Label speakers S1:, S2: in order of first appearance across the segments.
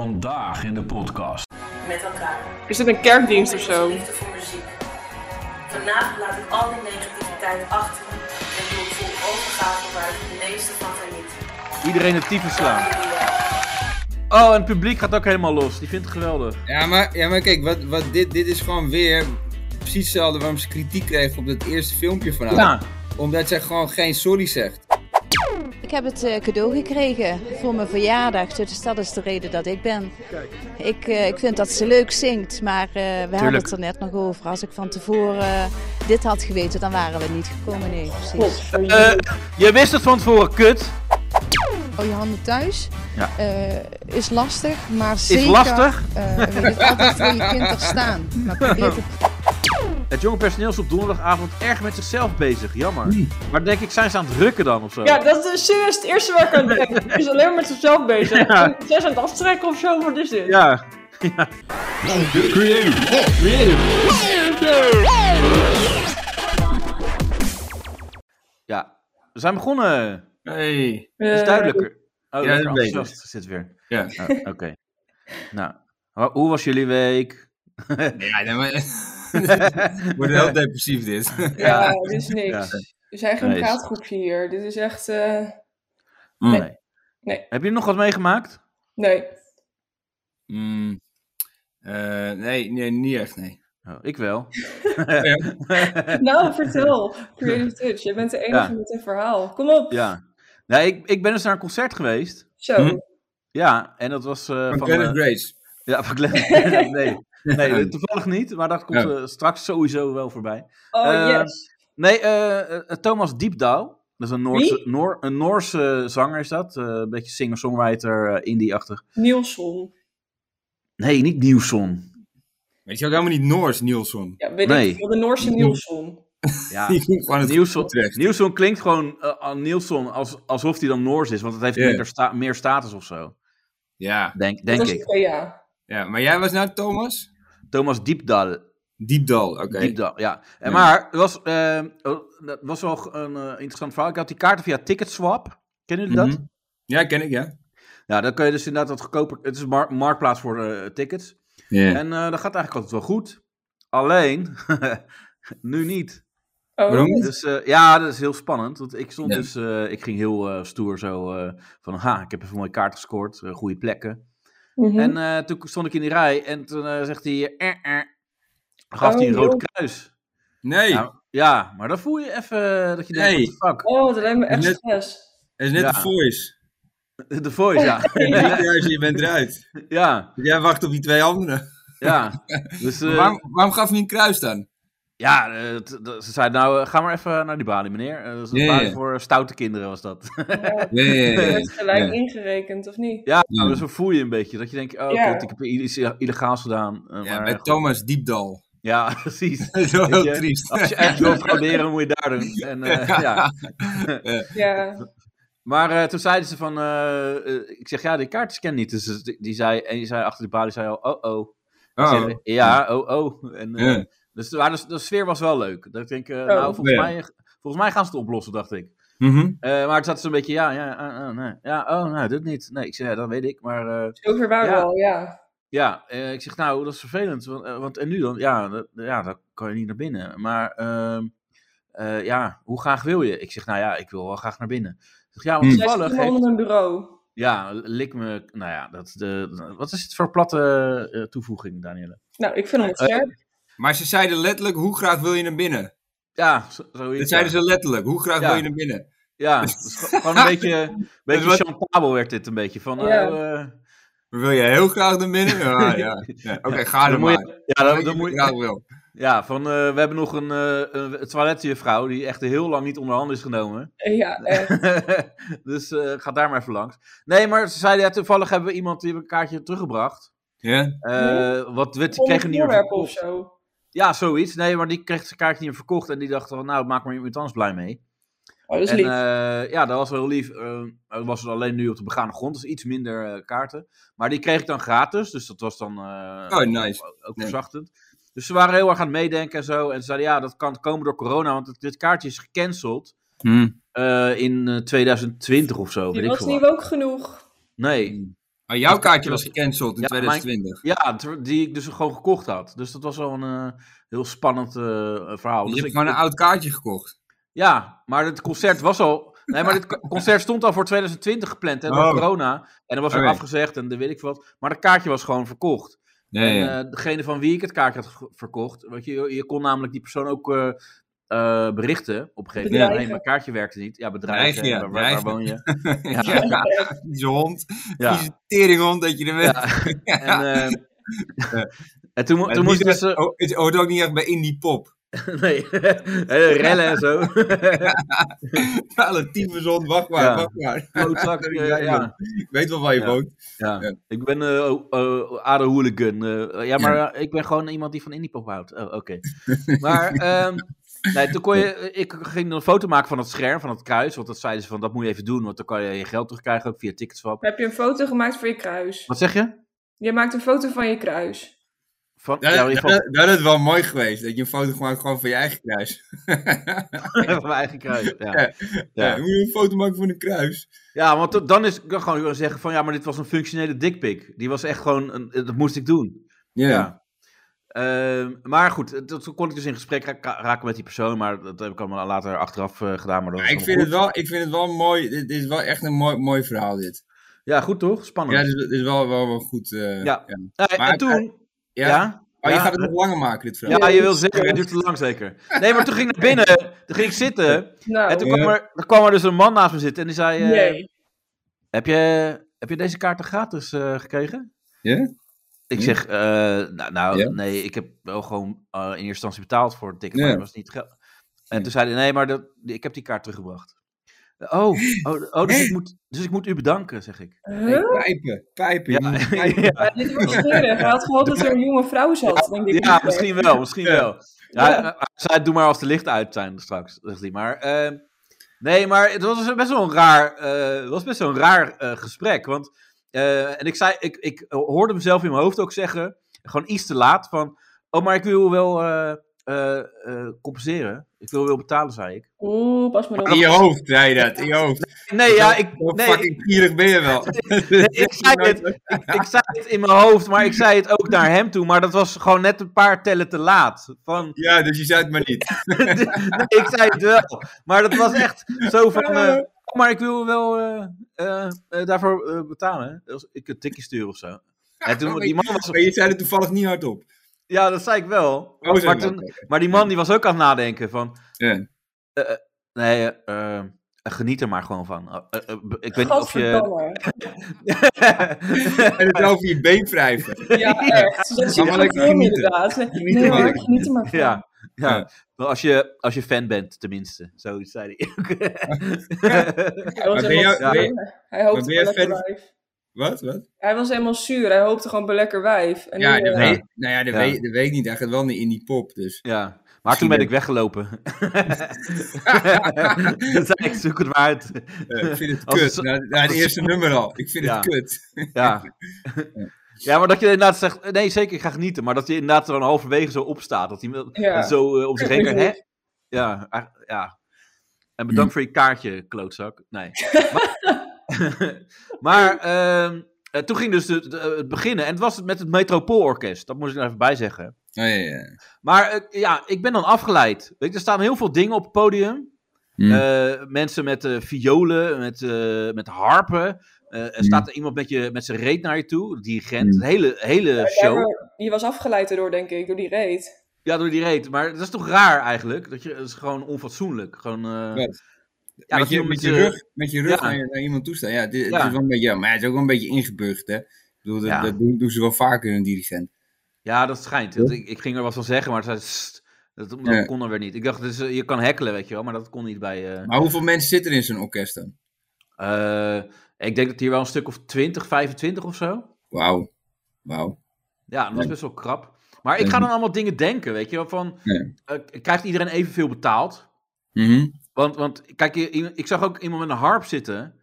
S1: Vandaag in de podcast.
S2: met elkaar.
S3: Is dit een kerkdienst of zo?
S2: Liefde voor muziek. Vanavond laat ik al die negativiteit achter me en doe ik vol overgave waar ik het meeste van geniet.
S4: Iedereen het tyfus slaan.
S2: Jullie wel.
S4: Oh, en het publiek gaat ook helemaal los. Die vindt het geweldig.
S5: Ja, maar, ja, maar kijk, wat, wat dit, dit is gewoon weer precies hetzelfde waarom ze kritiek kregen op dat eerste filmpje van haar.
S4: Ja.
S5: Omdat zij gewoon geen sorry zegt.
S6: Ik heb het eh, cadeau gekregen voor mijn verjaardag, dus dat is de reden dat ik ben. Ik, eh, ik vind dat ze leuk zingt, maar eh, we hadden het er net nog over. Als ik van tevoren eh, dit had geweten, dan waren we niet gekomen. Nee, precies.
S4: Eh, je wist het van tevoren, kut.
S7: Oh, je handen thuis
S4: Ja.
S7: eh, is lastig, maar
S4: Is
S7: zeker
S4: lastig.
S7: eh, weet het altijd voor je kind te staan. Maar probeer het
S4: Het jonge personeel is op donderdagavond erg met zichzelf bezig. Jammer. Maar denk ik, zijn ze aan het rukken dan of zo?
S3: Ja, dat is serieus het eerste waar ik aan denk. Die is alleen maar met zichzelf bezig.
S4: Ja.
S3: Zij zijn aan het aftrekken of zo, wat is dit?
S4: Ja. Ja. We zijn begonnen.
S8: Hey.
S4: Dat is duidelijker. Oh,
S8: ja,
S4: lekker
S8: dat weet
S4: enthousiast zit weer.
S8: Ja.
S4: Oh, Oké. Nou, ho- hoe was jullie week?
S5: Ja, nee, maar...
S4: ja.
S5: Wordt heel depressief dit.
S3: Eh, Ja, dit is niks.
S4: Ja.
S3: We zijn geen
S4: Nee, is-
S3: praatgroepje hier. Dit is echt... eh,
S8: Mm.
S4: Nee.
S3: Nee.
S4: Heb je nog wat meegemaakt?
S3: nee.
S5: Mm. Eh, nee, nee, niet echt, nee.
S4: Oh, ik wel.
S3: Nou, vertel. Creative Touch, jij bent de enige
S4: Eh. Ja.
S3: met een verhaal. Kom op.
S4: ja. Nee, ik, ik ben eens naar een concert geweest.
S3: Zo.
S5: Hm?
S4: Ja, en dat was eh,
S5: Van
S4: van...
S5: Glennis
S4: eh,
S5: Grace.
S4: ja, van Glenn. nee. nee, toevallig niet, maar dat komt
S5: Ja.
S4: eh, straks sowieso wel voorbij.
S3: Oh,
S4: Eh,
S3: yes.
S4: Nee, eh, eh, Thomas Diepdauw. Dat is een Noorse, Noor, een Noorse zanger is dat. Eh, een beetje singer-songwriter, eh, indie-achtig.
S3: Nielson.
S4: Nee, niet Nieuwson.
S5: Weet je ook helemaal niet Noors, Nielsen.
S3: Ja, weet
S4: Nee. Hm.
S3: ik veel. De Noorse Nielson.
S4: Ja,
S5: Die komt gewoon het
S4: Nielsen,
S5: terecht.
S4: Nielsen klinkt gewoon eh, aan Nielsen als, alsof hij dan Noors is, want het heeft
S5: Ja.
S4: meer, sta- meer status of zo.
S5: Ja.
S4: Denk,
S3: Dat
S4: denk
S3: is
S4: ik.
S3: Thea.
S5: ja, maar jij was nou Thomas?
S4: Thomas Diepdal.
S5: Diepdal, oké.
S4: Diepdal ja. En
S5: Ja.
S4: Maar het was, eh, dat was wel een eh, interessant verhaal. Ik had die kaarten via Ticketswap. Kennen jullie dat?
S5: Mhm. Ja, ken ik, ja.
S4: Nou, dan kun je dus inderdaad wat goedkoper. Het is een mar- marktplaats voor eh, tickets.
S5: Ja.
S4: En eh, dat gaat eigenlijk altijd wel goed. Alleen, nu niet.
S3: Oh,
S5: Waarom niet?
S4: Dus eh, ja, dat is heel spannend. Want ik stond
S5: Ja.
S4: dus, eh, ik ging heel eh, stoer zo eh, van, ha, ik heb even een mooie kaart gescoord, eh, goede plekken.
S3: mhm.
S4: En eh, toen stond ik in die rij en toen eh, zegt hij, eh, eh. gaf hij een
S3: Oh,
S4: rood
S3: joh.
S4: kruis.
S5: Nee,
S4: Nou, ja, maar dan voel je even dat je denkt,
S5: Nee.
S4: what the fuck,
S3: Oh, dat lijkt me echt
S5: Net-
S3: stress.
S5: het is net
S4: ja.
S5: de voice.
S4: de voice, ja.
S5: Ja. Je bent eruit.
S4: ja,
S5: Jij wacht op die twee anderen.
S4: ja. Dus eh,
S5: Maar waarom, waarom gaf hij een kruis dan?
S4: ja, eh, t- t- ze zei, nou, eh, ga maar even naar die balie, meneer. Eh, dat is een
S5: Ja, ja,
S4: balie
S5: ja.
S4: voor stoute kinderen was dat.
S5: Nee,
S3: Je wordt gelijk ingerekend, of niet?
S4: ja,
S5: Ja.
S4: dus dan voel je een beetje, dat je denkt, oh,
S3: Ja.
S4: kut, ik heb iets illegaals gedaan. eh,
S5: Ja,
S4: maar,
S5: met Thomas Diepdal.
S4: ja, precies.
S5: Dat is wel
S4: Weet
S5: heel
S4: je,
S5: triest.
S4: Als je echt wil frauderen, moet je daar doen. En, eh, ja.
S3: Ja.
S4: Maar eh, toen zeiden ze van, eh, eh, ik zeg ja, die kaart scan niet. Dus die, die zei, en die zei achter de balie, zei al, oh oh. Ik
S5: Oh,
S4: zeg, ja, oh oh. En, eh,
S5: Ja.
S4: Dus maar de, de sfeer was wel leuk. Dat ik denk, eh,
S3: Oh.
S4: nou, volgens,
S5: Ja.
S4: mij, volgens mij gaan ze het oplossen, dacht ik.
S5: mhm.
S4: Eh, maar het zat ze een beetje, ja, ja, ah, ah, nee. ja, oh, nou, dit niet. Nee, ik zeg, ja, dat weet ik. Maar eh,
S3: Zover waren
S4: Ja.
S3: we al, ja.
S4: ja, eh, ik zeg, nou, dat is vervelend. Want, eh, want en nu dan? Ja, dat, ja, dan kan je niet naar binnen. Maar ehm, eh, ja, hoe graag wil je? Ik zeg, nou ja, ik wil wel graag naar binnen. Ik zeg, ja, want
S5: Hm.
S3: Zij zit
S4: toevallig
S3: helemaal
S4: heeft-
S3: onder een bureau.
S4: Ja, lik me... Nou ja, dat, de, wat is het voor platte eh, toevoeging, Danielle?
S3: Nou, ik vind hem
S4: Eh,
S3: scherp.
S5: Maar ze zeiden letterlijk, hoe graag wil je naar binnen?
S4: Ja, zo- zoiets.
S5: Dat
S4: ja.
S5: zeiden ze letterlijk, hoe graag
S4: Ja.
S5: wil je naar binnen?
S4: Ja, dus ge- gewoon een beetje, beetje
S5: wat-
S4: chantabel werd dit een beetje. Van,
S3: Ja.
S4: oh, eh,
S5: Wil je heel graag naar binnen? Ah, Ja, ja. ja. Oké, ga
S4: dan
S5: er
S4: moet
S5: maar.
S4: je, ja, dan,
S5: Wat
S4: dan
S5: je
S4: moet je-
S5: graag wil.
S4: ja, van eh, we hebben nog een, eh een toiletjuffrouw die echt heel lang niet onder handen is genomen.
S3: Eh, Ja,
S4: eh,
S3: echt.
S4: dus eh, ga daar maar even langs. Nee, maar ze zeiden ja, toevallig hebben we iemand die heeft een kaartje teruggebracht.
S5: Ja?
S4: Eh, wat werd, die
S3: Onder
S4: kreeg een nieuwe
S3: voorwerpen of
S4: verkocht.
S3: zo.
S4: Ja, zoiets. Nee, maar die kreeg zijn kaartje niet meer verkocht. En die dacht van, nou, maak maar iemand anders blij mee.
S3: Oh, dat is
S4: en,
S3: lief.
S4: eh, ja, dat was wel heel lief. Eh, dat was er alleen nu op de begane grond, dus iets minder eh, kaarten. Maar die kreeg ik dan gratis, dus dat was dan eh,
S5: Oh, nice.
S4: ook, ook
S5: Ja.
S4: verzachtend. Dus ze waren heel erg aan het meedenken en zo. En ze zeiden, ja, dat kan komen door corona, want het- dit kaartje is gecanceld
S5: Hmm.
S4: eh, in eh, 2020 of zo.
S3: Die
S4: weet ik
S3: was
S4: veel
S3: niet
S4: wat.
S3: ook genoeg.
S4: Nee.
S5: Maar jouw kaartje was gecanceld in
S4: Ja, mijn-
S5: 2020.
S4: Ja, ter- die ik dus gewoon gekocht had. Dus dat was wel een eh, heel spannend eh, verhaal.
S5: Je
S4: Dus
S5: hebt
S4: ik-
S5: gewoon een oud kaartje gekocht.
S4: Ja, maar het concert was al. Nee, maar dit concert stond al voor 2020 gepland, hè, door
S5: Oh.
S4: corona. En dat was
S5: Oké.
S4: ook afgezegd en de weet ik veel wat. Maar dat kaartje was gewoon verkocht.
S5: Nee,
S4: En eh, degene van wie ik het kaartje had ge- verkocht, want je, je kon namelijk die persoon ook eh, eh, berichten op een gegeven moment.
S3: Bedreigen.
S4: Nee, mijn kaartje werkte niet. Ja,
S5: Bedreigen,
S4: bedrijven, waar,
S5: ja,
S4: waar- waar
S5: bedreigen.
S4: woon je?
S5: ja. vieze hond.
S4: eh, Ja.
S5: Vieze teringhond dat je er bent.
S4: Ja. En, eh, en toen, mo-
S5: Maar
S4: toen
S5: niet
S4: moest ik dus...
S5: echt- oh, het hoort ook niet echt bij indie pop.
S4: eh, nee, hele rellen en zo.
S5: Alle tyfushond, wacht maar,
S4: Ja.
S5: wacht maar.
S4: Klootzak, eh,
S5: Ja,
S4: ja.
S5: joh. Ik weet wel waar je
S4: Ja.
S5: woont.
S4: Ja,
S5: Ja.
S4: ik ben eh eh, Ado Hooligan. eh, ja, maar eh, ik ben gewoon iemand die van indiepop houdt. Oh, oké. maar ehm, nee, toen kon je, eh, ik ging een foto maken van het scherm, van het kruis. Want dat zeiden ze van, dat moet je even doen, want dan kan je je geld terugkrijgen, ook via ticketswap.
S3: Heb je een foto gemaakt voor je kruis?
S4: Wat zeg je?
S3: Je maakt een foto van je kruis.
S4: Van,
S5: Dat,
S4: ja, in ieder
S5: dat, dat is wel mooi geweest, dat je een foto maakt gewoon van je eigen kruis.
S4: geval van mijn eigen kruis. Ja,
S5: Ja.
S4: ja.
S5: Moet je een foto maken van een kruis?
S4: ja want dat- dan is, dan kan ik gewoon zeggen van, ja, maar dit was een functionele dikpik. Die was echt gewoon, een, dat moest ik doen.
S5: Ja.
S4: Ja. Ehm, maar goed, eh, dat- toen kon ik dus in gesprek ra- raken met die persoon, maar dat heb ik allemaal later achteraf eh, gedaan. Maar dat
S5: Maar
S4: was allemaal
S5: ik vind,
S4: goed.
S5: het wel, ik vind het wel mooi, dit, dit is wel echt een mooi, mooi verhaal dit.
S4: Ja, goed toch?
S5: Ja,
S4: Spannend.
S5: dit is, dit is wel, wel, wel goed. eh,
S4: Ja.
S5: ja.
S4: Eh,
S5: maar-
S4: en toen... Ja? Ja,
S5: Oh, je
S4: Ja.
S5: gaat het nog langer maken, dit verhaal.
S4: ja, je wil zeggen, het duurt te lang zeker. Nee, maar toen ging ik naar binnen, toen ging ik zitten,
S3: Nou,
S4: en toen
S5: Ja.
S4: kwam er, er kwam er dus een man naast me zitten en die zei, eh,
S3: nee.
S4: heb, je, heb je deze kaarten gratis eh, gekregen?
S5: Ja?
S4: Ik
S5: Ja.
S4: zeg, eh, nou, nou
S5: Ja.
S4: nee, ik heb wel gewoon eh, in eerste instantie betaald voor het ticket, maar
S5: Ja.
S4: dat was niet geld. En
S5: Ja.
S4: toen zei hij, nee, maar dat, ik heb die kaart teruggebracht. Oh, oh, oh dus, ik moet, dus ik moet u bedanken, zeg ik.
S3: Huh?
S5: Pijpen, pijpen. je moet pijpen.
S3: Ja, dit wordt smerig. Hij had gehoopt dat er een jonge vrouw zat, denk ik.
S4: Ja, misschien wel, misschien
S5: Ja.
S4: wel. Ja,
S3: Ja.
S4: hij- hij zei, doe maar als de lichten uit zijn straks, zegt hij. Maar, eh, nee, maar het was dus best wel een raar, eh, het was best wel een raar eh, gesprek. Want, eh, en ik, zei, ik, ik hoorde mezelf in mijn hoofd ook zeggen, gewoon iets te laat, van... Oh, maar ik wil wel eh, eh, eh, compenseren. Ik wil wel betalen, zei ik.
S3: Oeh, pas maar
S5: In
S3: op.
S5: je hoofd, zei je dat, in je hoofd.
S4: Nee, ja, ik...
S5: Zo
S4: Nee, ik,
S5: fucking gierig ben je wel.
S4: ik zei het, ik, ik zei het in mijn hoofd, maar ik zei het ook naar hem toe. Maar dat was gewoon net een paar tellen te laat. Van,
S5: Ja, dus je zei het maar niet.
S4: Nee, ik zei het wel. Maar dat was echt zo van. eh, oh, maar ik wil wel eh, eh, eh, daarvoor eh, betalen. hè. Als Ik een tikje sturen of zo. En toen, die man was,
S5: Maar je zei het toevallig niet hardop.
S4: ja, dat zei ik wel.
S5: Oh, zei
S4: Maar,
S5: je
S4: toen,
S5: dat.
S4: maar die man die was ook aan het nadenken van.
S5: Ja.
S4: eh, eh, nee, eh, eh, geniet er maar gewoon van. Eh, eh, eh, ik weet niet of je.
S3: Gadverdamme.
S5: En het over je been wrijven.
S3: Ja, echt. Dat zie je
S5: Maar
S3: gewoon
S5: lekker
S3: film
S5: genieten.
S3: inderdaad.
S5: Genieten
S3: Nee,
S5: maar.
S3: maar geniet er maar van.
S4: ja.
S5: Ja.
S4: Ja, Wel, als je, als je fan bent, tenminste. Zoiets zei hij.
S3: Hij was
S5: Maar ben
S3: helemaal
S5: jij-
S4: ben
S3: zuur. Hij hoopte
S5: maar
S3: op
S5: ben jij
S3: een lekker
S5: fan-
S3: wijf.
S5: Wat, wat?
S3: Hij was helemaal zuur. Hij hoopte gewoon op een lekker wijf. En
S5: Ja,
S3: nu,
S5: dat
S3: eh,
S5: weet, nou ja, dat,
S4: Ja.
S5: Weet, dat weet ik niet. Hij gaat wel niet in die pop, dus.
S4: Ja, maar toen ben ik weggelopen. dat zei ik, zoek het maar uit.
S5: eh, ik vind het
S4: Als het
S5: kut.
S4: zo-
S5: Na, na het
S4: als het
S5: eerste nummer al. Ik vind
S4: Ja.
S5: het kut.
S4: Ja. ja, maar dat je inderdaad zegt, nee zeker, ik ga genieten. Maar dat je inderdaad er dan halverwege zo opstaat. Dat hij
S3: Ja.
S4: zo eh, om zich
S3: Ja,
S4: heen kijkt, hè?
S3: precies.
S4: Ja, ah, ja. En bedankt
S5: Hm.
S4: voor je kaartje, klootzak. Nee. Maar, maar ehm, eh, toen ging dus het, het beginnen. En het was met het Metropoolorkest. Dat moest ik er even bij zeggen.
S5: Oh, ja, ja.
S4: Maar eh, ja, ik ben dan afgeleid. Weet je, er staan heel veel dingen op het podium.
S5: Hmm.
S4: Eh, mensen met eh, violen, met, eh, met harpen. Eh, er staat er iemand met, je, met zijn reet naar je toe, de dirigent.
S5: Hmm.
S4: Een hele, hele
S3: Ja,
S4: show.
S3: maar die was afgeleid erdoor, denk ik, door die reet.
S4: Ja, door die reet. Maar dat is toch raar eigenlijk? Dat, je, dat is gewoon onfatsoenlijk. Gewoon, eh, ja,
S5: met,
S4: dat
S5: je,
S4: iemand
S5: met, je
S4: eh,
S5: rug, met je rug
S4: ja.
S5: naar, naar iemand toestaan. Ja, dit, het
S4: Ja.
S5: is wel een beetje, ja, maar het is ook wel een beetje ingeburgd, hè. Ik bedoel, dat,
S4: Ja.
S5: dat doen, doen ze wel vaker, een dirigent.
S4: Ja, dat schijnt. Dat- Ik, ik ging er wat van zeggen, maar het zei... "Sst." dat, dat
S5: Ja.
S4: kon er weer niet. Ik dacht, dus, eh, je kan hekkelen, weet je wel. Maar dat kon niet bij... eh,
S5: Maar hoeveel mensen zitten er in zo'n orkest dan?
S4: eh, ik denk dat hier wel een stuk of 20, 25 of zo.
S5: Wauw. Wauw.
S4: Ja, dat was
S5: Nee.
S4: best wel krap. Maar ik ga dan allemaal dingen denken, weet je wel. Van,
S5: Nee.
S4: eh, krijgt iedereen evenveel betaald?
S5: Mhm.
S4: Want, want kijk, i- i- ik zag ook iemand met een harp zitten.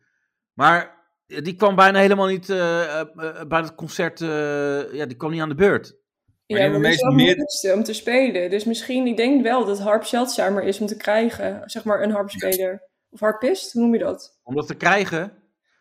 S4: Maar eh, die kwam bijna helemaal niet eh, eh, eh, bij het concert. eh, ja, die kwam niet aan de beurt.
S5: Maar die
S3: ja,
S5: hebben
S3: die
S5: meestal
S3: zelf
S5: meer-
S3: moesten om te spelen. Dus misschien, ik denk wel dat harp zeldzamer is om te krijgen. Zeg maar een harpspeler. Of harpist, hoe noem je dat?
S4: Om dat te krijgen.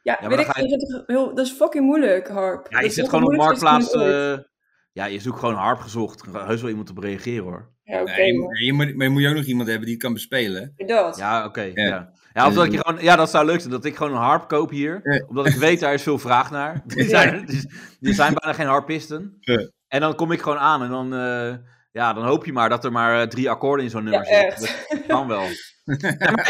S3: Ja,
S4: maar
S3: weet
S4: dan
S3: ik,
S4: ga je-
S3: ik vind het heel, dat is fucking moeilijk, harp.
S4: Ja,
S3: Dat
S4: je
S3: is
S4: zit
S3: nog
S4: gewoon op
S3: het moeilijkste
S4: marktplaats.
S3: instrument ooit.
S4: eh, ja, je zoekt gewoon harp gezocht. Er gaat Heus wel iemand op reageren hoor.
S3: Ja, oké,
S5: Nee, je,
S3: maar
S5: moet- je moet, maar je moet ook nog iemand hebben die het kan bespelen.
S3: dat.
S4: Ja, oké. ja.
S5: Ja.
S4: Ja. of dat ik je gewoon, ja, dat zou leuk zijn. Dat ik gewoon een harp koop hier.
S5: Ja.
S4: Omdat ik weet, daar is veel vraag naar. Er zijn, die- die zijn bijna geen harpisten.
S5: Ja.
S4: En dan kom ik gewoon aan en dan, eh, ja, dan hoop je maar dat er maar eh, drie akkoorden in zo'n nummer
S3: Ja,
S4: zitten. Dat kan wel.
S3: Ik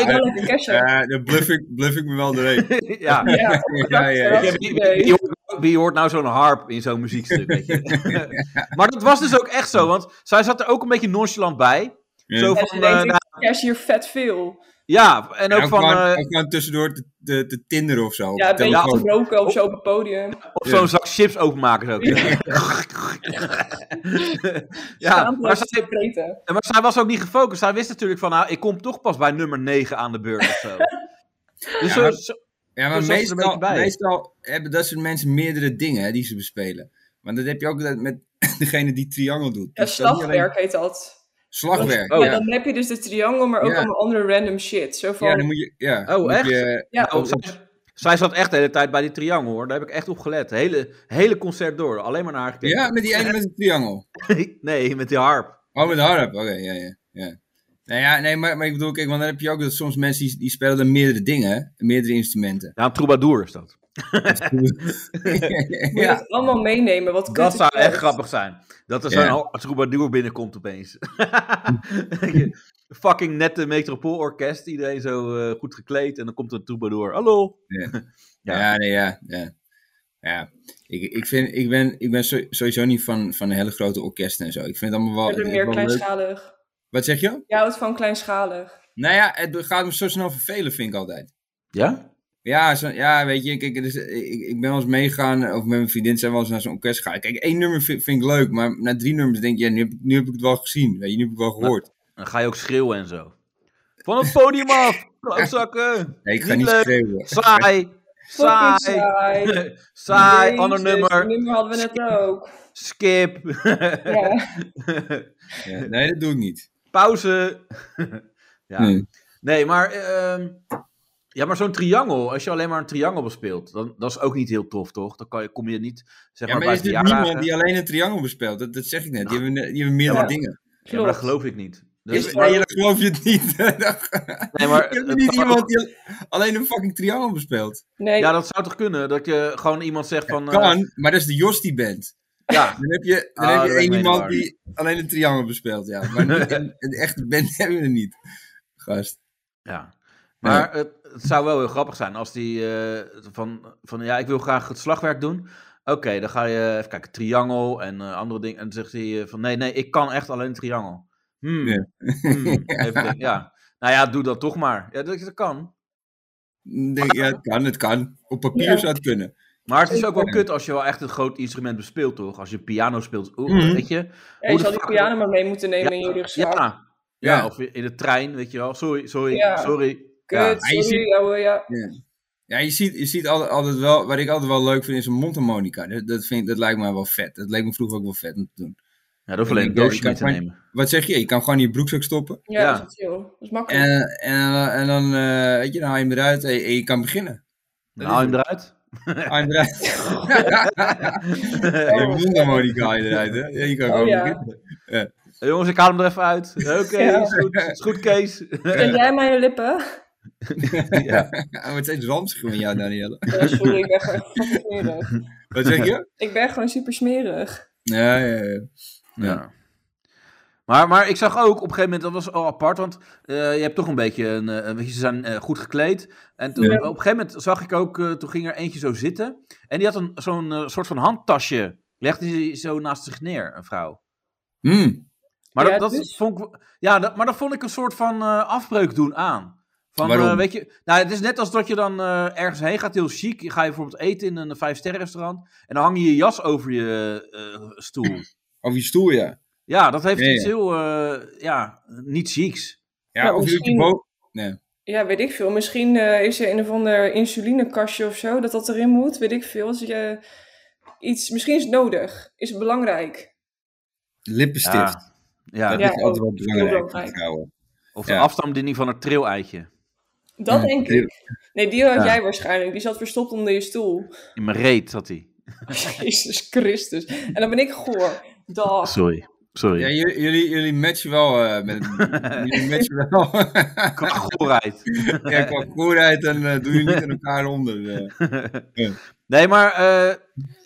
S3: wil lekker cashen. Ja,
S5: Ja, daar bluff ik, bluff ik me wel doorheen.
S4: ja.
S3: ja,
S5: Ja,
S4: Ja,
S5: ja.
S3: ja.
S4: wie, wie- wie hoort, wie hoort nou zo'n harp in zo'n muziekstuk? Weet je? maar dat was dus ook echt zo, want zij zat er ook een beetje nonchalant bij.
S5: Ja.
S4: Zo
S3: En
S4: van,
S3: ze
S4: eh,
S3: denkt,
S4: nou,
S3: ik cash hier vet veel.
S4: ja, en ook
S5: Ja,
S4: van
S5: gewoon,
S4: eh,
S5: ook gewoon tussendoor te, te, te tinderen of zo. op
S3: Ja,
S5: de
S3: een beetje
S5: telefoon.
S3: te roken of zo op het podium.
S4: op zo'n zak chips openmaken. Ook. ja, maar
S3: Schaamteloos
S4: zij,
S3: vreten.
S4: maar zij was ook niet gefocust. Zij wist natuurlijk van, nou, ik kom toch pas bij nummer 9 aan de beurt of zo. Dus zo,
S5: maar-
S4: zo-
S5: Ja, maar
S4: Toen zat ze er een
S5: meestal,
S4: beetje bij.
S5: meestal hebben dat soort mensen meerdere dingen hè, die ze bespelen. Maar dat heb je ook met degene die triangel doet.
S3: Ja,
S5: Die staat niet alleen-
S3: slagwerk heet dat.
S5: Slagwerk,
S4: Oh,
S3: ja,
S5: ja.
S3: dan heb je dus de triangle, maar ook
S5: Ja.
S3: allemaal andere random shit. Zo van,
S5: Ja, dan moet je... Ja,
S4: Oh,
S5: moet
S4: echt?
S5: je-
S3: ja,
S4: oh, zij, zij zat echt de hele tijd bij die triangel, hoor. Daar heb ik echt op gelet. Hele, hele concert door. Alleen maar naar haar gekeken.
S5: ja, met die ene met de triangel.
S4: nee, met die harp.
S5: Oh, met de harp. Oké, ja, ja, ja. Nou ja, nee, maar, maar ik bedoel, kijk, want dan heb je ook dat soms mensen die, die spelen dan meerdere dingen, hè, meerdere instrumenten.
S4: Ja, een troubadour is dat.
S3: moet je
S5: ja.
S3: dat allemaal meenemen. Wat kut
S4: Dat
S3: is
S4: zou echt
S3: dat?
S4: grappig zijn. Dat er
S5: Ja.
S4: zo'n ho- troubadour binnenkomt opeens. Fucking nette metropoolorkest. Iedereen zo eh, goed gekleed. En dan komt er een troubadour. Hallo. Ja.
S5: Ja, nee, ja, ja. Ja, ik, ik, vind, ik ben, ik ben so- sowieso niet van, van hele grote orkesten en zo. Ik vind het allemaal
S3: Ik
S5: wel,
S3: ben
S5: eh,
S3: meer
S5: wel leuk.
S3: kleinschalig.
S5: Wat zeg je?
S3: Jij houdt van kleinschalig.
S5: Nou ja, het gaat me zo snel vervelen, vind ik altijd.
S4: Ja?
S5: Ja, zo, ja weet je, kijk, er is- ik, ik ben wel eens meegaan, of met mijn vriendin zijn we wel eens naar zo'n orkest gegaan. Kijk, één nummer vind, vind ik leuk, maar na drie nummers denk je, ja, nu, heb, ik- nu heb ik het wel gezien, weet je, nu heb ik het wel gehoord.
S4: Dan ga je ook schreeuwen en zo. Van het podium af. Klootzakken.
S5: Nee, ik ga
S4: Niet
S5: niet
S4: leuk.
S5: schreeuwen.
S4: Saai.
S3: Fucking
S4: Saai. Saai. Ander
S3: Jezus, dat
S4: nummer.
S3: nummer hadden we net ook.
S4: Skip.
S3: Ja.
S5: Ja, nee, dat doe ik niet.
S4: Pauze. ja.
S5: Nee.
S4: Nee, maar, ehm, ja, maar zo'n triangel, als je alleen maar een triangel bespeelt, dan, dat is ook niet heel tof, toch? Dan kan je, kom je niet, zeg
S5: Ja,
S4: maar,
S5: maar
S4: bij
S5: er is natuurlijk
S4: verjaardagen.
S5: niemand die alleen een triangel bespeelt, dat, dat zeg ik net. Die hebben, die hebben meerdere
S3: Ja.
S5: dingen.
S4: Ja, maar dat
S3: Klopt.
S4: geloof ik niet. Dus-
S5: Is, nee, dat geloof je het niet.
S4: nee, maar,
S5: Ik heb
S4: het
S5: niet
S4: kan
S5: iemand
S4: ook-
S5: die alleen een fucking triangel bespeelt.
S3: Nee,
S4: ja, dat zou toch kunnen? Dat je gewoon iemand zegt van... eh,
S5: Kan, maar dat is de Jos die bent.
S4: ja,
S5: Dan heb je, dan
S4: Ah,
S5: heb
S4: dat ben
S5: je
S4: ik
S5: één
S4: mee
S5: iemand
S4: waar.
S5: die alleen een triangel bespeelt, ja. Maar niet, een, een echte band hebben we er niet. Gast.
S4: ja. Maar Het, het zou wel heel grappig zijn als die eh, van, van, ja, ik wil graag het slagwerk doen. Oké, dan ga je even kijken, triangel en eh, andere dingen. En dan zegt hij eh, van, nee, nee, ik kan echt alleen triangel. Hmm,
S5: Ja.
S4: hmm, even denken, ja. Nou ja, doe dat toch maar. Ja, dat, dat kan.
S5: Dan Denk, ik, ja, het kan, het kan. Op papier
S3: Ja.
S5: zou het kunnen.
S4: Maar het is ook wel
S5: Zeker.
S4: kut als je wel echt een groot instrument bespeelt, toch? Als je piano speelt, oeh,
S5: Mhm.
S4: weet je?
S3: ja,
S4: hoe
S3: je
S4: de
S3: zal die
S4: fuck-
S3: piano maar mee moeten nemen in je rugzak. Ja,
S4: Ja. Ja,
S5: Ja.
S4: of in de trein, weet je wel. Sorry, sorry,
S3: Ja.
S4: sorry. Ja.
S3: Kut,
S5: maar
S3: sorry,
S5: je ziet-
S3: ouwe, ja.
S5: Ja, je ziet, je ziet altijd, altijd wel, wat ik altijd wel leuk vind, is een mondharmonica. Dat, dat, vind, ik- dat lijkt mij wel vet. Dat leek me vroeger ook wel vet om te doen.
S4: Ja, dat hoef alleen een
S5: Ik denk,
S4: doosje
S5: ja,
S4: mee
S5: ik
S4: te
S5: kan-
S4: nemen.
S5: Wat zeg je? Je kan gewoon in je broekzak stoppen. Eh,
S3: Ja,
S4: Ja.
S3: dat is wel chill. Dat is makkelijk.
S5: En, en, en dan, eh, weet je, dan haal je hem eruit en, en je kan beginnen.
S4: Dan haal je hem eruit.
S5: Haal je hem eruit. Je mondharmonica haal je eruit, hè? Ja, je kan
S3: Oh,
S5: gewoon
S3: ja.
S5: beginnen.
S4: Eh, jongens, ik haal hem er even uit. Oké,
S3: Ja.
S4: is, goed, is goed, Kees.
S5: eh,
S3: Zet jij maar je lippen?
S4: ja.
S5: Ja, maar het is ranzig van jou, Danielle.
S3: Ja, sorry, ik ben gewoon echt fucking smerig.
S5: Wat zeg je?
S3: Ik ben gewoon super smerig.
S5: Ja, ja, ja.
S4: Ja. Maar, maar ik zag ook op een gegeven moment, dat was al apart, want eh, je hebt toch een beetje, een, eh, een beetje ze zijn eh, goed gekleed. En toen,
S3: Ja.
S4: op een gegeven moment zag ik ook, eh, toen ging er eentje zo zitten. En die had een, zo'n eh, soort van handtasje, legde die zo naast zich neer, een vrouw.
S5: Mm.
S4: Maar,
S3: Ja,
S4: dat, dat
S3: dus?
S4: vond ik, ja, dat, maar dat vond ik een soort van eh, afbreuk doen aan. Van,
S5: Waarom?
S4: eh, weet je, nou, het is net als dat je dan eh, ergens heen gaat, heel chic. Je Ga je bijvoorbeeld eten in een vijfsterrenrestaurant. En dan hang je je jas over je eh, stoel.
S5: Of je stoel, ja.
S4: Ja, dat heeft
S5: Ja, ja.
S4: iets heel, eh, ja, niet chics.
S5: Ja,
S3: Nou,
S5: of je doet je
S3: misschien-
S5: boven.
S3: Ja, weet ik veel. Misschien eh, is er een of ander insulinekastje of zo, dat dat erin moet. Weet ik veel. Als je iets, misschien is het nodig. Is het belangrijk.
S5: Lippenstift.
S4: Ja, ja.
S5: Dat
S3: Ja,
S5: is altijd wel
S3: ook.
S5: belangrijk. voor
S3: Belangrijk.
S5: vrouwen.
S4: of de
S5: ja.
S4: afstandbediening van het trilleitje.
S3: Dat denk ik. Nee, die had
S4: Ja.
S3: jij waarschijnlijk. Die zat verstopt onder je stoel.
S4: In mijn reet zat hij.
S3: Jezus Christus. En dan ben ik goor. Dag.
S4: Sorry. Sorry.
S5: Ja, jullie, jullie, jullie matchen wel. eh, met, jullie matchen wel.
S4: Qua goorheid.
S5: ja, qua goedheid en eh doe je niet aan elkaar onder. eh.
S4: Nee, maar, eh,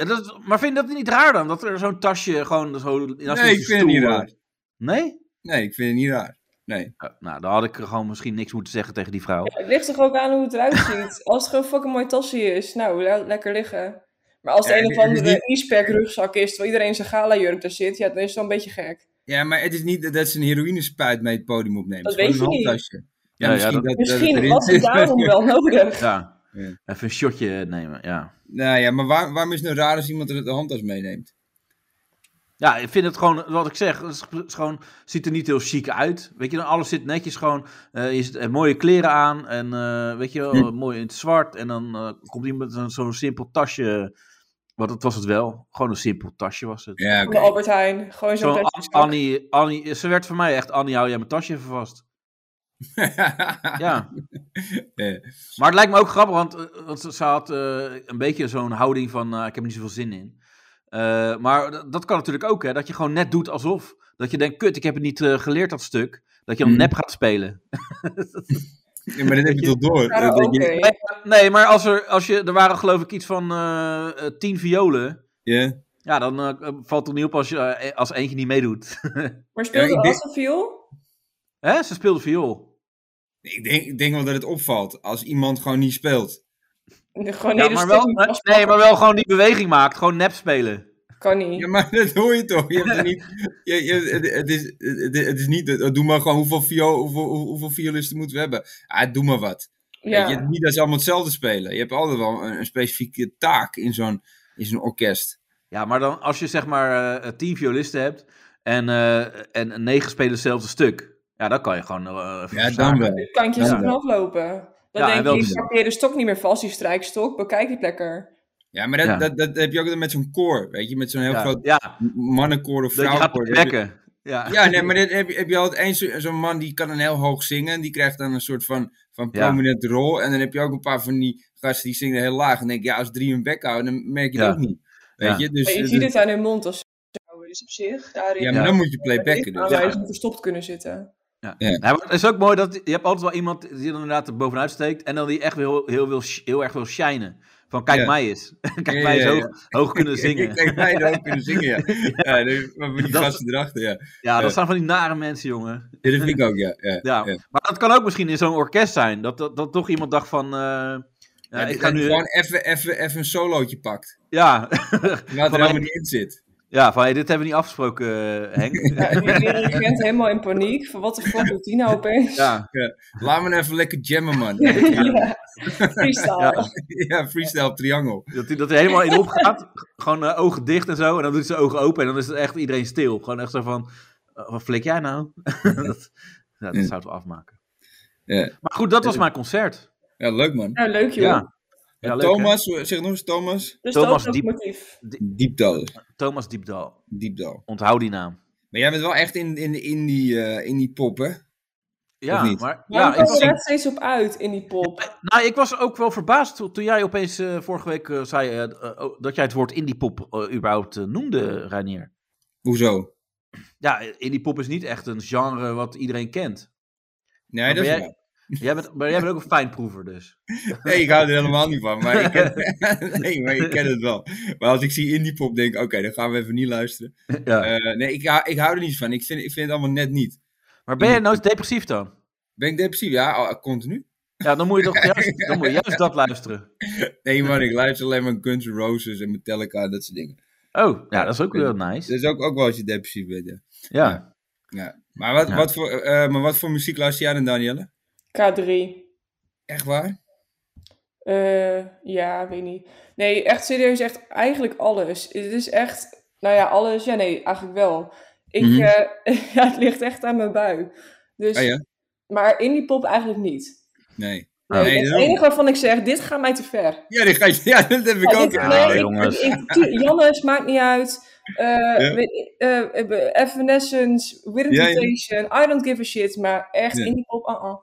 S4: dat, is- maar vind je dat niet raar dan? Dat er zo'n tasje gewoon zo... naast
S5: Nee,
S4: die
S5: ik vind het niet
S4: stoel-
S5: raar.
S4: Nee?
S5: Nee, ik vind het niet raar. Nee.
S4: Eh, nou, dan had ik gewoon misschien niks moeten zeggen tegen die vrouw.
S3: Het ligt toch ook aan hoe het eruit ziet. Als het gewoon fucking mooi tasje is, nou, le- lekker liggen. Maar als het
S5: Ja,
S3: een
S5: het
S3: of
S5: is
S3: andere
S5: niet-
S3: e-spec rugzak is, terwijl iedereen zijn gala jurk daar zit, ja, dan is het wel een beetje gek.
S5: Ja, maar het is niet dat- dat ze een heroïnespuit mee het podium opnemen.
S3: Dat
S5: Het is
S3: weet
S5: gewoon
S3: je
S5: een
S3: niet.
S5: handtasje. Nou Ja,
S4: Ja, ja,
S5: misschien
S4: dat-
S5: dat, dat het
S3: Misschien
S5: erin
S3: was het
S5: zit.
S3: daarom wel nodig.
S4: Ja.
S5: Ja.
S4: Even een shotje nemen, ja.
S5: Nou ja, maar waar, waarom is het nou raar als iemand er de handtas meeneemt?
S4: Ja, ik vind het gewoon, wat ik zeg, het is- is gewoon, ziet er niet heel chic uit. Weet je, dan alles zit netjes gewoon, eh, je zit eh, mooie kleren aan en eh, weet je,
S5: Hm.
S4: wel, mooi in het zwart. En dan eh, komt iemand met een- zo'n simpel tasje, want dat was het wel, gewoon een simpel tasje was het.
S5: Ja,
S3: Van
S5: oké.
S3: de Albert Heijn. Gewoon zo'n
S4: Zo'n
S3: plastic
S4: An-
S3: zak.
S4: Annie, Annie, ze werd voor mij echt, Annie, hou jij mijn tasje even vast. Ja.
S5: Ja.
S4: Maar het lijkt me ook grappig, want, eh, want ze, ze had eh, een beetje zo'n houding van, eh, ik heb er niet zoveel zin in. Eh, maar d- dat kan natuurlijk ook, hè, dat je gewoon net doet alsof. Dat je denkt, kut, ik heb het niet eh, geleerd, dat stuk. Dat je dan
S5: Mm.
S4: nep gaat spelen.
S5: Ja, maar dat heb je toch door.
S3: Ja,
S5: Dat je-
S3: oké.
S4: Nee, maar als er, als je, er waren geloof ik iets van eh, eh, tien violen.
S5: Ja.
S4: Ja, dan eh, valt het niet op als, je, eh, als eentje niet meedoet.
S3: Maar speelde
S5: Ja, ik
S3: ja,
S5: denk-
S3: viool?
S4: Hè? Ze speelde viool.
S5: Ik, denk, ik denk wel dat het opvalt als iemand gewoon niet speelt.
S3: Gewoon
S4: Ja,
S3: nee, dus
S4: maar wel, nee, maar wel gewoon die beweging maakt. Gewoon nep spelen.
S3: Kan niet.
S5: Ja, maar dat hoor je toch? Je hebt er niet, je, je, het, het is, het, het is niet, dat- doe maar gewoon hoeveel, viool, hoeveel, hoe- hoeveel violisten moeten we hebben. Ah, doe maar wat.
S3: Ja.
S5: Weet je, niet dat ze allemaal hetzelfde spelen. Je hebt altijd wel een, een specifieke taak in zo'n, in zo'n orkest.
S4: Ja, maar dan als je zeg maar eh tien violisten hebt en, eh, en negen spelen hetzelfde stuk. Ja, dan kan je gewoon eh, even
S5: Ja, dan
S4: verzaken.
S5: wel.
S3: kantjes
S5: Ja.
S3: er vanaf lopen. Dan
S4: Ja, en
S3: denk
S4: wel
S3: je, ik
S4: zo.
S3: pak de stok niet meer vast, die strijkstok. Bekijk het lekker.
S5: Ja, maar dat,
S4: Ja.
S5: Dat, dat heb je ook altijd met zo'n koor, weet je? Met zo'n heel
S4: Ja,
S5: groot
S4: ja,
S5: mannenkoor of
S4: dat je gaat
S5: vrouwenkoor. Dat heb je-
S4: bekken. Ja.
S5: Ja, nee, maar dit heb, je- heb je altijd eens zo- zo'n man die kan een heel hoog zingen. En die krijgt dan een soort van, van
S4: Ja.
S5: prominente rol. En dan heb je ook een paar van die gasten die zingen heel laag. En denk je, ja, als drie hun bek houden, dan merk je
S4: Ja.
S5: dat ook niet. Weet
S4: Ja.
S5: je? Dus,
S3: Maar je
S5: dus-
S3: ziet het aan hun mond als zo. Dus op zich, daarin...
S5: ja, maar
S4: Ja.
S5: dan moet je playbacken. Dus.
S3: Aanwijzingen verstopt kunnen zitten.
S4: Ja.
S5: Ja.
S4: Ja, maar het is ook mooi dat je hebt altijd wel iemand die er inderdaad er bovenuit steekt en dan die echt heel, heel, wil sh- heel erg wil shinen. Van kijk
S5: Ja.
S4: mij eens. kijk
S5: Ja,
S4: mij eens
S5: ja,
S4: hoog,
S5: ja.
S4: hoog kunnen
S5: Ik
S4: zingen.
S5: denk mij dat ook kunnen zingen, ja. ja. dus- maar met die
S4: Dat-
S5: gasten erachter, ja.
S4: Ja,
S5: Ja.
S4: dat zijn van die nare mensen, jongen.
S5: Ja, Dat vind ik ook, ja. ja.
S4: Ja.
S5: Ja.
S4: Maar dat kan ook misschien in zo'n orkest zijn. Dat, dat, dat toch iemand dacht van... eh, ja,
S5: Ja,
S4: ik ga
S5: dat je
S4: nu...
S5: Gewoon even, even, even een solootje pakt.
S4: Ja,
S5: Wat er
S4: Van-
S5: helemaal niet in zit.
S4: Ja, van hey, dit hebben we niet afgesproken, eh, Henk.
S3: Ja, en die dirigent helemaal in paniek. Van wat de fuck doet die nou opeens?
S4: ja.
S5: Laat me nou even lekker jammen, man.
S3: Ja. Freestyle.
S5: ja, freestyle op triangle.
S4: Dat hij dat hij helemaal in opgaat. Gewoon eh, ogen dicht en zo. En dan doet hij zijn ogen open. En dan is het echt iedereen stil. Gewoon echt zo van. eh, wat flik jij nou? dat ja, dat zou het wel afmaken.
S5: Ja.
S4: Maar goed, dat was mijn concert.
S5: Ja, leuk, man.
S3: Nou, leuk joh.
S4: Ja. Ja, leuk, hè?
S5: Thomas, zeg nog eens Thomas.
S3: Dus
S4: Thomas
S3: dat is ook
S4: Diep.
S3: motief.
S5: Diepdal.
S4: Thomas Diepdal.
S5: Diepdal.
S4: Onthoud die naam.
S5: Maar jij bent wel echt in, in, in, die, eh in die pop, hè?
S4: Ja,
S5: Of niet?
S4: maar.
S3: Waarom
S4: Ja, ik
S3: komen we
S4: was,
S3: daar steeds op uit in die pop?
S4: nou, ik was ook wel verbaasd toen, toen jij opeens eh, vorige week eh, zei eh, eh, oh, dat jij het woord indiepop eh, überhaupt eh, noemde, Reinier.
S5: Hoezo?
S4: Ja, eh, indiepop is niet echt een genre wat iedereen kent.
S5: Nee,
S4: Maar
S5: dat is
S4: ben
S5: waar.
S4: jij- Jij bent, maar jij bent ook een fijnproever dus.
S5: Nee, ik hou er helemaal niet van. Maar ik ken, nee, maar ik ken het wel. Maar als ik zie indie pop, denk ik, oké, dan gaan we even niet luisteren.
S4: Ja.
S5: Eh, nee, ik, hou- ik hou er niet van. Ik vind, ik vind het allemaal net niet.
S4: maar ben je nou depressief dan?
S5: Ben ik depressief? Ja, al- continu.
S4: Ja, dan moet je toch juist, dan moet je juist dat luisteren.
S5: Nee, man, ik luister alleen maar Guns N' Roses en Metallica en dat soort dingen.
S4: Oh, ja, dat is ook wel
S5: Dat
S4: nice.
S5: is ook, ook wel als je depressief bent, ja.
S4: Ja.
S5: ja. Maar, wat,
S4: Ja.
S5: Wat voor, eh, maar wat voor muziek luister jij dan, Danielle?
S3: K3.
S5: Echt waar?
S3: Eh, ja, weet niet. Nee, echt serieus, echt eigenlijk alles. Het is echt, nou ja, alles. Ja, nee, eigenlijk wel. Ik,
S5: Mhm.
S3: eh, ja, het ligt echt aan mijn bui. Dus,
S5: Ah ja?
S3: Maar in die pop eigenlijk niet.
S5: Nee.
S4: Nee,
S3: Nee, het
S5: daarom.
S3: enige waarvan ik zeg, dit gaat mij te ver.
S5: Ja, die ga je, ja, dat heb ik
S3: Ja,
S5: ook. Ah,
S3: dit-
S5: Ja,
S3: nee, ik-
S4: jongens.
S3: ik- tu- Jannes, maakt niet uit. Eh weet- eh, eh, Evanescence, With
S5: Ja, ja.
S3: Invitation, I don't give a shit. Maar echt
S5: Ja.
S3: in die pop, ah ah.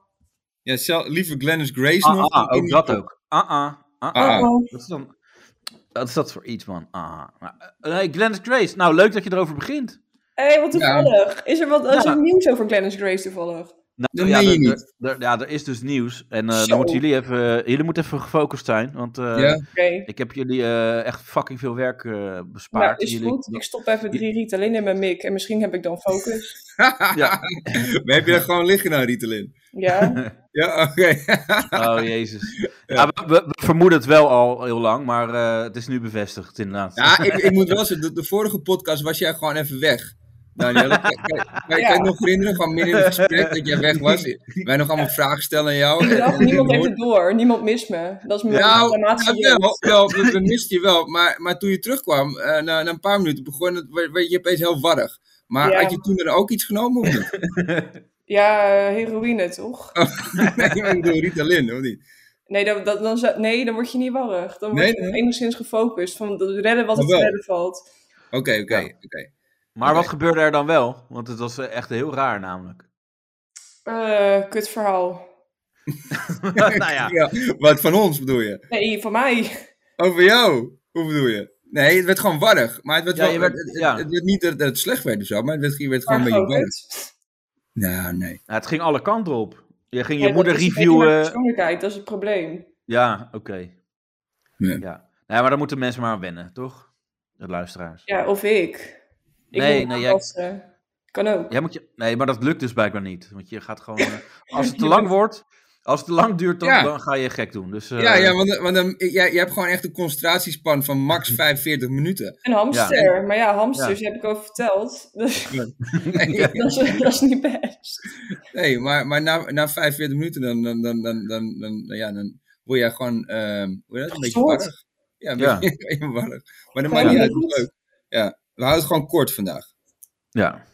S5: Ja, zelf, liever Glennis Grace
S4: Ah,
S5: nog.
S4: ah,
S5: dan
S4: ook
S5: Amy
S4: dat
S5: Pop.
S4: ook. Ah, ah, ah, ah.
S5: Ah,
S3: Oh,
S4: Wat is dan... Wat is dat voor iets, man? Ah. Nou, eh, hey, Glennis Grace. Nou, leuk dat je erover begint.
S3: Hé, wat toevallig. Is er wat is er nieuws over Glennis Grace toevallig?
S4: Nou,
S5: Dat meen je
S4: er-
S5: niet.
S4: er- er- ja, er is dus nieuws. En eh,
S3: Zo.
S4: dan moeten jullie even... jullie moeten even gefocust zijn. Want eh,
S5: Ja.
S3: Oké,
S4: ik heb jullie eh, echt fucking veel werk eh, bespaard.
S3: nou is
S4: jullie...
S3: goed. Ik stop even drie Ritalin in mijn mik en misschien heb ik dan focus.
S4: Ja.
S5: Maar heb je daar gewoon liggen nou, Ritalin?
S3: Ja,
S5: Ja, oké.
S4: Oh, jezus. Ja, we, we- we vermoeden het wel al heel lang, maar eh, het is nu bevestigd inderdaad.
S5: Ja, ik, ik moet wel zeggen, de, de vorige podcast was jij gewoon even weg. Daniel, kan, kan, kan, je- kan je nog herinneren, gewoon midden in het gesprek dat jij weg was? Wij nog allemaal vragen stellen aan jou.
S3: ik dacht, niemand heeft het door. Niemand mist me. Dat is mijn
S5: Nou,
S3: dramatische
S5: ja,
S3: jeugd.
S4: dus-
S5: wel, wel, we, we misten je wel. Maar, maar toen je terugkwam, eh, na, na een paar minuten, begon het, werd werd je opeens heel warrig. Maar
S3: Ja.
S5: had je toen dan ook iets genomen of niet?
S3: Ja, eh, heroïne toch?
S5: nee, maar ik bedoel Ritalin, of niet?
S3: Nee, dat, dat, dan, zou- nee, dan word je niet warrig. Dan word
S5: Nee,
S3: je
S5: nee.
S3: enigszins gefocust van dat redden wat het te
S5: Jawel.
S3: redden valt.
S5: Oké, oké,
S4: Ja.
S5: oké.
S4: Maar wat gebeurde er dan wel? Want het was eh, echt heel raar namelijk.
S3: Eh, kut verhaal.
S4: nou ja,
S5: Ja, Wat van ons bedoel je?
S3: Nee, van mij.
S5: Over jou? Hoe bedoel je? Nee, het werd gewoon warrig. Maar het werd,
S4: Ja,
S5: wel-
S4: je werd-
S5: het, het-
S4: ja.
S5: het werd niet dat dat het slecht werd of zo, maar het werd, je werd gewoon
S3: Maar
S5: een beetje
S3: gewoon
S5: warrig.
S3: kut.
S5: Nou, nee.
S4: het ging alle kanten op. Je ging je
S3: Ja,
S4: moeder
S3: dat is een beetje mijn
S4: reviewen.
S3: persoonlijkheid, dat is het probleem.
S4: Ja, oké.
S5: Ja.
S4: Ja. Nou ja, maar dan moeten mensen maar aan wennen, toch? De luisteraars.
S3: Ja, of ik. Ik
S4: Nee,
S3: moet
S4: nee, jij-
S3: aanpassen. Kan ook.
S4: Jij moet je... Nee, maar dat lukt dus blijkbaar niet. Want je gaat gewoon... eh, als het te lang wordt, als het te lang duurt, dan,
S5: Ja.
S4: dan ga je gek doen. Dus, eh,
S5: Ja, ja, want, want dan, jij, jij hebt gewoon echt een concentratiespan van max 45 minuten.
S3: Een hamster. Maar ja, hamsters heb ik over verteld. Dus
S5: Nee.
S3: dat, is, dat is niet best.
S5: Nee, maar, maar na, na 45 minuten dan, dan, dan, dan, dan, dan, dan- ja, dan word jij gewoon ehm hoe heet dat? een beetje
S3: Gestoord.
S5: warrig. Ja, een
S4: Ja.
S5: beetje een beetje warrig. Maar
S3: Gewoon
S5: dat maakt niet
S3: niet
S5: uit, dat
S3: goed.
S5: is leuk. Ja, we houden het gewoon kort vandaag.
S4: Ja.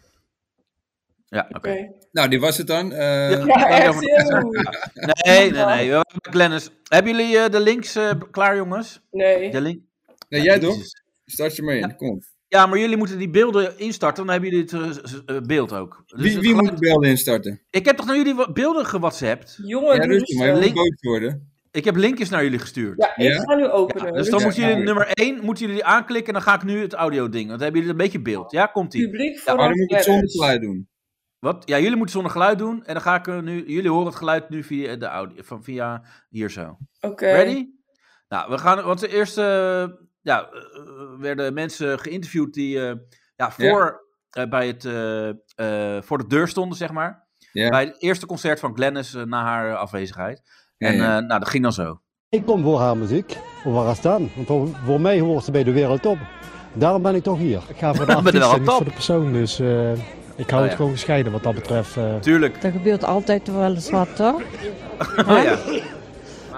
S4: Ja, oké.
S3: Oké.
S5: Nou, dit was het dan. Eh,
S4: Ja.
S3: Ja,
S4: Ja,
S3: echt heel.
S4: Nee, nee, nee. We waren Glennis. Hebben jullie eh, de links eh, klaar, jongens?
S3: Nee.
S4: De link?
S5: nee, jij
S4: Jezus.
S5: toch? Start je maar in, kom. op.
S4: Ja, maar jullie moeten die beelden instarten, dan hebben jullie het eh, z- eh, beeld ook. Dus
S5: Wie,
S4: het
S5: wie moet
S4: geluid-
S5: de beelden instarten?
S4: Ik heb toch naar jullie wa- beelden gewhatsappt?
S3: Jongen,
S5: Ja,
S3: Oh, doe Oh,
S5: rustig, maar je
S3: rustig.
S5: moet
S4: Link-
S5: boos worden.
S4: Ik heb linkjes naar jullie gestuurd.
S3: Ja, ik
S5: Ja?
S3: ga nu openen.
S4: dus dan
S5: Ja,
S4: moeten
S5: ja,
S4: jullie
S5: ja.
S4: nummer 1 moeten jullie die aanklikken en dan ga ik nu het audio ding. Want dan hebben jullie een beetje beeld. Ja, komt ie.
S3: publiek
S5: Maar
S3: vooraf.
S5: dan moet ik het zonder
S3: Dennis.
S5: geluid doen.
S4: Wat? Ja, jullie moeten zonder geluid doen en dan ga ik eh, nu jullie horen het geluid nu via de audio van via hier zo.
S3: Oké.
S4: Ready? Nou, we gaan wat de eerste ja, eh, werden mensen geïnterviewd die eh, ja, voor eh, bij het eh, eh, voor de deur stonden zeg maar.
S5: Ja.
S4: Bij het eerste concert van Glennis eh, na haar eh, afwezigheid. En
S5: Ja, ja.
S4: eh, nou, dat ging dan zo.
S9: Ik kom voor haar muziek, voor haar staan. Want voor, voor mij hoort ze bij de wereldtop. Daarom ben ik toch hier. Ik ga voor de
S4: Ben je wel
S9: artiest en niet
S4: top?
S9: voor de persoon. Dus eh, ik hou
S4: Oh, ja.
S9: het gewoon gescheiden wat dat betreft. eh.
S4: Tuurlijk.
S10: Er gebeurt altijd wel eens wat, toch?
S4: Oh, ja.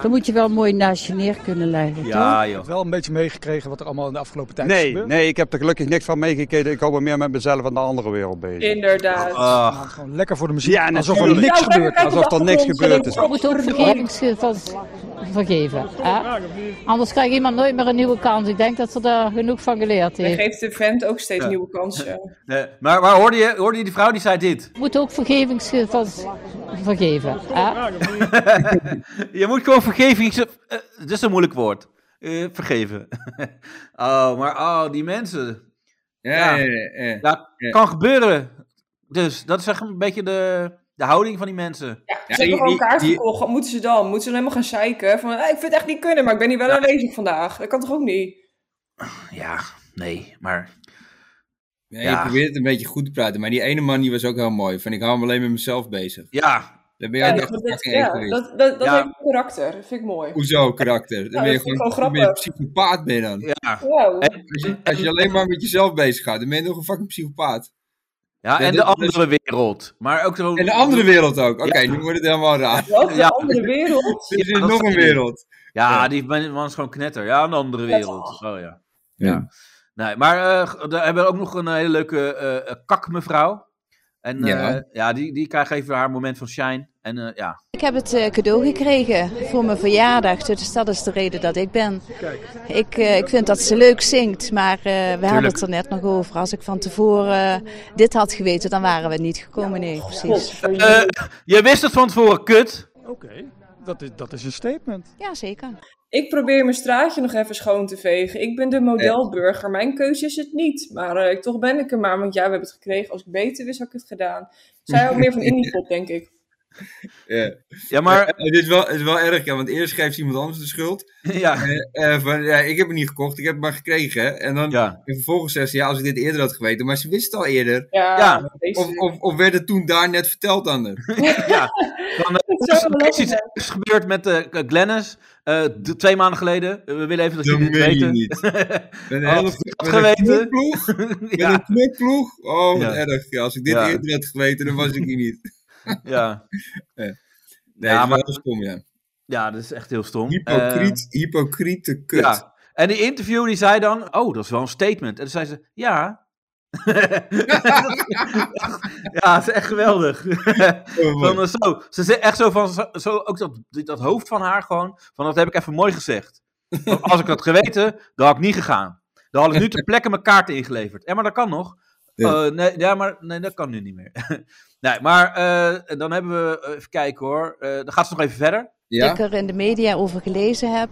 S10: Dan moet je wel mooi naast je neer kunnen leggen,
S4: ja, joh.
S9: wel een beetje meegekregen wat er allemaal in de afgelopen tijd
S11: Nee, nee, ik heb er gelukkig niks van meegekregen. Ik hou me meer met mezelf en de andere wereld bezig.
S3: Inderdaad.
S4: Ach,
S9: Gewoon lekker voor de muziek.
S11: Ja,
S9: alsof er
S11: natuurlijk.
S9: niks
S3: Ja, we
S9: gebeurt.
S3: kijken
S11: Alsof
S3: op
S11: er
S3: de
S11: niks
S3: grond.
S11: gebeurd is.
S10: Je moet ook vergeving van, vergeven. Hè? Anders krijgt iemand nooit meer een nieuwe kans. Ik denk dat ze daar genoeg van geleerd
S3: Hij
S10: heeft.
S3: geeft de vent ook steeds
S4: Ja.
S3: nieuwe kansen.
S4: nee. eh, Maar, maar hoorde, je, hoorde je die vrouw die zei dit?
S10: Je moet ook vergeving van, vergeven. Hè?
S4: Je moet gewoon vergeving... eh, Het is een moeilijk woord. Eh, vergeven. oh, maar oh, die mensen.
S5: Ja,
S4: Ja.
S5: ja, ja. ja.
S4: Ja,
S5: Ja.
S4: kan gebeuren. Dus dat is echt een beetje de, de houding van die mensen.
S3: Ja,
S5: Ja,
S3: ze hebben
S5: die-
S3: gewoon
S5: die-
S3: kaart
S5: die-
S3: gekocht. Wat moeten ze dan? Moeten ze dan helemaal gaan zeiken? Van, "Hey, ik vind het echt niet kunnen, maar ik ben hier wel aanwezig vandaag. Dat kan toch ook niet?
S4: Ja, nee, maar...
S5: Ja,
S4: Ja.
S5: Je probeert het een beetje goed te praten. Maar die ene man die was ook heel mooi. Van ik hou me alleen met mezelf bezig.
S4: Ja,
S5: Dan ben
S3: Ja,
S5: jij
S3: dat,
S5: echt een
S3: dat-
S5: fucking
S3: ja,
S5: egoïst.
S3: dat, dat, dat
S4: Ja.
S3: heeft karakter. Dat vind ik mooi.
S5: Hoezo karakter? Dan ben
S3: dat
S5: je
S3: vind ik
S5: gewoon,
S3: wel
S5: dan ben je een
S3: grappig.
S5: psychopaat ben je dan.
S4: ja.
S3: Wow.
S5: Als je, als je alleen maar met jezelf bezig gaat, dan ben je nog een fucking psychopaat.
S4: Ja,
S5: Ja,
S4: en
S5: dit- dus-
S4: de andere wereld. Maar ook zo...
S5: En de andere wereld ook. Oké, nu wordt het helemaal raar.
S3: Wat? De
S4: Ja.
S3: andere wereld?
S5: Er is
S4: dat
S5: nog
S4: snap
S5: een
S4: ik.
S5: wereld.
S4: Ja, die man man is gewoon knetter. Ja, een andere wereld. Oh ja. Ja. Nee, maar eh daar hebben we ook nog een hele leuke eh, eh, kakmevrouw. En eh,
S5: Ja.
S4: ja, die, die krijgt even haar moment van shine. En eh, ja,
S6: Ik heb het eh, cadeau gekregen voor mijn verjaardag, dus dat is de reden dat ik ben. Ik, eh, ik vind dat ze leuk zingt, maar eh, we hadden het er net nog over. Als ik van tevoren eh, dit had geweten, dan waren we niet gekomen. Nee, precies.
S4: Eh, je wist het van tevoren, kut.
S12: Oké, dat, is, dat is een statement.
S6: Ja, zeker.
S3: Ik probeer mijn straatje nog even schoon te vegen. Ik ben de modelburger. Mijn keuze is het niet. Maar eh, ik- toch ben ik er maar. Want ja, we hebben het gekregen. Als ik beter wist, had ik het gedaan. Zij houdt meer van Indipop, denk ik.
S5: Ja,
S4: maar...
S5: het, is wel, het is wel erg, ja, want eerst geeft iemand anders de schuld. Eh,
S4: Ja.
S5: van, ja, ik heb het niet gekocht, ik heb het maar gekregen. hè. En dan en vervolgens zegt ze, ja, als ik dit eerder had geweten. Maar ze wist het al eerder.
S3: Ja.
S4: Ja.
S5: Of, of, of werd het toen daar net verteld aan haar?
S4: ja. Dan, eh,
S5: Het
S4: er
S5: zou
S4: is
S5: wel
S4: er is iets ergs gebeurd met eh, Glennis. eh, d- twee maanden geleden. Eh, We willen even dat jullie het
S5: meen je
S4: weten. Oh,
S5: niet. Met een
S4: Had
S5: hele-
S4: ik het
S5: met een
S4: geweten.
S5: knokploeg? Met
S4: Ja.
S5: een knokploeg? Oh, wat
S4: Ja.
S5: erg. Ja, als ik dit
S4: Ja.
S5: eerder had geweten, dan was ik hier niet.
S4: ja.
S5: Nee,
S4: Ja,
S5: ja, maar
S4: maar-
S5: dat is stom, ja.
S4: dus Ja, dat is echt heel stom.
S5: Hypocriet,
S4: Eh,
S5: hypocriete kut.
S4: Ja. En die interview die zei dan, oh, dat is wel een statement. En toen zei ze, ja. ja, dat is echt geweldig. van, eh, zo, ze zei echt zo van, zo- zo, ook dat, dat hoofd van haar gewoon, van dat heb ik even mooi gezegd. Want als ik dat geweten, dan had ik niet gegaan. Dan had ik nu ter plekke mijn kaarten ingeleverd. Ja, maar dat kan nog.
S5: Ja.
S4: Eh, nee, ja, maar nee, dat kan nu niet meer. nee, maar eh, dan hebben we, eh, even kijken hoor, Eh, dan gaat ze nog even verder.
S6: ik er in de media over gelezen heb,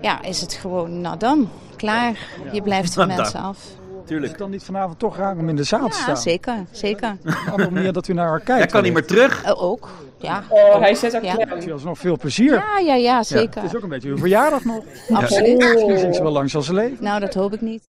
S6: ja, is het gewoon, nou dan, klaar. Je blijft van
S12: Nou dan.
S6: mensen af.
S12: Tuurlijk. Is het dan niet vanavond toch raar om in de zaal te
S6: Ja,
S12: staan?
S6: zeker, zeker.
S12: Op een andere manier dat u naar haar kijkt.
S4: Jij kan niet
S12: wellicht.
S4: meer terug.
S6: Eh, ook, ja.
S3: Oh, hij zet haar
S6: ja.
S12: Ik zie alsnog veel plezier.
S6: Ja, ja, ja, zeker.
S12: Het is ook een beetje uw verjaardag nog.
S3: Oh.
S6: Absoluut.
S12: Ja. Misschien zingt ze wel langs als ze leven.
S6: Nou, dat hoop ik niet.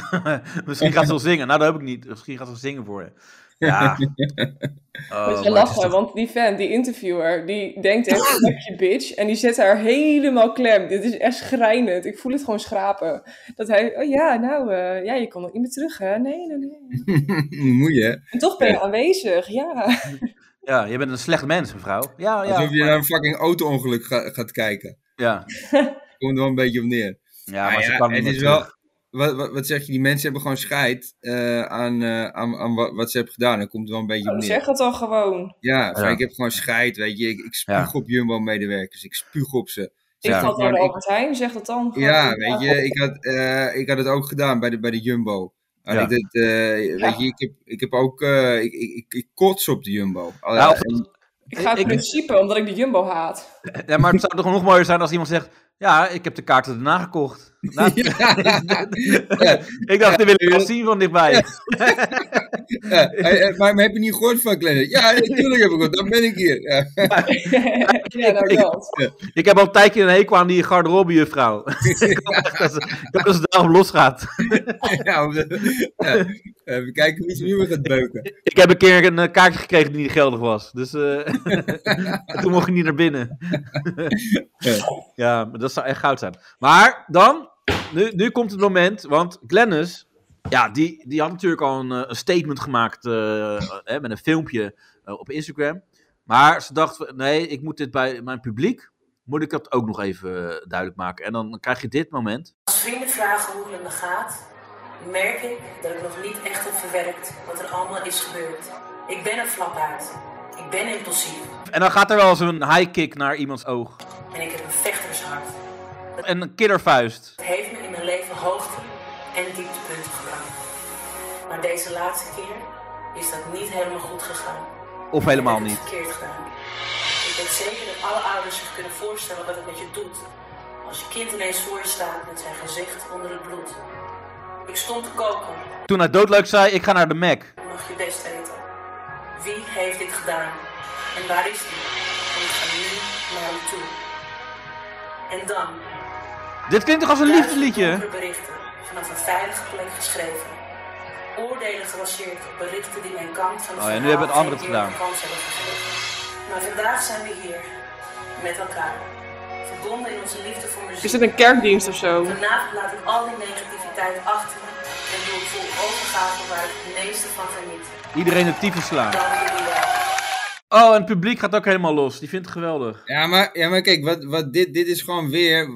S4: Misschien gaat ze wel zingen. Nou, dat heb ik niet. Misschien gaat ze wel zingen voor je. Ja. Oh,
S3: Moet
S4: maar
S3: je
S4: het
S3: lachen,
S4: is toch-
S3: want die fan, die interviewer, die denkt echt, fuck je bitch. En die zet haar helemaal klem. Dit is echt schrijnend. Ik voel het gewoon schrapen. Dat hij, oh ja, nou, eh, ja, je kan nog niet meer terug, hè? Nee, nee, nee.
S5: Moet je, hè?
S3: En toch ben je aanwezig, ja.
S4: Ja, je bent een slecht mens, mevrouw. Ja, ja.
S5: Alsof je naar een fucking auto-ongeluk ga- gaat kijken.
S4: Ja.
S5: Komt er wel een beetje op neer.
S4: Ja,
S5: Nou
S4: maar ze kan niet
S5: het
S4: meer
S5: is wel.
S4: terug.
S5: Wat, wat, wat zeg je, die mensen hebben gewoon scheid eh, aan, eh, aan, aan wat, wat ze hebben gedaan. Dan komt er wel een beetje op neer.
S3: Zeg het dan gewoon.
S5: Ja, van,
S3: Ja.
S5: ik heb gewoon scheid, weet je. Ik, ik spuug op Jumbo-medewerkers. Ik spuug op ze.
S3: Ik
S5: ja.
S3: had naar
S5: Gewoon,
S3: de
S5: ik-
S3: Albert Heijn, zeg dat dan gewoon.
S5: ja, weet je, ik had, eh, ik had het ook gedaan bij de, bij de Jumbo. Had
S4: Ja.
S5: ik dit, eh, Weet je, ik heb, ik heb ook, eh, ik, ik, ik, ik kots op de Jumbo.
S4: Nou,
S3: Ik ga in
S4: Ik-
S3: principe, omdat ik de Jumbo haat.
S4: Ja, maar het zou toch nog mooier zijn als iemand zegt... Ja, ik heb de kaarten erna gekocht. Nou, ik dacht, dit wil ik wel zien van dichtbij.
S5: Ja, hey, hey, maar, maar heb je niet gehoord van Glenn? Ja, natuurlijk heb ik het, dan ben ik hier. Ja.
S3: ja, nou dat.
S4: Ik heb al een tijdje een hekel aan die garderobejuffrouw. ik hoop echt dat ze, ik hoop dat ze daarom losgaat.
S5: Ja, om de- ja. Even kijken wie ze nu weer gaat beuken.
S4: Ik heb een keer een eh, kaartje gekregen die niet geldig was. Dus eh, toen mocht ik niet naar binnen. ja, maar dat zou echt goud zijn. Maar dan, nu, nu komt het moment. Want Glennis, ja, die, die had natuurlijk al een, eh, een statement gemaakt eh, eh, met een filmpje eh, op Instagram. Maar ze dacht, van, nee, ik moet dit bij mijn publiek, moet ik dat ook nog even eh, duidelijk maken. En dan krijg je dit moment.
S13: Als vrienden vragen hoe het me gaat, merk ik dat ik nog niet echt heb verwerkt wat er allemaal is gebeurd. Ik ben een flappaard. Ik ben impulsief.
S4: En dan gaat er wel eens een high kick naar iemands oog.
S13: En ik heb een vechtershart.
S4: En een killervuist.
S13: Het heeft me in mijn leven hoogte en dieptepunten gebracht. Maar deze laatste keer is dat niet helemaal goed gegaan.
S4: Of helemaal
S13: Ik heb het
S4: niet.
S13: verkeerd gedaan. Ik weet zeker dat alle ouders zich kunnen voorstellen wat het met je doet. Als je kind ineens voor je staat met zijn gezicht onder het bloed. Ik stond te koken.
S4: Toen hij doodleuk zei, ik ga naar de Mac.
S13: Mag je best eten. Wie heeft dit gedaan? En waar is die? En ik ga nu naar hem toe. En dan
S4: Dit klinkt toch als een liefdesliedje?
S13: donkere berichten vanaf een veilige plek geschreven. Oordelen gebaseerd op berichten die mijn kant van de
S4: Oh ja, nu
S13: verhaal
S4: hebben het anderen het
S13: geen eer
S4: gedaan.
S13: en kans hebben gegeven. Maar vandaag zijn we hier, met elkaar, verbonden in onze liefde voor muziek.
S3: Is dit een kerkdienst of zo?
S13: Vanavond laat ik al die negativiteit achter me en doe ik vol overgave waar ik het meeste van geniet.
S4: Iedereen het tyfus slaan.
S13: Dank jullie wel.
S4: Oh, en het publiek gaat ook helemaal los. Die vindt het geweldig.
S5: Ja, maar, ja, maar kijk, wat, wat dit, dit is gewoon weer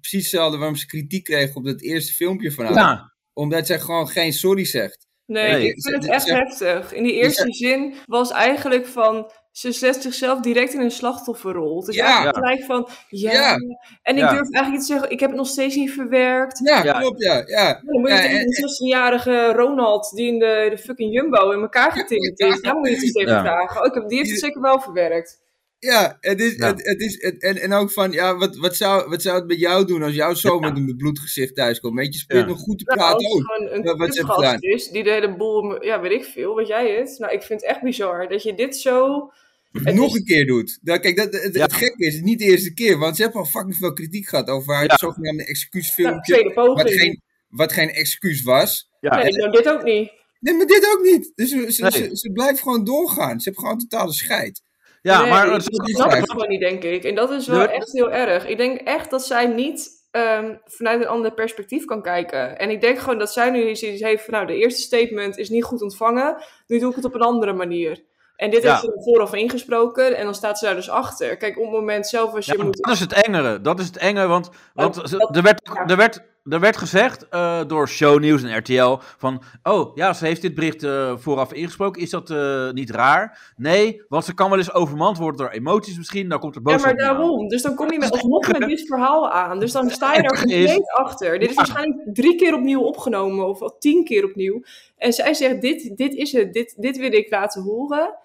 S5: precies hetzelfde waarom ze kritiek kregen op dat eerste filmpje van haar.
S4: Ja.
S5: Omdat zij gewoon geen sorry zegt.
S3: Nee,
S5: Weet je,
S3: ik vind het
S5: ze-
S3: echt
S5: ze-
S3: heftig. In die eerste zin was eigenlijk van... Ze zet zichzelf direct in een slachtofferrol. Het is
S5: Ja.
S3: eigenlijk
S5: Ja.
S3: gelijk van... Ja.
S5: Ja.
S3: En ik
S5: Ja.
S3: durf eigenlijk niet te zeggen... Ik heb het nog steeds niet verwerkt.
S5: Ja, klopt, ja. ja.
S3: Dan moet je
S5: Ja,
S3: tegen
S5: en-
S3: een 16-jarige Ronald... Die in de, de fucking Jumbo in elkaar getikt is. Daar moet je het eens even
S4: Ja.
S3: vragen. Oh, ik heb, die heeft het zeker wel verwerkt.
S5: Ja, het is,
S4: Ja.
S5: Het, het is het, en, en ook van, ja, wat, wat, zou, wat zou het met jou doen als jouw zoon met een bloedgezicht thuiskomt? Weet je, speelt
S4: Ja.
S5: nog goed te
S3: Nou,
S5: praten Oh,
S3: als het
S5: ook.
S3: gewoon een
S5: wat- wat ze hebben
S3: clubgast
S5: gedaan.
S3: is, die de hele boel, ja, weet ik veel, weet jij het? Nou, ik vind het echt bizar dat je dit zo...
S5: nog een keer doet. Nou, kijk, dat, het, het gekke is, het is niet de eerste keer, want ze hebben al fucking veel kritiek gehad over haar zogenaamde
S3: Nou,
S5: excuusfilmpje.
S3: tweede poging.
S5: wat, geen, wat geen excuus was.
S3: Nee,
S5: En-
S3: nou, dit ook niet.
S5: nee, maar dit ook niet. Dus ze, ze,
S4: Nee.
S5: ze, ze blijft gewoon doorgaan. Ze heeft gewoon totale scheid.
S4: Ja,
S3: Nee,
S4: maar
S3: dat
S4: het
S5: is niet
S3: snap ik
S5: vrijheid.
S3: gewoon niet, denk ik. En dat is wel
S4: Nee.
S3: echt heel erg. Ik denk echt dat zij niet ehm, vanuit een ander perspectief kan kijken. En ik denk gewoon dat zij nu zoiets heeft van... nou, de eerste statement is niet goed ontvangen. Nu doe ik het op een andere manier. En dit
S4: Ja.
S3: heeft ze er vooraf ingesproken. En dan staat ze daar dus achter. Kijk, op het moment zelf als je
S4: Ja, maar
S3: moet...
S4: dat is het engere. Dat is het enge, want, want ze- er, werd, er, werd, er werd gezegd eh, door Shownieuws en RTL van... Oh, ja, ze heeft dit bericht eh, vooraf ingesproken. Is dat eh, niet raar? Nee, want ze kan wel eens overmand worden door emoties misschien. Dan komt er
S3: Ja,
S4: boosheid
S3: maar
S4: aan.
S3: daarom. Dus dan kom je met, alsnog met dit verhaal aan. Dus dan sta je daar
S4: Is-
S3: compleet achter. Dit is
S4: Ja.
S3: waarschijnlijk drie keer opnieuw opgenomen. Of al tien keer opnieuw. En zij zegt, dit, dit is het. Dit, dit wil ik laten horen.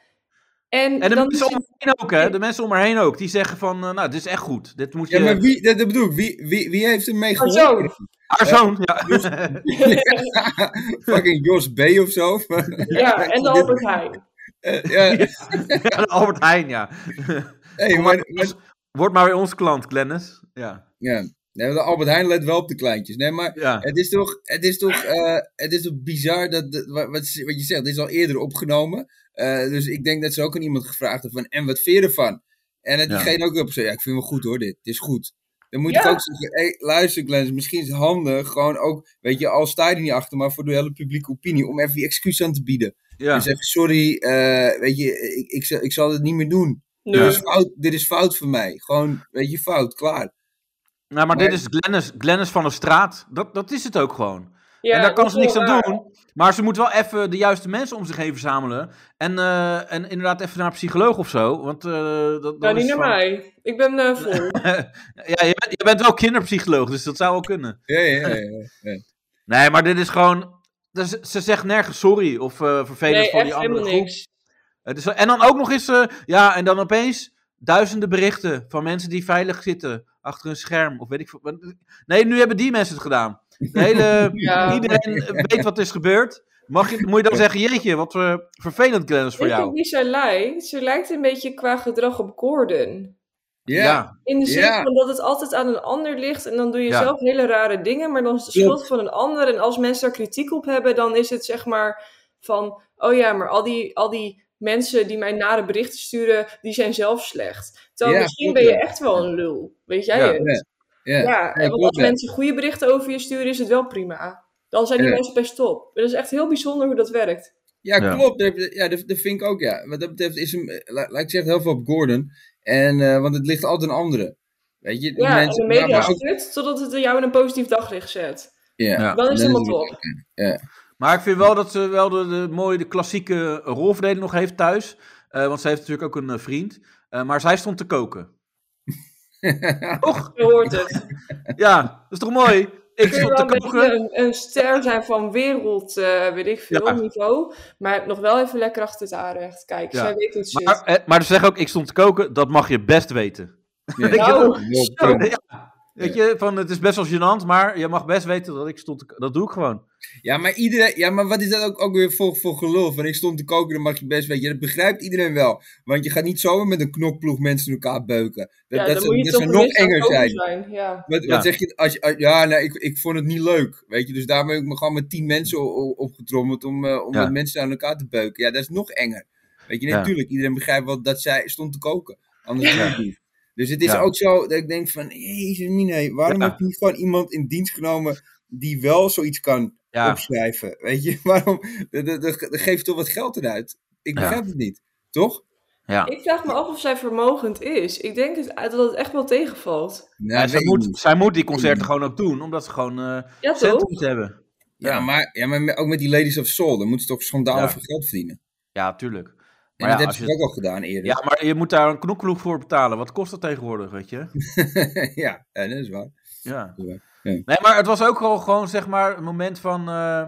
S3: En,
S4: En de
S3: dan
S4: mensen om
S3: is het-
S4: haar heen ook, hè. De mensen om haar heen ook. Die zeggen van, eh, nou, dit is echt goed. Dit moet je...
S5: Ja, maar wie, dat, dat bedoel ik, wie, wie, wie heeft hem mee
S3: Haar
S5: geholpen?
S3: zoon.
S4: Haar zoon, Ah, ja.
S5: Fucking Jos B. of zo.
S3: Ja, en de Albert Heijn.
S5: Eh, ja.
S4: Ja, Albert Heijn, ja.
S5: Hey,
S4: Kom
S5: maar-
S4: maar- Word maar weer ons klant, Glennis. Ja.
S5: Ja. Nee, want Albert Heijn let wel op de kleintjes. Nee, maar
S4: Ja.
S5: het is toch, het is toch, eh, het is toch bizar dat, dat- wa- wat, ze- wat je zegt, dit is al eerder opgenomen. Eh, dus ik denk dat ze ook aan iemand gevraagd hebben van, en wat vind je ervan? En dat
S4: Ja.
S5: diegene ook op zei, ja, ik vind het wel goed hoor, dit. Het is goed. Dan moet ik
S3: Ja.
S5: ook zeggen, hey, luister Glens, misschien is het handig gewoon ook, weet je, al sta je er niet achter, maar voor de hele publieke opinie, om even die excuus aan te bieden.
S4: Ja.
S5: Dus even, sorry, eh, weet je, ik, ik, zal- ik zal het niet meer doen.
S3: Nee.
S5: Dit, is fout, dit is fout van mij. Gewoon, weet je, fout, klaar.
S4: Nou, maar
S5: Maar-
S4: dit is Glennis, Glennis van de straat. Dat, dat is het ook gewoon.
S3: Ja,
S4: en daar kan
S3: dat
S4: ze
S3: is
S4: niks
S3: wel
S4: aan
S3: waar.
S4: doen. Maar ze moet wel even de juiste mensen om zich heen verzamelen. En, eh, en inderdaad even naar een psycholoog of zo. Want, eh, dat, dat
S3: Nou,
S4: is
S3: niet naar
S4: van-
S3: mij. Ik ben eh vol.
S4: ja, je bent, je bent wel kinderpsycholoog, dus dat zou wel kunnen.
S5: Ja, ja, ja. ja, ja.
S4: Nee, maar dit is gewoon... dus ze zegt nergens sorry of eh vervelend
S3: Nee,
S4: voor
S3: echt
S4: die andere
S3: helemaal
S4: groep.
S3: niks.
S4: Het is, en dan ook nog eens, eh, ja, en dan opeens duizenden berichten van mensen die veilig zitten achter een scherm. Of weet ik veel. wat- Nee, nu hebben die mensen het gedaan. De hele,
S3: Ja.
S4: Iedereen eh, weet wat is gebeurd. Mag je, moet je dan zeggen, jeetje, wat eh, vervelend Glennis voor
S3: Weet je op
S4: jou.
S3: wie zij lijkt? Ze lijkt een beetje qua gedrag op Gordon.
S4: Ja.
S3: In de zin
S5: Ja.
S3: van dat het altijd aan een ander ligt en dan doe je
S4: Ja.
S3: zelf hele rare dingen, maar dan is het de
S5: Ja.
S3: schuld van een ander. En als mensen daar kritiek op hebben, dan is het zeg maar van, oh ja, maar al die, al die mensen die mij nare berichten sturen, die zijn zelf slecht. Terwijl
S5: Ja,
S3: misschien
S5: klopt,
S3: ben je
S5: ja.
S3: echt wel een lul, weet jij
S4: Ja.
S3: het?
S5: Ja,
S3: Ja,
S5: ja,
S3: en want
S5: klopt,
S3: als
S5: ja.
S3: mensen goede berichten over je sturen, is het wel prima. Dan zijn die
S5: Ja.
S3: mensen best top. Dat is echt heel bijzonder hoe dat werkt.
S5: Ja,
S4: Ja.
S5: klopt. Daar heb je- Ja, dat, dat vind ik ook, ja. Wat dat betreft is hem, eh, la- laat ik zeggen, heel veel op Gordon. En, eh, want het ligt altijd een andere. Weet je?
S3: Ja, en de media
S5: maar
S3: is kut, totdat het jou in een positief daglicht zet.
S5: ja,
S4: Ja.
S3: Dan is het
S5: Dan
S3: helemaal
S5: is het-
S3: top.
S5: ja.
S4: Maar ik vind wel dat ze wel de, de mooie, de klassieke rolverdeling nog heeft thuis. Eh, want ze heeft natuurlijk ook een eh, vriend. Eh, maar zij stond te koken.
S3: Je hoort het.
S4: Ja, dat is toch mooi? Ik
S3: kun je
S4: stond
S3: wel
S4: te
S3: een
S4: koken.
S3: beetje een, een ster zijn van wereld, eh, weet ik veel,
S4: Ja.
S3: niveau. Maar nog wel even lekker achter het aanrecht. Kijk,
S4: Ja.
S3: zij weet hoe het zit.
S4: Maar, eh, maar ze zeggen ook, ik stond te koken, dat mag je best weten.
S5: Ja.
S4: Weet je
S3: Nou,
S4: wel?
S5: Ja,
S3: zo.
S5: punt.
S4: Weet je, van het is best wel gênant, maar je mag best weten dat ik stond te- Dat doe ik gewoon.
S5: Ja, maar iedereen, ja, maar wat is dat ook, ook weer voor, voor gelul? Van ik stond te koken, dan mag je best weten. Ja, dat begrijpt iedereen wel. Want je gaat niet zomaar met een knokploeg mensen in elkaar beuken. Dat,
S3: ja,
S5: dat,
S3: dan
S5: zou-
S3: moet je
S5: dat
S3: toch
S5: zou
S3: een
S5: nog
S3: beetje aan het
S5: enger
S3: koken
S5: zijn.
S3: Ja.
S5: Wat,
S4: Ja.
S5: wat zeg je? Als je als- ja, nou, ik, ik vond het niet leuk. Weet je, dus daarmee heb ik me gewoon met tien mensen o- o- opgetrommeld om, eh, om
S4: Ja.
S5: met mensen aan elkaar te beuken. Ja, dat is nog enger. Weet je,
S4: Ja.
S5: natuurlijk, iedereen begrijpt wel dat zij stond te koken. Anders doe je het niet. Dus het is
S4: Ja.
S5: ook zo dat ik denk van, jezus mine, waarom
S4: Ja.
S5: heb je niet gewoon iemand in dienst genomen die wel zoiets kan
S4: Ja.
S5: opschrijven? Weet je, waarom? Dat- dat- dat- dat geeft toch wat geld eruit? Ik
S4: Ja.
S5: begrijp het niet, toch?
S4: Ja.
S3: Ik vraag me af of zij vermogend is. Ik denk het, dat het echt wel tegenvalt.
S5: Nou,
S4: Ja,
S5: weet
S4: zij,
S5: ik
S4: moet,
S5: niet.
S4: zij moet die concerten gewoon ook doen, omdat ze gewoon eh
S3: Ja,
S4: centen
S3: toch?
S4: moeten hebben.
S5: Ja, maar, ja, maar me- ook met die Ladies of Soul, dan moeten ze toch schandalig
S4: Ja.
S5: voor geld verdienen.
S4: Ja, tuurlijk.
S5: En
S4: Maar ja,
S5: dat
S4: als
S5: hebben ze
S4: je-
S5: ook al gedaan eerder.
S4: ja, maar je moet daar een knokploeg voor betalen. Wat kost dat tegenwoordig, weet je?
S5: ja, ja, dat is waar.
S4: Ja.
S5: Ja.
S4: Nee, maar het was ook al gewoon, zeg maar, een moment van... eh,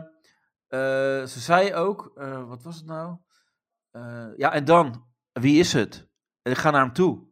S4: eh, ze zei ook, eh, wat was het nou? Eh, ja, en dan, wie is het? En ik ga naar hem toe.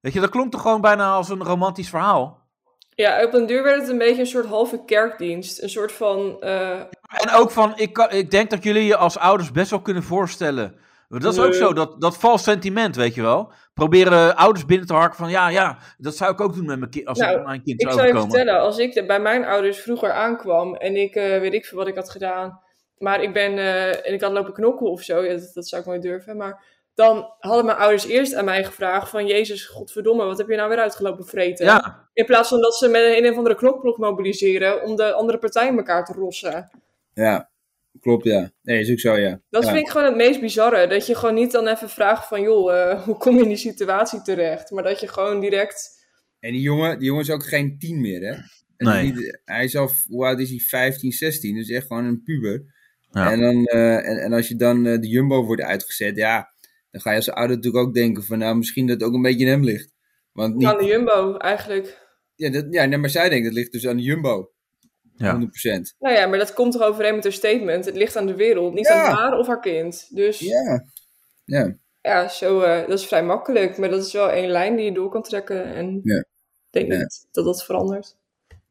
S4: Weet je, dat klonk toch gewoon bijna als een romantisch verhaal.
S3: Ja, op een duur werd het een beetje een soort halve kerkdienst. Een soort van... eh,
S4: En ook van, ik, kan, ik denk dat jullie je als ouders best wel kunnen voorstellen. Want Dat is ook
S3: Nee.
S4: zo, dat, dat vals sentiment, weet je wel. Proberen ouders binnen te harken van, ja, ja, dat zou ik ook doen met mijn kind, als
S3: nou,
S4: ik aan mijn kind
S3: ik
S4: zou
S3: zou je
S4: overkomen.
S3: vertellen, als ik de- bij mijn ouders vroeger aankwam en ik eh, weet ik veel wat ik had gedaan, maar ik ben eh, en ik had lopen knokken of zo, ja, dat, dat zou ik nooit durven, maar dan hadden mijn ouders eerst aan mij gevraagd van Jezus, godverdomme, wat heb je nou weer uitgelopen vreten?
S4: Ja.
S3: In plaats van dat ze met een een of andere knokploeg mobiliseren om de andere partij in elkaar te rossen.
S5: Ja, klopt ja. Nee, is ook zo ja.
S3: Dat
S5: Ja.
S3: vind ik gewoon het meest bizarre. Dat je gewoon niet dan even vraagt van joh, eh, hoe kom je in die situatie terecht? Maar dat je gewoon direct
S5: En die jongen, die jongen is ook geen tien meer, hè? En
S4: Nee.
S5: die- hij is al, hoe oud is hij? 15, 16. Dus echt gewoon een puber.
S4: Ja.
S5: En, dan, eh, en, en als je dan eh, de jumbo wordt uitgezet, ja, dan ga je als ouder natuurlijk ook denken van, nou, misschien dat het ook een beetje in hem ligt. Want niet,
S3: aan de jumbo eigenlijk.
S5: ja, dat, ja nee, maar zij denkt, dat ligt dus aan de jumbo.
S4: Ja.
S5: 100%.
S3: Nou ja, maar dat komt toch overeen met haar statement. Het ligt aan de wereld, niet aan haar of haar kind. Dus
S5: ja, Ja.
S3: zo, eh, dat is vrij makkelijk. Maar dat is wel één lijn die je door kan trekken. En ik
S5: ja.
S3: denk
S5: Ja.
S3: niet dat dat verandert.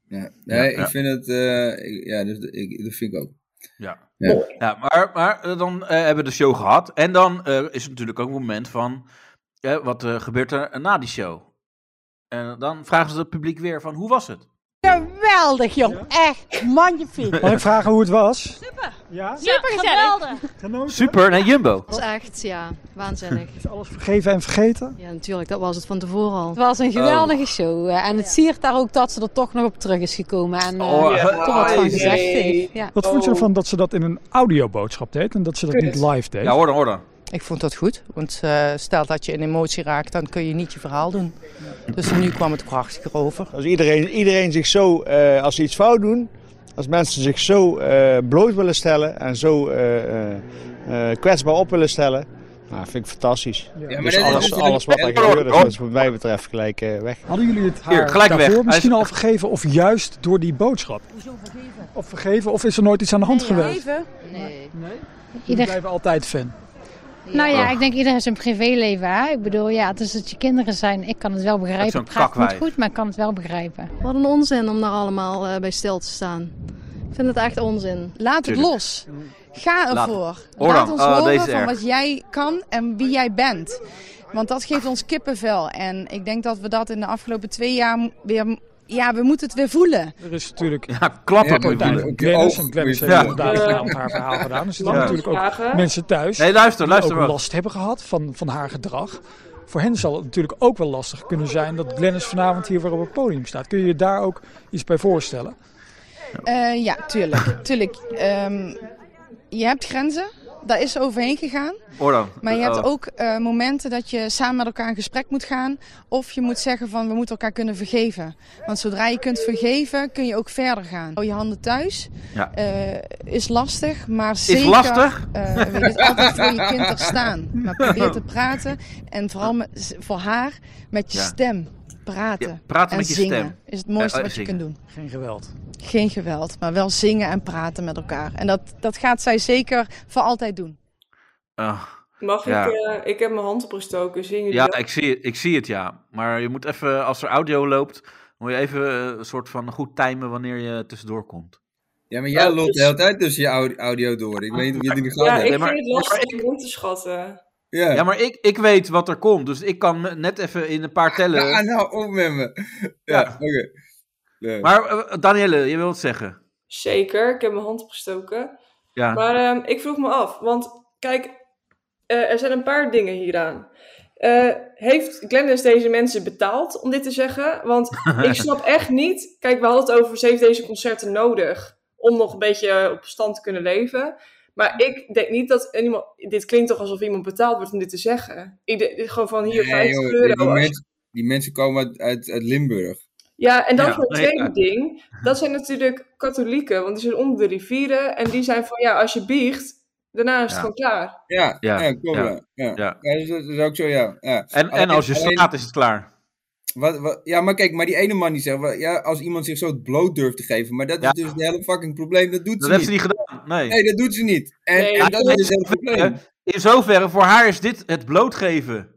S5: Ja. Nee,
S4: Ja, ja.
S5: ik vind het, eh, ik- ja, dat, ik, dat vind ik ook.
S4: Ja.
S5: Ja.
S4: Ja, maar, maar eh, dan eh, hebben we de show gehad. En dan eh, is het natuurlijk ook een moment van, eh, wat eh, gebeurt er na die show? En dan vragen ze het publiek weer van, hoe was het?
S10: Geweldig, jong. Echt magnifiek.
S12: Mag ik vragen hoe het was?
S10: Super.
S12: Ja?
S10: Super geweldig.
S4: Super, nee, Jumbo.
S11: Dat was echt, ja, waanzinnig.
S12: Vergeven en vergeten?
S11: Ja, natuurlijk, dat was het van tevoren al.
S10: Het was een geweldige show. eh, En het siert daar ook dat ze er toch nog op terug is gekomen. En eh,
S12: Oh,
S10: er toch wat van
S12: eh,
S10: gezegd
S12: nee.
S10: heeft. Ja.
S12: Wat vond je ervan dat ze dat in een audioboodschap deed en dat
S3: Oh,
S12: ze dat
S10: Kut.
S12: niet live deed?
S4: Ja, hoor dan, hoor dan.
S14: Ik vond dat goed, want eh, stel dat je in emotie raakt, dan kun je niet je verhaal doen. Dus nu kwam het prachtiger over.
S15: Als iedereen, iedereen zich zo, eh, als ze iets fout doen, als mensen zich zo eh, bloot willen stellen en zo eh, eh, eh, kwetsbaar op willen stellen, nou, vind ik fantastisch.
S5: maar
S15: dus
S5: dit is
S15: alles,
S5: natuurlijk-
S15: alles wat er gebeurt, is wat mij betreft gelijk eh, weg.
S12: Hadden jullie het haar
S15: Hier, gelijk weg.
S12: daarvoor
S15: Hij is-
S12: misschien al vergeven of juist door die boodschap? Of vergeven of is er nooit iets aan de hand geweest?
S11: Nee.
S12: Jullie
S16: Ieder,
S12: blijven altijd fan.
S16: nou ja,
S12: Oh.
S16: ik denk ieder heeft zijn privéleven. Hè? Ik bedoel, ja, het is dat je kinderen zijn. Ik kan het wel begrijpen.
S11: zo'n
S16: Het gaat niet
S11: kakwijf.
S16: goed, maar ik kan het wel begrijpen.
S11: Wat een onzin om daar allemaal eh, bij stil te staan. Ik vind het echt onzin.
S16: Laat
S11: het
S16: Tuurlijk.
S11: los.
S6: Ga
S11: Laat-
S6: ervoor.
S11: Hoor
S6: Laat
S11: dan.
S6: ons
S11: Oh,
S6: horen
S11: deze is
S6: van
S11: erg.
S6: wat jij kan en wie jij bent. Want dat geeft ons kippenvel. En ik denk dat we dat in de afgelopen twee jaar m- weer... m- Ja, we moeten het weer voelen.
S12: Er is natuurlijk...
S4: Ja, klappen
S12: Glennis
S4: moet je voelen.
S12: en Glennis
S4: Ja.
S12: heeft inderdaad
S4: Ja.
S12: gedaan, haar verhaal gedaan. Er zitten
S4: Ja.
S12: natuurlijk ook
S4: Vragen?
S12: Eh, mensen thuis
S4: Nee, luister, luister
S12: die ook
S4: wel.
S12: last hebben gehad van, van haar gedrag. Voor hen zal het natuurlijk ook wel lastig kunnen zijn dat Glennis vanavond hier weer op het podium staat. Kun je je daar ook iets bij voorstellen?
S6: Eh, ja, tuurlijk. tuurlijk. Ehm, je hebt grenzen. Daar is ze overheen gegaan.
S4: Hoor dan.
S6: Maar je hebt
S4: Oh.
S6: ook eh, momenten dat je samen met elkaar in gesprek moet gaan. Of je moet zeggen van we moeten elkaar kunnen vergeven. Want zodra je kunt vergeven, kun je ook verder gaan. Hou je handen thuis.
S4: Ja.
S6: Eh, is lastig, maar zeker...
S4: lastig?
S6: eh, weet je, altijd voor je kind er staan. Maar probeer te praten. En vooral met, voor haar met je
S4: Ja.
S6: stem. Praten.
S4: Ja, praten
S6: en
S4: met je
S6: zingen
S4: stem.
S6: is het mooiste
S4: Eh, eh,
S6: wat je
S4: zingen.
S6: kunt doen.
S12: Geen geweld.
S6: Geen geweld, maar wel zingen en praten met elkaar. En dat, dat gaat zij zeker voor altijd doen.
S4: Ah.
S3: Mag
S4: Ja.
S3: ik, eh, ik heb mijn hand opgestoken, zien jullie
S4: Ja,
S3: dat?
S4: ik zie, het, ik zie het, ja. Maar je moet even, als er audio loopt, moet je even eh, een soort van goed timen wanneer je tussendoor komt.
S5: Ja, maar jij loopt de hele tijd tussen je au- audio door. Ik weet niet of je die
S3: Ja,
S5: gaat
S3: ik
S5: hebben.
S3: vind het lastig om in te schatten.
S5: Ja.
S4: Ja, maar ik, ik weet wat er komt, dus ik kan me- net even in een paar tellen.
S5: Ja, nou, op met me. Ja, oké. Ja.
S4: Maar eh, Danielle, je wilt zeggen.
S3: Zeker, ik heb mijn hand opgestoken.
S4: Ja.
S3: Maar ehm, ik vroeg me af, want kijk, eh, er zijn een paar dingen hieraan. Eh, heeft Glennis deze mensen betaald om dit te zeggen? Want ik snap echt niet. Kijk, we hadden het over ze heeft deze concerten nodig om nog een beetje op stand te kunnen leven. Maar ik denk niet dat iemand. Dit klinkt toch alsof iemand betaald wordt om dit te zeggen? Ik denk- dit gewoon van hier
S5: Nee,
S3: 50
S5: joh,
S3: euro.
S5: Die,
S3: als-
S5: mensen, die mensen komen uit, uit, uit Limburg.
S3: ja, en dan
S5: Ja,
S3: voor het
S5: nee,
S3: tweede
S5: ja.
S3: ding. Dat zijn natuurlijk katholieken, want die zijn onder de rivieren. En die zijn van, ja, als je biegt, daarna is het
S5: Ja.
S3: gewoon klaar.
S5: Ja,
S4: Ja,
S5: ja, klopt.
S4: ja,
S5: Ja, ja.
S4: ja.
S5: Ja, dus dat is ook zo, ja. ja.
S4: En, en als je
S5: Alleen-
S4: slaat, is het klaar.
S5: Wat, wat, ja, maar kijk, maar die ene man die zegt, wel, ja, als iemand zich zo bloot durft te geven, maar dat
S4: Ja.
S5: is dus het hele fucking probleem, dat doet
S4: Dat
S5: ze
S4: heeft ze
S5: niet.
S4: niet gedaan. Nee. Eh,
S5: Nee, dat doet ze niet. En,
S4: Nee,
S5: en dat
S4: in
S5: is dus het hele probleem.
S4: zoverre- In zoverre, voor haar is dit het blootgeven.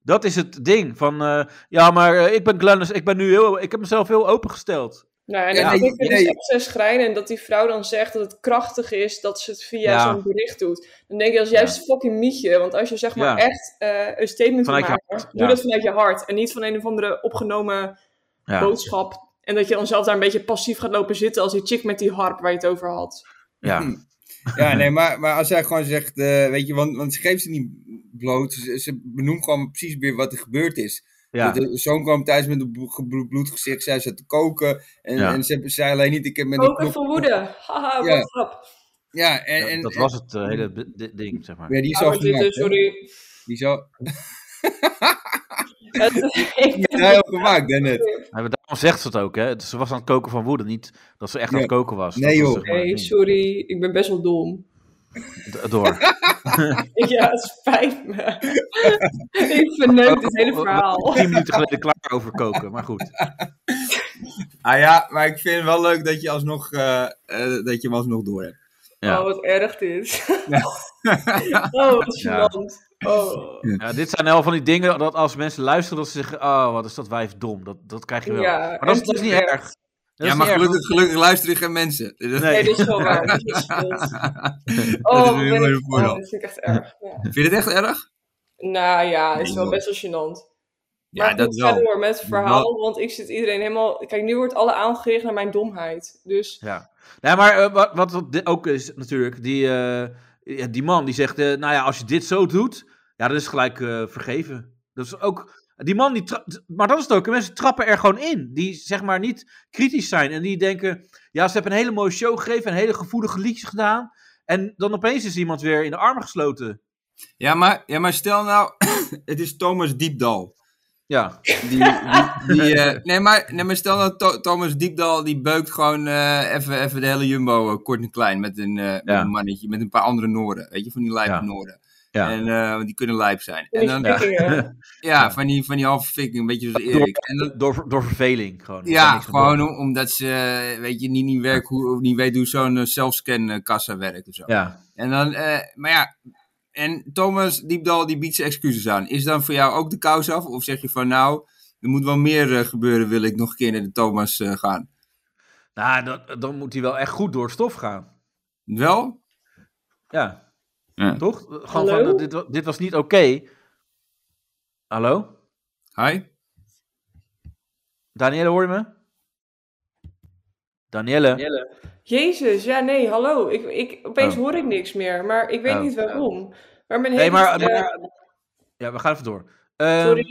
S4: Dat is het ding. Van, eh, ja, maar eh, ik ben Glennis, ik ben nu heel, ik heb mezelf heel opengesteld.
S3: Nou, en
S4: Ja,
S3: dat
S4: nee,
S3: ik vind
S4: nee.
S3: het ook zo schrijnen en dat die vrouw dan zegt dat het krachtig is dat ze het via
S4: Ja.
S3: zo'n bericht doet. Dan denk ik, dat is juist fucking mietje. Want als je zeg maar
S4: Ja.
S3: echt eh, een statement wil
S4: Vanuit je
S3: maken,
S4: hart,
S3: doe
S4: ja.
S3: dat vanuit je hart. En niet van een of andere opgenomen
S4: Ja.
S3: boodschap. En dat je dan zelf daar een beetje passief gaat lopen zitten als die chick met die harp waar je het over had.
S4: Ja.
S5: Ja, nee, maar, maar als zij gewoon zegt, eh, weet je, want, want ze geeft ze niet bloot. Ze, ze benoemt gewoon precies weer wat er gebeurd is.
S4: Ja.
S5: De, de zoon kwam thuis met een blo- geblo- bloedgezicht, zij zat te koken. En,
S4: Ja.
S5: en ze zei alleen niet, ik heb met een
S3: Koken
S5: knop-
S3: van woede. Haha,
S5: Ja.
S3: wat grap.
S5: Ja, en, en,
S4: dat
S5: en-
S4: was het eh, hele be- di- ding, zeg maar.
S5: Ja, die is al gemaakt. hè? Die is al... Die is al gemaakt, hè, net.
S4: Ja, maar daarom zegt ze het ook, hè. Ze was aan het koken van woede, niet dat ze echt aan het koken was.
S5: Nee,
S4: Dat was,
S5: joh.
S4: zeg maar,
S3: Nee, sorry, ik ben best wel dom.
S4: d- Door.
S3: ja, het spijt me. ik verneuk dit hele verhaal.
S4: Tien minuten geleden klaar over koken, maar goed.
S5: Ah ja, maar ik vind het wel leuk dat je alsnog, eh, eh, dat je hem alsnog door hebt.
S3: Oh, wat erg dit. oh, wat
S4: Ja.
S3: gênant. Oh.
S4: Ja, dit zijn wel van die dingen dat als mensen luisteren, dat ze zeggen: Oh, wat is dat wijf dom? Dat, dat krijg je wel.
S3: Ja,
S4: maar
S3: en
S4: dat is, dat is niet
S3: terecht.
S4: erg. Dat
S5: ja,
S4: is
S5: maar
S4: niet erg.
S5: gelukkig, gelukkig luisteren geen mensen.
S3: Nee, dit is wel waar. Dit is schuld.
S5: dat is
S3: Oh,
S5: weer
S3: ben
S5: een
S3: ik-
S5: mooie
S3: oh,
S5: voordeel.
S3: dat vind ik echt erg. Ja.
S5: Vind je het echt erg?
S3: Nou ja, het is
S5: Nee,
S3: wel
S5: joh.
S3: best wel gênant.
S5: Ja,
S3: Maar
S5: dat
S3: goed, ga
S5: wel.
S3: door met het
S5: Maar-
S3: verhaal, want ik zit iedereen helemaal... Kijk, nu wordt alle aandacht gericht naar mijn domheid. Dus
S4: Ja. Nee, maar eh, wat, wat dat di- ook is natuurlijk, die, eh, ja, die man die zegt: eh, Nou ja, als je dit zo doet, ja, dan is het gelijk eh, vergeven. Dat is ook. Die man die. tra- Maar dat is het ook. Mensen trappen er gewoon in. Die zeg maar niet kritisch zijn. En die denken: Ja, ze hebben een hele mooie show gegeven. Een hele gevoelige liedje gedaan. En dan opeens is iemand weer in de armen gesloten.
S5: Ja, maar, ja, maar stel nou, het is Thomas Diepdal.
S4: Ja.
S5: Die, die, die, eh, nee, maar, nee, maar stel nou, Tho- Thomas Diepdal, die beukt gewoon eh, even, even de hele Jumbo eh, kort en klein met een, eh, met
S4: Ja.
S5: een mannetje, met een paar andere Noorden. Weet je, van die lijpe
S4: Ja.
S5: Noorden.
S4: Ja.
S5: En, eh, want die kunnen lijp zijn.
S4: Van
S5: En
S4: die
S5: dan, ja.
S4: fikkingen.
S5: van die, van die halve fikking, een beetje zoals
S4: Door,
S5: Erik. En dan,
S4: door, door verveling gewoon.
S5: Ja, gewoon
S4: om.
S5: om- omdat ze, eh, weet je, niet, niet, werk, hoe, niet weet hoe zo'n eh, zelfscan-kassa werkt of zo.
S4: Ja.
S5: En dan, eh, maar ja, en Thomas Diepdal die biedt zijn excuses aan. Is dan voor jou ook de kous af? Of zeg je van nou, er moet wel meer eh, gebeuren, wil ik nog een keer naar de Thomas eh, gaan?
S4: Nou, dan, dan moet hij wel echt goed door het stof gaan.
S5: Wel?
S4: Ja.
S5: Ja.
S4: Toch? Gewoon
S3: Hallo?
S4: van, dit, wa- dit was niet oké. Hallo?
S5: Hi?
S4: Danielle, hoor je me? Danielle?
S3: Jezus, ja, nee, hallo. Ik, ik, opeens
S4: Oh.
S3: hoor ik niks meer, maar ik weet
S4: Oh.
S3: niet waarom. Maar mijn
S4: Nee,
S3: hele,
S4: maar...
S3: eh,
S4: maar- ja, we gaan even door. Ehm,
S3: Sorry.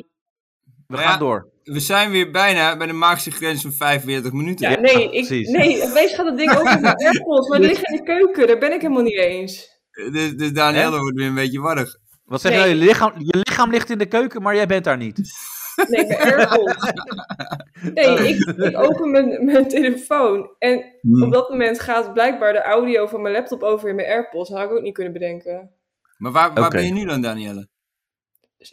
S4: We
S5: Nou ja,
S4: gaan door.
S5: We zijn weer bijna bij de magische grens van 45 minuten.
S3: ja, nee, ik, nee, opeens gaat dat ding over mijn AirPods, maar die liggen in de keuken. Daar ben ik helemaal niet eens.
S5: Dus, dus Danielle wordt weer een beetje warrig.
S4: Wat zeg je nou? Je lichaam, je lichaam ligt in de keuken, maar jij bent daar niet.
S3: Nee, mijn AirPods. Nee,
S4: Oh.
S3: ik, ik open mijn, mijn telefoon en
S4: Hmm.
S3: op dat moment gaat blijkbaar de audio van mijn laptop over in mijn AirPods. Dat had ik ook niet kunnen bedenken.
S5: Maar waar, waar
S4: Oké.
S5: ben je nu dan, Danielle?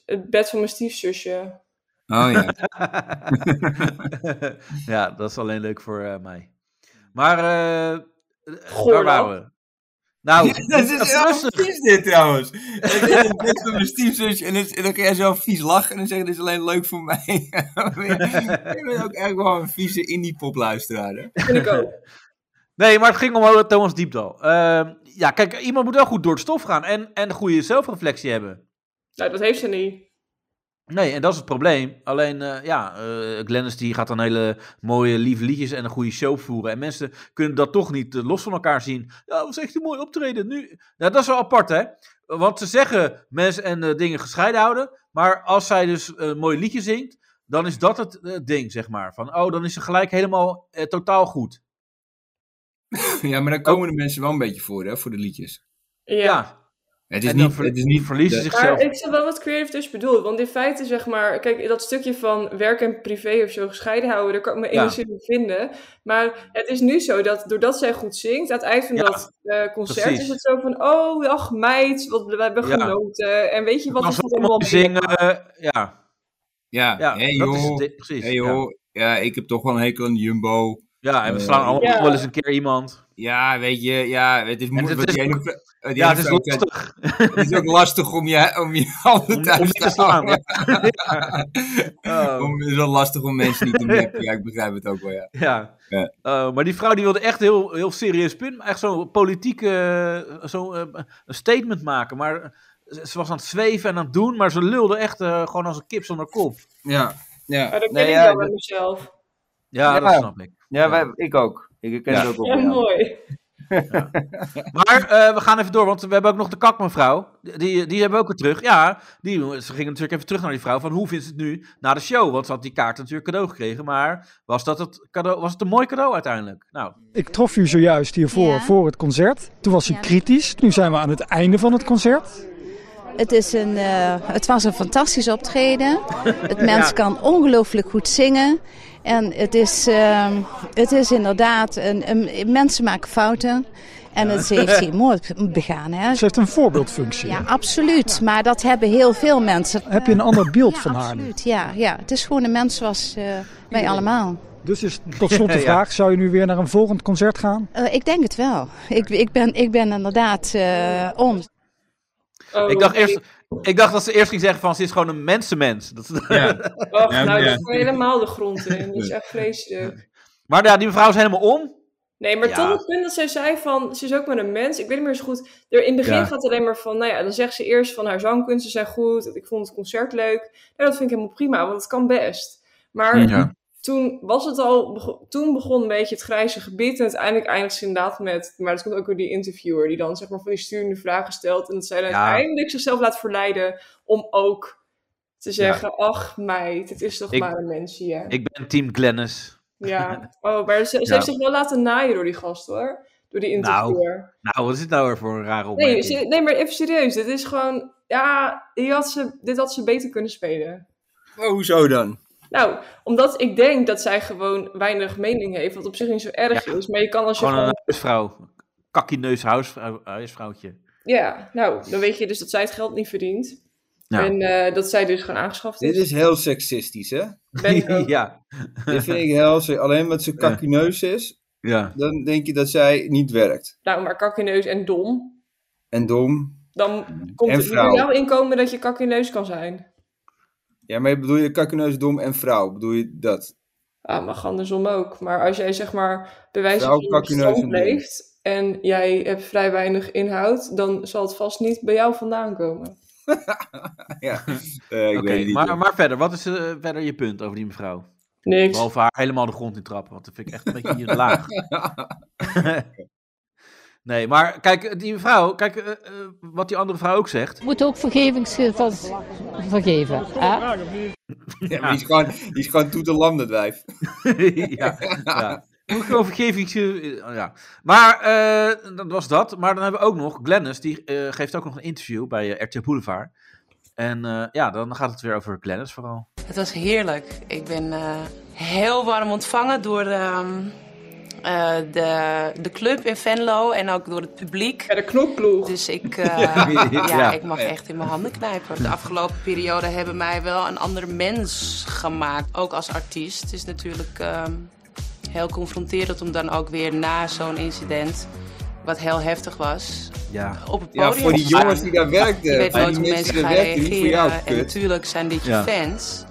S3: Het bed van mijn stiefzusje.
S5: Oh ja.
S4: ja, dat is alleen leuk voor eh, mij. Maar, eh
S3: Goor
S4: waar waren
S3: dan.
S4: we? Nou,
S5: dat is heel vies dit trouwens. Het is het best van mijn stiefzus en, het- en dan ga jij zo vies lachen en dan zeg je, dit is alleen leuk voor mij. ik ben ook echt wel een vieze indie popluisteraar. hè.
S4: Nee, maar het ging om oh, Thomas Diepdal. Ehm, ja, kijk, iemand moet wel goed door het stof gaan en, en een goede zelfreflectie hebben.
S3: Nou, dat heeft ze niet.
S4: Nee, en dat is het probleem. Alleen, eh, ja, eh Glennis die gaat dan hele mooie, lieve liedjes en een goede show voeren. En mensen kunnen dat toch niet eh, los van elkaar zien. Ja, wat echt een mooi optreden. Nu... Nou, dat is wel apart, hè? Want ze zeggen mensen en eh, dingen gescheiden houden. Maar als zij dus eh, een mooi liedje zingt, dan is dat het eh, ding, zeg maar. Van, oh, dan is ze gelijk helemaal eh, totaal goed.
S5: Ja, maar dan komen de mensen wel een beetje voor, hè, voor de liedjes.
S3: ja.
S5: Het is
S4: En dan
S5: niet,
S4: ver-
S5: het is niet
S4: verliezen
S5: de-
S4: zichzelf.
S3: Maar ik snap wel wat creative dus bedoelt. Want in feite, zeg maar, kijk, dat stukje van werk en privé of zo gescheiden houden, daar kan ik me
S4: Ja.
S3: enigszins in vinden. Maar het is nu zo dat doordat zij goed zingt, aan het eind van
S4: Ja,
S3: dat eh, concert
S4: precies.
S3: is het zo van: oh, ach meid, wat we hebben
S4: Ja.
S3: genoten. En weet je wat
S4: Als
S3: is
S4: we
S3: dit
S4: allemaal
S3: allemaal?
S4: zingen, eh, ja.
S5: Ja,
S4: Ja,
S5: hey
S4: dat is
S5: joh.
S4: het, precies,
S5: hey joh. Ja. ik heb toch wel een hekel aan de Jumbo.
S4: Ja, en we slaan allemaal
S5: Ja.
S4: wel eens een keer iemand.
S5: Ja, weet je, ja, het is moeilijk.
S4: het
S5: want
S4: is
S5: die
S4: ook-
S5: ene- eh, die
S4: ja,
S5: ene
S4: het is
S5: vrouw-
S4: lastig.
S5: Het is ook lastig om je, om je handen thuis
S4: om niet te slaan,
S5: houden.
S4: Ja.
S5: Om- Het is wel lastig om mensen niet te meppen. Ja, ik begrijp het ook wel, ja.
S4: Ja.
S5: Ja.
S4: Eh, maar die vrouw die wilde echt heel, heel serieus punt, echt zo'n politieke eh, zo, eh, een statement maken. Maar ze ze was aan het zweven en aan het doen, maar ze lulde echt eh, gewoon als een kip zonder kop.
S5: Ja, ja.
S3: Maar Ah, dat ken
S5: Nee,
S3: ik
S5: ja,
S3: wel met
S5: dat-
S3: mezelf.
S4: Ja, dat snap ik.
S5: Ja, wij- ik ook. Ik ken
S4: Ja.
S5: het ook wel.
S3: Ja, mooi.
S4: Maar eh, we gaan even door, want we hebben ook nog de kakmevrouw. Die, die hebben we ook weer terug. Ja, die, ze gingen natuurlijk even terug naar die vrouw. Van hoe vindt ze het nu na de show? Want ze had die kaart natuurlijk cadeau gekregen. Maar was, dat het cadeau, was het een mooi cadeau uiteindelijk? Nou,
S12: Ik trof u zojuist hiervoor voor het concert. Toen was u kritisch. Nu zijn we aan het einde van het concert.
S6: Het, is een, eh, het was een fantastisch optreden. Het mens
S12: Ja.
S6: kan ongelooflijk goed zingen. En het is, ehm, het is inderdaad, een, een- mensen maken fouten. En het, ze heeft hij mooi begaan. Hè?
S12: Ze heeft een voorbeeldfunctie.
S6: Ja, absoluut. Maar dat hebben heel veel mensen.
S12: Heb je een ander beeld van haar nu?
S6: Absoluut, ja, ja. Het is gewoon een mens zoals eh, wij allemaal.
S12: Dus is tot slot de
S6: Ja.
S12: vraag, zou je nu weer naar een volgend concert gaan?
S6: Eh, ik denk het wel. Ik, ik, ben, ik ben inderdaad eh on.
S3: Oh,
S4: ik, dacht eerst, ik dacht dat ze eerst ging zeggen van ze is gewoon een mensenmens. Dat,
S3: Och,
S4: Ja,
S3: nou,
S4: ja.
S3: dat kan helemaal de grond in. Dat is echt vleestuk.
S4: maar ja, die mevrouw is helemaal om.
S3: Nee, maar
S4: Ja.
S3: tot het punt dat zij zei van, ze is ook maar een mens. Ik weet niet meer zo goed. Er, in het begin
S4: Ja.
S3: gaat het alleen maar van, nou ja, dan zegt ze eerst van haar zangkunsten zijn goed. Ik vond het concert leuk. Nou, dat vind ik helemaal prima, want het kan best. Maar
S4: Ja.
S3: toen was het al, bego- toen begon een beetje het grijze gebied. En uiteindelijk eindigt ze inderdaad met, maar dat komt ook door die interviewer. Die dan zeg maar van die sturende vragen stelt. En dat zij dan
S4: Ja.
S3: uiteindelijk zichzelf laat verleiden om ook te zeggen, ach meid, het is toch
S4: Ik-
S3: maar een mensje. Ja.
S4: Ik ben team Glennis.
S3: Ja, oh, maar ze, ze
S4: Ja.
S3: heeft zich wel laten naaien door die gast hoor. Door die interviewer.
S4: Nou, nou, wat is dit nou weer voor een rare
S3: nee,
S4: opmerking?
S3: se- nee, maar even serieus. Dit is gewoon. Ja, die had ze, dit had ze beter kunnen spelen.
S5: Maar Oh, hoezo dan?
S3: Nou, omdat ik denk dat zij gewoon weinig mening heeft. Wat op zich niet zo erg is. Maar je kan als je
S4: Gewoon
S3: gewoon.
S4: een huisvrouw. Kakkie-neus huisvrouw, huisvrouwtje.
S3: Ja, nou, dan weet je dus dat zij het geld niet verdient.
S4: Ja.
S3: En eh, dat zij dus gewoon aangeschaft is.
S5: Dit is heel seksistisch, hè?
S3: Ben eh, ik ook.
S4: ja.
S5: Dit vind ik heel se- Alleen omdat ze kakineus is,
S4: Ja.
S5: dan denk je dat zij niet werkt.
S3: Nou, maar kakkeneus en dom.
S5: En dom.
S3: Dan komt
S5: En
S3: het niet
S5: vrouw.
S3: door jouw inkomen dat je kakkeneus kan zijn.
S5: Ja, maar bedoel je kakineus, dom en vrouw? Bedoel je dat?
S3: Ah, mag andersom ook. Maar als jij zeg maar bij wijze
S5: Vrouw,
S3: van op
S5: kakkeneus
S3: strand
S5: en ding.
S3: leeft en jij hebt vrij weinig inhoud, dan zal het vast niet bij jou vandaan komen.
S5: Ja. Eh, ik
S4: Oké,
S5: weet het niet.
S4: maar, maar verder, wat is eh, verder je punt over die mevrouw?
S3: Niks.
S4: Behalve haar helemaal de grond in trappen, want dat vind ik echt een beetje hier laag. nee, maar kijk, die mevrouw, kijk eh, eh, wat die andere vrouw ook zegt.
S10: Je moet ook vergevingsgevoel van vergeven. Hè?
S5: Ja, maar die, is gewoon, die is gewoon toetelam, dat wijf.
S4: ja, ja. Moet ik gewoon vergevingsje. eh, Ja. Maar eh, dat was dat. Maar dan hebben we ook nog Glennis, die eh, geeft ook nog een interview bij eh, RTL Boulevard. En eh, ja, dan gaat het weer over Glennis vooral.
S13: Het was heerlijk. Ik ben eh, heel warm ontvangen door ehm, eh, de, de club in Venlo en ook door het publiek.
S3: Ja, de knokploeg.
S13: Dus ik, eh,
S17: Ja.
S13: ja,
S17: Ja.
S13: ik mag echt in mijn handen knijpen. De afgelopen periode hebben mij wel een ander mens gemaakt. Ook als artiest. Het is natuurlijk ehm, heel confronterend om dan ook weer na zo'n incident... Wat heel heftig was.
S4: Ja.
S13: Op het
S5: Ja,
S13: podium
S5: voor die
S13: te staan.
S5: jongens die
S3: Ah,
S5: daar werkten.
S13: Je weet
S5: Voor
S13: nooit
S5: die
S13: hoe mensen
S5: mensen die
S13: gaan
S5: daar werkten, niet voor jou,
S13: reageren. En
S5: kut.
S13: natuurlijk zijn dit je
S18: Ja.
S13: fans.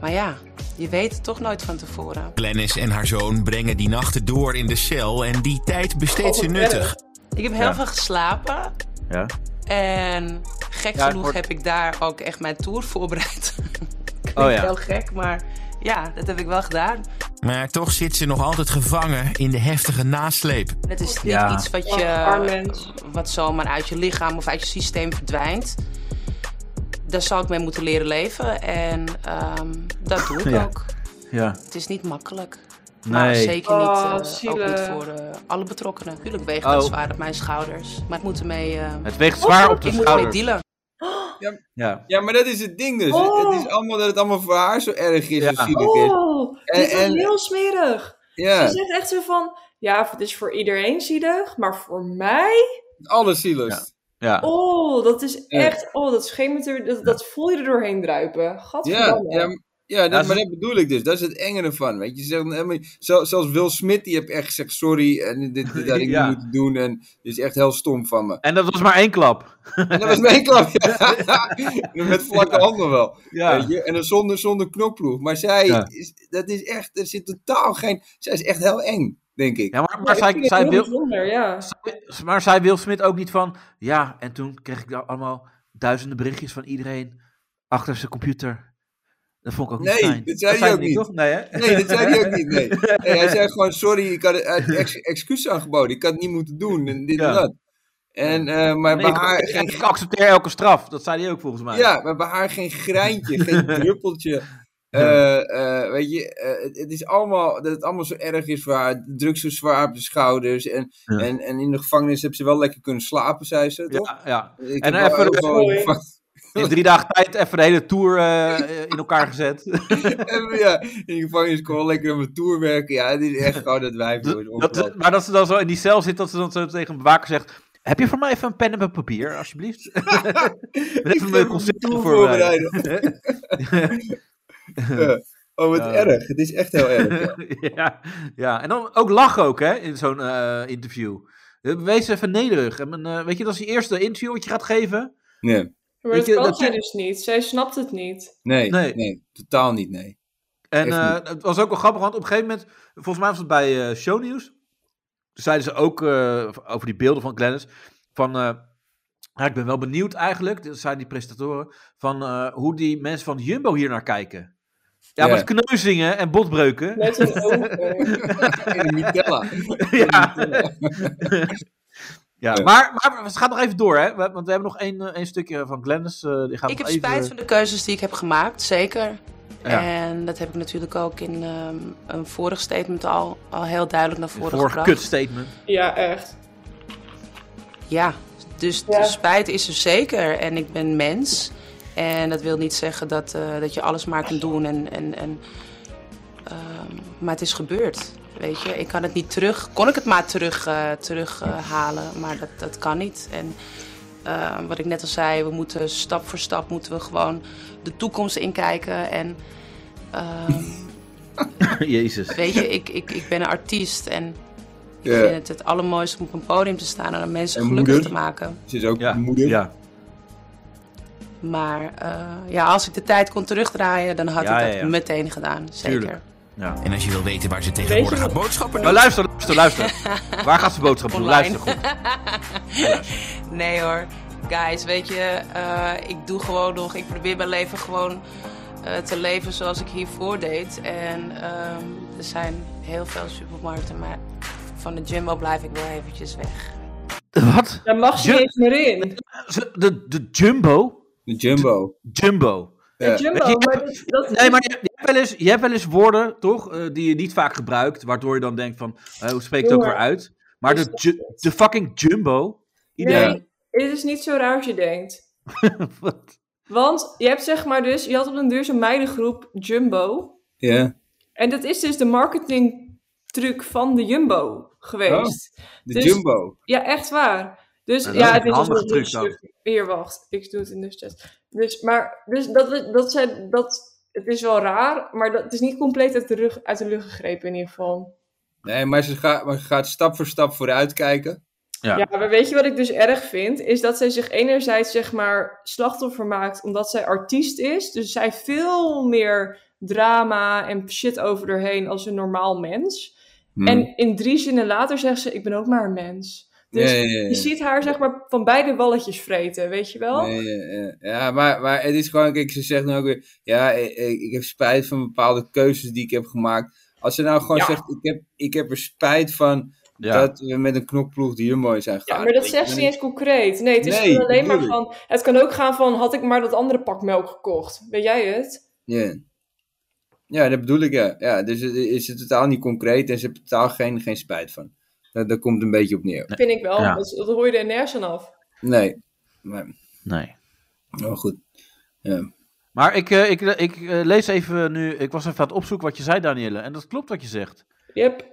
S13: Maar ja, je weet het toch nooit van tevoren.
S18: Glennis en haar zoon brengen die nachten door in de cel en die tijd besteedt ze nuttig.
S13: Ik heb heel
S18: Oh, Ja.
S13: veel geslapen.
S4: Ja.
S13: En gek
S18: Ja, het
S13: genoeg
S18: wordt-
S13: heb ik daar ook echt mijn tour voorbereid. Klinkt
S18: Oh ja.
S13: heel gek, maar ja, dat heb ik wel gedaan.
S18: Maar toch zit ze nog altijd gevangen in de heftige nasleep.
S13: Het is niet
S18: Ja.
S13: iets wat,
S3: Och, arm
S13: je, eh, wat zomaar uit je lichaam of uit je systeem verdwijnt. Daar zal ik mee moeten leren leven en ehm, dat doe ik
S4: Ja.
S13: ook.
S4: Ja.
S13: Het is niet makkelijk.
S4: Nee.
S13: Maar zeker niet,
S3: Oh,
S13: eh, ook niet
S3: zielig.
S13: voor eh, alle betrokkenen. Natuurlijk weegt
S4: Oh.
S13: dat zwaar op mijn schouders. Maar ik moet ermee... eh,
S4: Het weegt zwaar op de
S13: ik moet
S4: schouders.
S13: ermee dealen.
S4: Ja.
S5: Ja, maar dat is het ding dus.
S3: Oh.
S5: Het is allemaal dat het allemaal voor haar zo erg is en zielig is.
S3: Oh, dit is
S5: En- en-
S3: heel smerig.
S5: Ja.
S3: Ze zegt echt zo van, ja, het is voor iedereen zielig, maar voor mij?
S5: Alles zielig.
S4: Ja.
S3: Oh, dat is
S5: Ja.
S3: echt, oh, dat schemert er, dat, dat voel je er doorheen druipen.
S5: Ja,
S3: Gadverdamme.
S5: ja, Ja, dat,
S4: ze-
S5: maar dat bedoel ik dus. Dat is het enge ervan. Weet je, ze zeggen, helemaal niet- zo- zelfs Will Smith, die heeft echt gezegd: sorry, en dit, dit had ik
S4: Ja.
S5: niet moeten doen. En dit is echt heel stom van me.
S4: En dat was maar één klap.
S5: En dat was mijn klap. ja. Met vlakke handen wel.
S4: Ja.
S5: Weet je? En dan zonder, zonder knopploeg. Maar zij,
S4: Ja.
S5: is, dat is echt, er zit totaal geen. Zij is echt heel eng, denk ik.
S4: Ja, maar, maar zij, zij wil,
S3: Bijzonder, ja.
S4: maar zij wil Smit ook niet van. Ja, en toen kreeg ik daar allemaal duizenden berichtjes van iedereen achter zijn computer. Dat vond ik ook niet
S5: Nee,
S4: fijn.
S5: dat zei hij ook niet.
S4: toch? Nee, hè?
S5: Nee, dat zei hij ook niet. Nee. Nee, hij zei gewoon: sorry, ik had hij had ex, excuus aangeboden. Ik had het niet moeten doen. En dit
S4: Ja.
S5: en dat. En, eh, maar
S4: Nee,
S5: bij
S4: ik,
S5: haar
S4: ik-
S5: geen
S4: ik accepteer elke straf. Dat zei hij ook volgens mij.
S5: Ja, maar bij haar geen greintje, geen druppeltje. Eh, eh, weet je, eh, het, het is allemaal, dat het allemaal zo erg is waar de druk zo zwaar op de schouders. En,
S4: Ja.
S5: en, en in de gevangenis hebben ze wel lekker kunnen slapen, zei ze, toch?
S4: Ja, ja.
S5: Ik
S4: En
S5: heb wel
S4: even
S5: heel
S4: de-
S5: veel-
S4: in drie dagen tijd even de hele tour eh, eh, in elkaar gezet.
S5: En, ja, in de gevangenis kon wel lekker aan mijn tour werken. Ja, het is echt gewoon dat wijf. joh,
S4: Dat, ze- maar dat ze dan zo in die cel zit, dat ze dan zo tegen een bewaker zegt... Heb je voor mij even een pen en een papier, alsjeblieft? even mijn concert
S5: tour
S4: voorbereiden.
S5: Ja. Oh, wat
S4: Ja.
S5: erg. Het is echt heel erg. ja.
S4: ja, ja, en dan ook lachen ook, hè, in zo'n eh, interview. Eh, Wees even nederig. En, eh, weet je, dat is je eerste interview wat je gaat geven.
S5: Nee.
S3: Maar
S4: Weet
S3: dat
S4: je,
S3: kan
S4: dat-
S3: zij dus niet. Zij snapt het niet.
S5: Nee,
S4: Nee.
S5: nee, totaal niet, nee.
S4: En
S5: Echt
S4: eh,
S5: niet.
S4: het was ook wel grappig, want op een gegeven moment, volgens mij was het bij eh, Shownieuws, zeiden ze ook eh, over die beelden van Glennis, van, eh, ja, ik ben wel benieuwd eigenlijk, dat zeiden die presentatoren, van eh, hoe die mensen van Jumbo hier naar kijken. Ja,
S5: Ja.
S4: met kneuzingen en botbreuken.
S3: Met een ogen.
S5: In de Mitella.
S4: ja.
S18: eh,
S4: ja, maar, maar het gaat nog even door, hè? We- Want we hebben nog één, eh, één stukje van Glennis. eh, die gaat
S13: Ik
S4: nog
S13: heb
S4: even...
S13: spijt van de keuzes die ik heb gemaakt, zeker.
S4: Ja.
S13: En dat heb ik natuurlijk ook in ehm, een vorig statement al, al heel duidelijk naar voren
S4: Voor
S13: gebracht.
S4: kutstatement.
S3: Ja, echt.
S13: Ja, dus de spijt is er zeker. En ik ben mens. En dat wil niet zeggen dat, eh, dat je alles maar kunt doen. En, en, en, ehm, maar het is gebeurd. Weet je, ik kan het niet terug. Kon ik het maar terug, eh, terug terughalen, maar dat, dat kan niet. En eh, wat ik net al zei, we moeten stap voor stap moeten we gewoon de toekomst inkijken. En ehm,
S4: Jezus.
S13: Weet je, ik, ik, ik ben een artiest en ik
S5: Ja.
S13: vind het het allermooiste om op een podium te staan en aan mensen
S5: Eh, En
S13: gelukkig
S5: moeder.
S13: te maken.
S5: Ze is ook moeder.
S4: Ja.
S13: Maar eh, ja, als ik de tijd kon terugdraaien, dan had
S18: Ja,
S13: ik
S18: ja,
S13: dat
S18: ja.
S13: meteen gedaan. Zeker.
S18: Tuurlijk. En als je wil weten waar ze tegenwoordig gaat boodschappen
S4: Maar Oh, luister, luister, luister. Waar gaat ze boodschappen doen?
S13: Online.
S4: Luister goed.
S13: nee hoor, guys, weet je, eh, ik doe gewoon nog, ik probeer mijn leven gewoon eh, te leven zoals ik hiervoor deed. En ehm, er zijn heel veel supermarkten, maar van de Jumbo blijf ik wel eventjes weg.
S4: Wat?
S3: Daar mag ze
S4: Ju-
S3: niet eens meer in.
S4: Ze- De, de Jumbo?
S5: De Jumbo.
S4: Jumbo.
S3: De Jumbo,
S4: Weet je,
S3: maar dat, dat-
S4: Nee, maar je, je hebt wel eens, je hebt wel eens woorden, toch? eh, die je niet vaak gebruikt, waardoor je dan denkt van, eh, hoe spreek ik het ook weer
S3: Jongen.
S4: uit? Maar de, ju- de fucking Jumbo? Iedereen.
S3: Nee, het is niet zo raar als je denkt. Want je hebt zeg maar dus, je had op een duur zo'n meidengroep Jumbo.
S5: Ja.
S3: En dat is dus de marketingtruc van de Jumbo geweest.
S4: Oh.
S5: De
S3: Dus-
S5: Jumbo.
S3: Ja, echt waar. Dus
S5: Ja, Nou, dat is
S3: ja,
S5: een
S3: dit is
S5: handige
S3: nog
S5: truc
S3: een
S5: dan.
S3: stuk- Hier, wacht. Ik doe het in de chat. Dus, maar, dus dat, is- dat, zijn, dat, het is wel raar, maar dat, het is niet compleet uit de, rug, uit de lucht gegrepen in ieder geval.
S5: Nee, maar ze, gaat, maar ze gaat stap voor stap vooruit kijken.
S3: Ja. maar weet je wat ik dus erg vind? Is dat zij zich enerzijds zeg maar slachtoffer maakt omdat zij artiest is. Dus zij veel meer drama en shit over haar heen als een normaal mens.
S5: Hmm.
S3: En in drie zinnen later zegt ze, ik ben ook maar een mens. Dus
S5: Ja, ja, ja, ja.
S3: je ziet haar zeg maar van beide balletjes vreten, weet je wel?
S5: Nee, eh, eh, ja, maar, maar het is gewoon, kijk, ze zegt nu ook weer, ja, eh, eh, ik, heb spijt van bepaalde keuzes die ik heb gemaakt. Als ze nou gewoon
S3: Ja.
S5: zegt, ik heb, ik heb er spijt van
S4: Ja.
S5: dat we met een knokploeg die mooi zijn gegaan.
S3: Ja, maar dat
S5: Ik
S3: zegt
S5: ben
S3: ze niet eens concreet. Nee, het is
S5: Nee,
S3: gewoon alleen maar
S5: bedoel
S3: van... Het kan ook gaan van, had ik maar dat andere pak melk gekocht. Weet jij het?
S5: Ja. Ja, dat bedoel ik, ja. ja dus het is het totaal niet concreet en ze heeft totaal geen, geen spijt van. Daar, daar komt het een beetje op neer.
S3: Vind ik wel.
S5: Ja.
S3: Dat, is- dat hoor je er nergens aan af.
S5: Nee. Maar,
S4: Nee.
S5: maar goed. Ja.
S4: Maar ik, eh, ik, ik eh, lees even nu, ik was even aan het opzoeken wat je zei, Danielle. En dat klopt wat je zegt.
S3: Yep.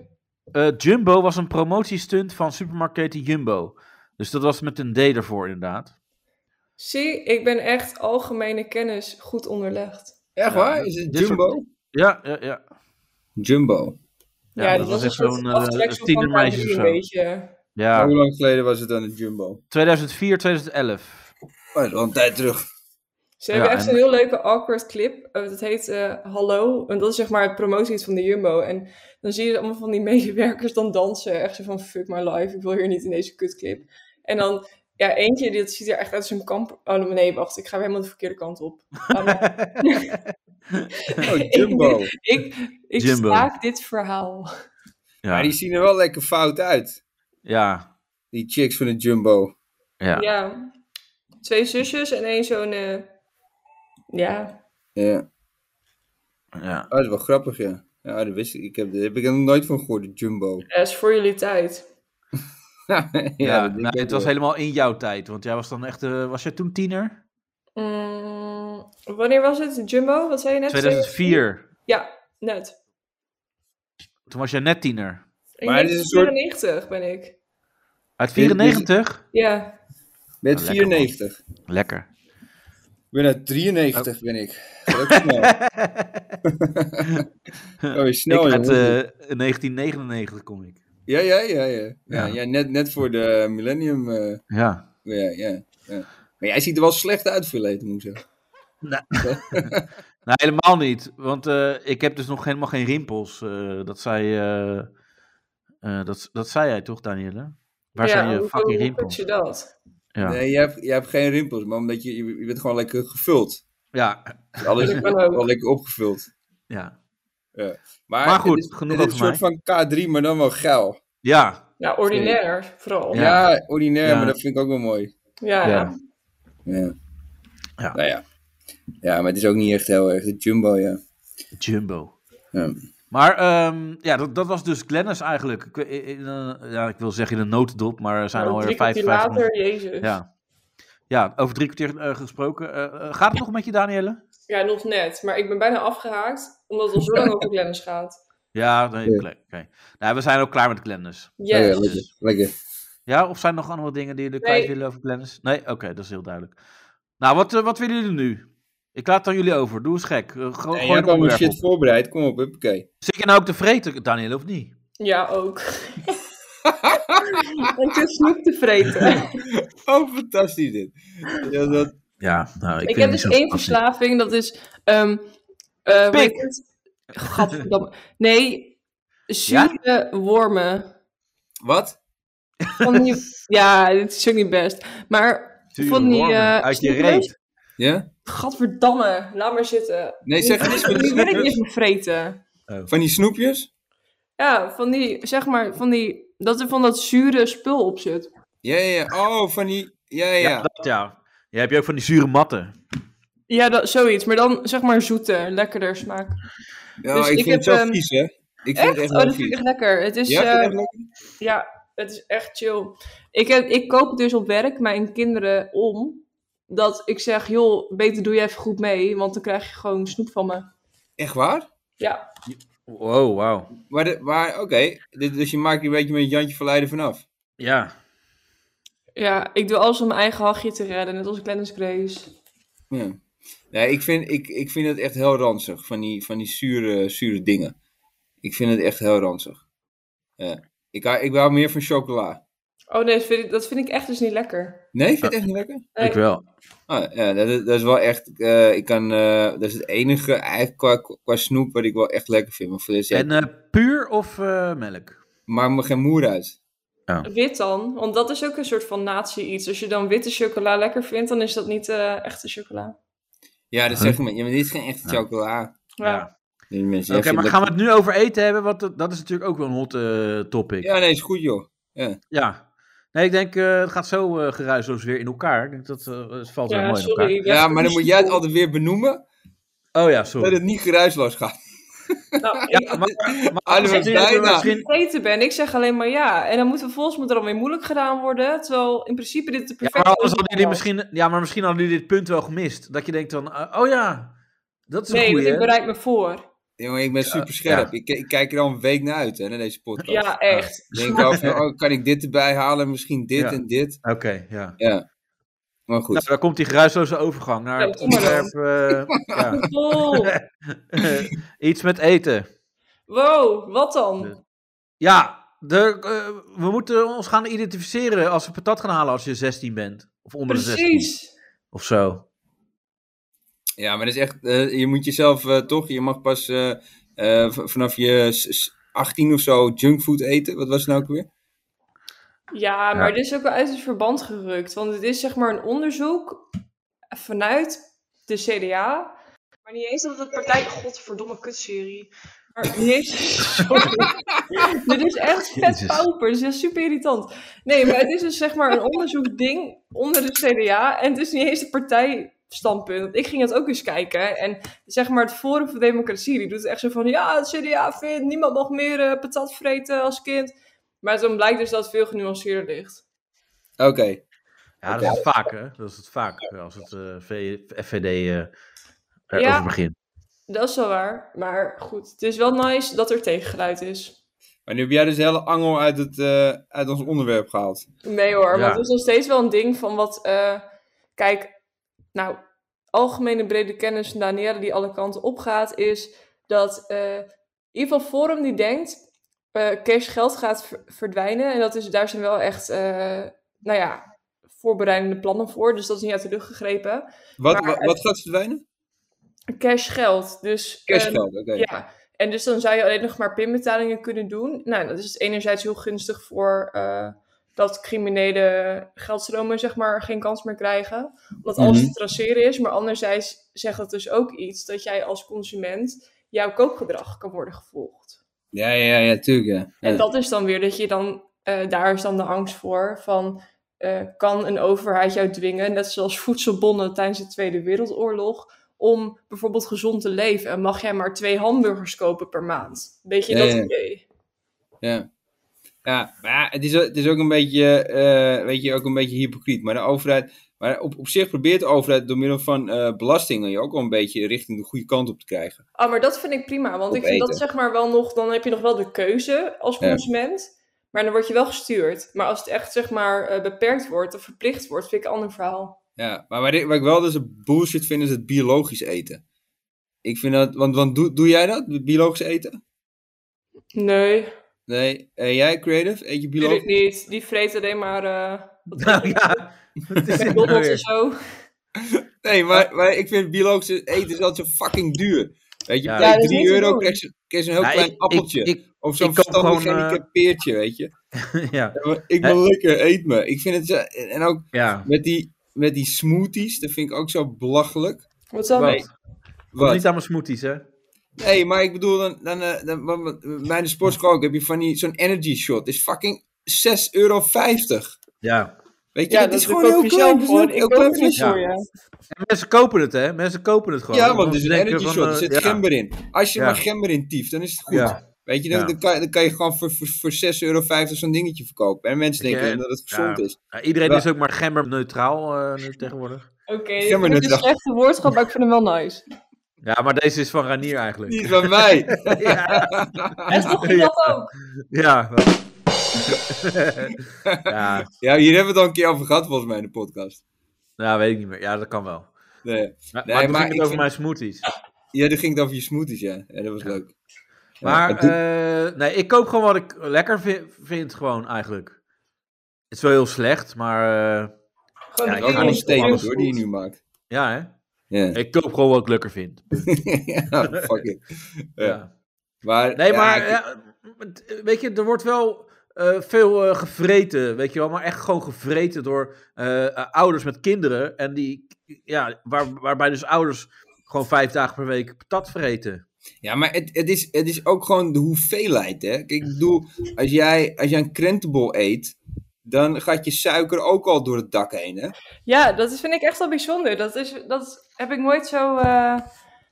S4: Eh, Jumbo was een promotiestunt van supermarktketen Jumbo. Dus dat was met een D ervoor inderdaad.
S3: Zie, ik ben echt algemene kennis goed onderlegd.
S5: Echt waar? Is het
S4: dit soort-
S5: Jumbo?
S4: Ja, ja, ja.
S5: Jumbo.
S4: Ja, dat was echt zo'n eh, tienermeisje of zo.
S5: Ja.
S4: Ja.
S5: Hoe lang geleden was het dan het Jumbo?
S4: 2004, 2011.
S5: Oh, al een tijd terug.
S3: Ze hebben
S4: Ja,
S3: echt
S4: en-
S3: een heel leuke awkward clip. Eh, dat heet eh, Hallo. En dat is zeg maar het promotiehiet van de Jumbo. En dan zie je allemaal van die medewerkers dan dansen. Echt zo van fuck my life. Ik wil hier niet in deze kutclip. En dan, ja, eentje, dit ziet er echt uit als een kamp... Oh nee, wacht. Ik ga weer helemaal de verkeerde kant op. Ah, nee.
S5: Oh, Jumbo.
S3: ik ik, ik
S5: Jumbo.
S3: staak dit verhaal.
S5: Maar die zien er wel lekker fout uit.
S4: Ja.
S5: Die chicks van het Jumbo.
S3: Ja. Twee zusjes en één zo'n... eh, ja.
S5: Ja. Oh,
S4: ja.
S5: dat is wel grappig, ja. Ja, dat wist ik. ik heb, daar heb ik nog nooit van gehoord, de Jumbo.
S3: Dat is voor jullie tijd.
S5: ja,
S4: Ja,
S5: dat denk
S4: nou,
S5: ik
S4: het was
S5: wel.
S4: helemaal in jouw tijd, want jij was dan echt, eh, was jij toen tiener?
S3: Mm, wanneer was het? Jumbo? Wat zei je net?
S4: 2004.
S3: Ja, net.
S4: Toen was jij net tiener.
S3: In
S4: Maar het is een soort-
S3: 1994 ben ik.
S4: Uit 94?
S3: Ja.
S5: Met
S4: Nou, lekker, man.
S5: 94.
S4: Lekker.
S5: Ik ben uit 93 ben ik. Gelukkig nou. oh, je snel,
S4: ik uit
S5: jongen.
S4: eh, 1999 kom ik.
S5: ja, ja, ja, ja. ja,
S4: Ja.
S5: ja net, net voor de millennium. eh,
S4: Ja.
S5: ja, ja, ja. Maar jij ziet er wel slecht uit, Verleten, moet ik zeggen.
S4: Nou, helemaal niet. Want eh, ik heb dus nog helemaal geen rimpels. eh, dat, zei, eh, eh, dat, dat zei jij toch, Danielle? Waar
S3: ja,
S4: zijn je
S3: hoe-
S4: fucking
S3: hoe goed
S4: rimpels?
S3: je dat?
S4: Ja.
S5: Nee, jij hebt, jij hebt geen rimpels, maar omdat je, je je bent gewoon lekker gevuld.
S4: Ja.
S5: Alles is
S3: Dat kan ook.
S5: wel lekker opgevuld.
S4: Ja.
S5: Ja. Maar,
S4: Maar goed,
S5: dit is,
S4: genoeg
S5: dit is
S4: over
S5: een soort van K3, maar dan wel geil.
S4: Ja.
S3: Ja, Nou, ordinair vooral.
S5: Ja, ordinair,
S4: Ja.
S5: maar dat vind ik ook wel mooi.
S3: Ja.
S4: Ja.
S5: Ja.
S4: Ja.
S5: Nou ja. Ja, maar het is ook niet echt heel erg. De Jumbo, ja.
S4: Jumbo.
S5: Ja.
S4: Maar ehm, ja, dat, dat was dus Glennis eigenlijk. Ik, in, in een- ja, ik wil zeggen in een notendop, maar er zijn
S3: Maar
S4: al
S3: drie
S4: er
S3: kwartier
S4: 55
S3: later,
S4: minuten.
S3: Jezus.
S4: Ja. ja, over drie kwartier eh, gesproken. Eh, eh, gaat het nog met je, Danielle?
S3: Ja, nog net. Maar ik ben bijna afgehaakt, omdat het al zo lang over Glennis gaat.
S4: Ja, nee, oké. oké. Nou, we zijn ook klaar met Glennis.
S3: Yes. Oh ja, lekker,
S4: Dus-
S5: lekker.
S4: Ja, of zijn er nog andere dingen die jullie
S3: Nee.
S4: kwijt willen over Glennis? Nee, oké, dat is heel duidelijk. Nou, wat, eh, wat willen jullie nu? Ik laat het aan jullie over. Doe eens gek. Eh, Gewoon
S5: En
S4: gooi
S5: jij
S4: een
S5: hebt allemaal
S4: onderwerp
S5: shit
S4: op.
S5: voorbereid. Kom op, oké.
S4: Zit je nou ook te vreten, Danielle, of niet?
S3: Ja, ook. en te snoep te vreten.
S5: Oh, fantastisch dit. Ja, dat...
S4: Ja, nou,
S3: Ik, heb dus één verslaving, dat is... ehm eh, hoe heet het? Gadverdamme. Nee, zure wormen.
S5: Wat?
S3: Van die, ja, dit is ook niet best. Maar
S5: Zure
S3: van die...
S5: wormen
S3: eh,
S5: uit je
S3: snoepers-
S5: reet. Ja?
S3: Gadverdamme, laat maar zitten.
S5: Nee, zeg
S3: Nu-
S5: niks van die
S3: Nu wil ik
S5: snoepers.
S3: niet meer vreten.
S5: Van die snoepjes?
S3: Ja, van die, zeg maar, van die, dat er van dat zure spul op zit.
S5: Ja, ja, ja. Oh, van die... Ja, ja.
S4: Ja, dat ja. Jij hebt je ook van die zure matten.
S3: Ja, dat, zoiets. Maar dan, zeg maar, zoeter, lekkerder smaak.
S5: Ja,
S3: Dus
S5: ik,
S3: ik
S5: vind het
S3: heb,
S5: zo
S3: ehm,
S5: vies, hè. Ik vind
S3: echt?
S5: het echt
S3: oh,
S5: heel
S3: dat vind ik
S5: vies.
S3: echt lekker. Het is,
S5: Ja, vind je het
S3: eh,
S5: echt lekker?
S3: ja, het is echt chill. Ik, heb, ik koop het dus op werk mijn kinderen om. Dat ik zeg, joh, beter doe je even goed mee, want dan krijg je gewoon snoep van me.
S5: Echt waar?
S3: Ja,
S4: Wow, wauw.
S5: Maar, de- maar oké. Dit- Dus je maakt je een beetje met Jantje Verleiden vanaf.
S4: Ja.
S3: ja, ik doe alles om mijn eigen hachje te redden, net als Glennis Grace.
S5: Ja. Nee, ik vind, ik, ik vind het echt heel ranzig, van die, van die zure, zure dingen. Ik vind het echt heel ranzig. Ja. Ik, hou- ik hou meer van chocola.
S3: Oh nee, dat vind ik, dat vind ik echt dus niet lekker.
S5: Nee, vind je het echt niet lekker?
S3: Nee. Ik wel.
S5: Ah, ja, dat, is, dat is wel echt, eh, ik kan, eh, dat is het enige eigenlijk qua, qua snoep wat ik wel echt lekker vind. Maar voor dit
S4: En eh, puur of eh, melk?
S5: Maar me geen moer uit.
S3: Wit dan, want dat is ook een soort van nazi iets. Als je dan witte chocola lekker vindt, dan is dat niet eh, echte chocola.
S5: Ja, dat zeggen mensen. Ja, maar dit is geen echte chocola.
S3: Ja.
S5: Die mensen,
S4: Oké,
S5: ja,
S4: maar
S5: vind
S4: gaan we
S5: dat-
S4: het nu over eten hebben? Want dat- dat is natuurlijk ook wel een hot eh, topic.
S5: Ja, nee, is goed joh. Ja.
S4: Ja. Nee, ik denk, eh, het gaat zo eh, geruisloos weer in elkaar. Ik denk dat eh, het valt wel
S5: Ja,
S4: mooi in elkaar.
S5: Ja, maar dan moet jij het altijd weer benoemen.
S4: Oh ja, sorry.
S5: Dat het niet geruisloos gaat.
S3: Nou,
S4: Ja, maar,
S5: Ah, dat
S3: Als
S5: was
S3: ik
S5: bijna.
S3: vergeten ben, ik zeg alleen maar ja. En dan moet vervolgens moet er dan weer moeilijk gedaan worden. Terwijl in principe dit de
S4: Ja,
S3: perfecte
S4: maar, anders
S3: overgang
S4: hadden jullie
S3: was.
S4: misschien, ja, maar misschien hadden jullie dit punt wel gemist. Dat je denkt dan, eh, oh ja, dat is een
S3: Nee, want
S4: goeie.
S3: ik bereid me voor.
S5: Jongen, ik ben super scherp. Ik, ik kijk er al een week naar uit, hè, naar deze podcast.
S3: Ja, echt.
S5: Ik denk over, oh, kan ik dit erbij halen, misschien dit
S4: Ja.
S5: en dit.
S4: Oké, ja.
S5: Ja. Maar goed.
S4: Nou, daar komt die geruisloze overgang naar
S3: Ja,
S4: het
S3: kom maar dan.
S4: onderwerp. eh, ja.
S3: Oh,
S4: Iets met eten.
S3: wow, wat dan?
S4: Ja, de, eh, we moeten ons gaan identificeren als we patat gaan halen als je 16 bent. Of onder de 16.
S3: Precies.
S4: Of zo.
S5: Ja, maar dat is echt, eh, je moet jezelf eh, toch, je mag pas eh, eh, v- vanaf je s- s- 18 of zo junkfood eten. Wat was het nou ook weer?
S3: Ja, maar
S5: Ja.
S3: dit is ook wel uit het verband gerukt. Want het is zeg maar een onderzoek vanuit de CDA. Maar niet eens dat het partij... Godverdomme kutserie. Maar niet eens... Sorry. dit is echt vet
S17: Jezus.
S3: pauper. Dit is echt super irritant. Nee, maar het is dus zeg maar een onderzoekding onder de CDA. En het is niet eens een partijstandpunt. Want ik ging dat ook eens kijken. En zeg maar het Forum voor Democratie, die doet echt zo van... Ja, het CDA vindt niemand mag meer eh, patat vreten als kind. Maar dan blijkt dus dat het veel genuanceerder ligt.
S5: Oké.
S4: Ja, dat is het vaak, hè? Dat is het vaak eh, als het eh, V- FVD eh erover
S3: Ja.
S4: begint.
S3: Dat is wel waar. Maar goed, het is wel nice dat er tegengeluid is.
S5: Maar nu heb jij dus de hele angel uit, het, eh, uit ons onderwerp gehaald.
S3: Nee hoor,
S5: Ja.
S3: want het is nog steeds wel een ding van wat... eh, kijk, nou, algemene brede kennis van Danielle die alle kanten opgaat... is dat eh, in ieder geval Forum die denkt... eh cash geld gaat ver- verdwijnen. En dat is, daar zijn wel echt, eh, nou ja, voorbereidende plannen voor. Dus dat is niet uit de lucht gegrepen.
S5: Wat,
S3: Maar
S5: wat, wat gaat verdwijnen?
S3: Cash geld. Dus,
S5: Cashgeld,
S3: ehm,
S5: oké.
S3: Ja. En dus dan zou je alleen nog maar pinbetalingen kunnen doen. Nou, dat is enerzijds heel gunstig voor eh, dat criminele geldstromen, zeg maar, geen kans meer krijgen. Omdat alles
S17: Mhm.
S3: te traceren is. Maar anderzijds zegt dat dus ook iets dat jij als consument jouw koopgedrag kan worden gevolgd.
S5: Ja, ja, ja, tuurlijk. Ja.
S3: En
S5: Ja.
S3: dat is dan weer dat je dan, eh, daar is dan de angst voor van, eh, kan een overheid jou dwingen, net zoals voedselbonnen tijdens de Tweede Wereldoorlog, om bijvoorbeeld gezond te leven? En mag jij maar twee hamburgers kopen per maand? Beetje
S5: Ja,
S3: dat
S5: ja.
S3: idee.
S5: Ja. Ja, maar ja, het is, het is ook een beetje, eh, weet je, ook een beetje hypocriet. Maar de overheid, maar op, op zich probeert de overheid door middel van eh, belastingen je ook wel een beetje richting de goede kant op te krijgen.
S3: Ah, maar dat vind ik prima, want
S5: Op
S3: ik vind dat
S5: eten.
S3: zeg maar wel nog, dan heb je nog wel de keuze als
S5: Ja.
S3: consument, maar dan word je wel gestuurd. Maar als het echt zeg maar eh, beperkt wordt of verplicht wordt, vind ik een ander verhaal.
S5: Ja, maar waar ik, waar ik wel dus een bullshit vind, is het biologisch eten. Ik vind dat, want, want doe, doe jij dat, biologisch eten?
S3: Nee,
S5: Nee. Eh, jij, Creative, eet je
S3: Weet
S5: biologisch?
S3: ik niet. Die vreet alleen maar. eh wat
S4: is dit
S3: McDonald's
S4: nou weer?
S3: en zo.
S5: Nee, maar, maar ik vind biologisch eten is altijd zo fucking duur. Weet je,
S4: Ja.
S5: bij
S4: Ja, dat is
S5: 3
S4: niet te
S5: euro
S4: doen.
S5: krijg je, krijg je een heel
S4: Nou,
S5: klein
S4: ik- ik-
S5: appeltje.
S4: ik-
S5: of zo'n
S4: ik koop
S5: verstandig
S4: gewoon, eh,
S5: gehandicapt peertje, weet je.
S4: ja.
S5: Ik
S4: Hè?
S5: wil lekker, eet me. Ik vind het zo, en- en ook
S4: Ja.
S5: met, die, met die smoothies, dat vind ik ook zo belachelijk.
S3: Wat dan?
S5: Nee,
S4: Wat? Niet aan mijn smoothies, hè?
S5: nee, maar ik bedoel, dan, dan, eh, dan, want- want bij de sportschool ook heb je van die, zo'n energy shot. is fucking 6,50 euro.
S4: Ja.
S5: Weet je, dat, is gewoon heel klein.
S3: dus
S5: dat is een heel klein flesje.
S4: En mensen kopen het, hè? Mensen kopen het gewoon.
S5: Ja, want
S4: Ze
S5: het is een
S4: denken
S5: energy
S4: van,
S5: shot. Er
S4: eh,
S5: zit
S4: ja.
S5: gember in. Als je
S4: Ja.
S5: maar gember in tieft, dan is het goed.
S4: Ja.
S5: Weet je, dan,
S4: Ja.
S5: dan, kan, je- dan kan je gewoon voor, voor, voor 6,50 euro zo'n dingetje verkopen. En mensen denken
S4: Ja,
S5: dat het gezond
S4: ja.
S5: is.
S4: Ja, iedereen
S5: Maar-
S4: is ook maar gemmerneutraal eh nu tegenwoordig.
S3: Oké,
S5: Ja, maar
S3: dit is een
S5: dat-
S3: slechte woordschap, maar ik vind hem wel nice.
S4: Ja, maar deze is van Ranier eigenlijk.
S5: Niet van mij.
S4: ja.
S3: En toch ging dat ook.
S4: Ja. dat-
S5: ja. hier hebben we het al een keer over gehad, volgens mij, in de podcast.
S4: Nou, weet ik niet meer. Ja, dat kan wel.
S5: Nee.
S4: Maar,
S5: Nee,
S4: maar toen ging
S5: maar
S4: het
S5: ik
S4: over
S5: vind-
S4: mijn smoothies.
S5: Ja, dan ging het over je smoothies, ja. ja dat was leuk.
S4: Maar,
S5: het doet-
S4: eh, nee, ik koop gewoon wat ik lekker vi- vind, gewoon eigenlijk. Het is wel heel slecht, maar... eh,
S5: Gewoon
S4: ik
S5: wel
S4: ga
S5: een
S4: niet op
S5: statement,
S4: alles
S5: hoor, die je
S4: goed.
S5: nu maakt.
S4: Ja, hè?
S5: Ja.
S4: Ik koop gewoon wat ik lekker vind.
S5: ja, fuck it. Ja.
S4: Ja.
S5: Maar,
S4: Nee,
S5: ja,
S4: maar eh,
S5: ik-
S4: ja, het- weet je, er wordt wel eh, veel eh, gevreten, weet je wel. Maar echt gewoon gevreten door eh, eh, ouders met kinderen. En die, ja, waar, waarbij dus ouders gewoon vijf dagen per week patat vreten.
S5: Ja, maar het, het, is, het is ook gewoon de hoeveelheid, hè. Kijk, ik bedoel, als jij, als jij een krentenbol eet, dan gaat je suiker ook al door het dak heen, hè.
S3: Ja, dat is- vind ik echt wel bijzonder. Dat, is, dat heb ik nooit zo eh,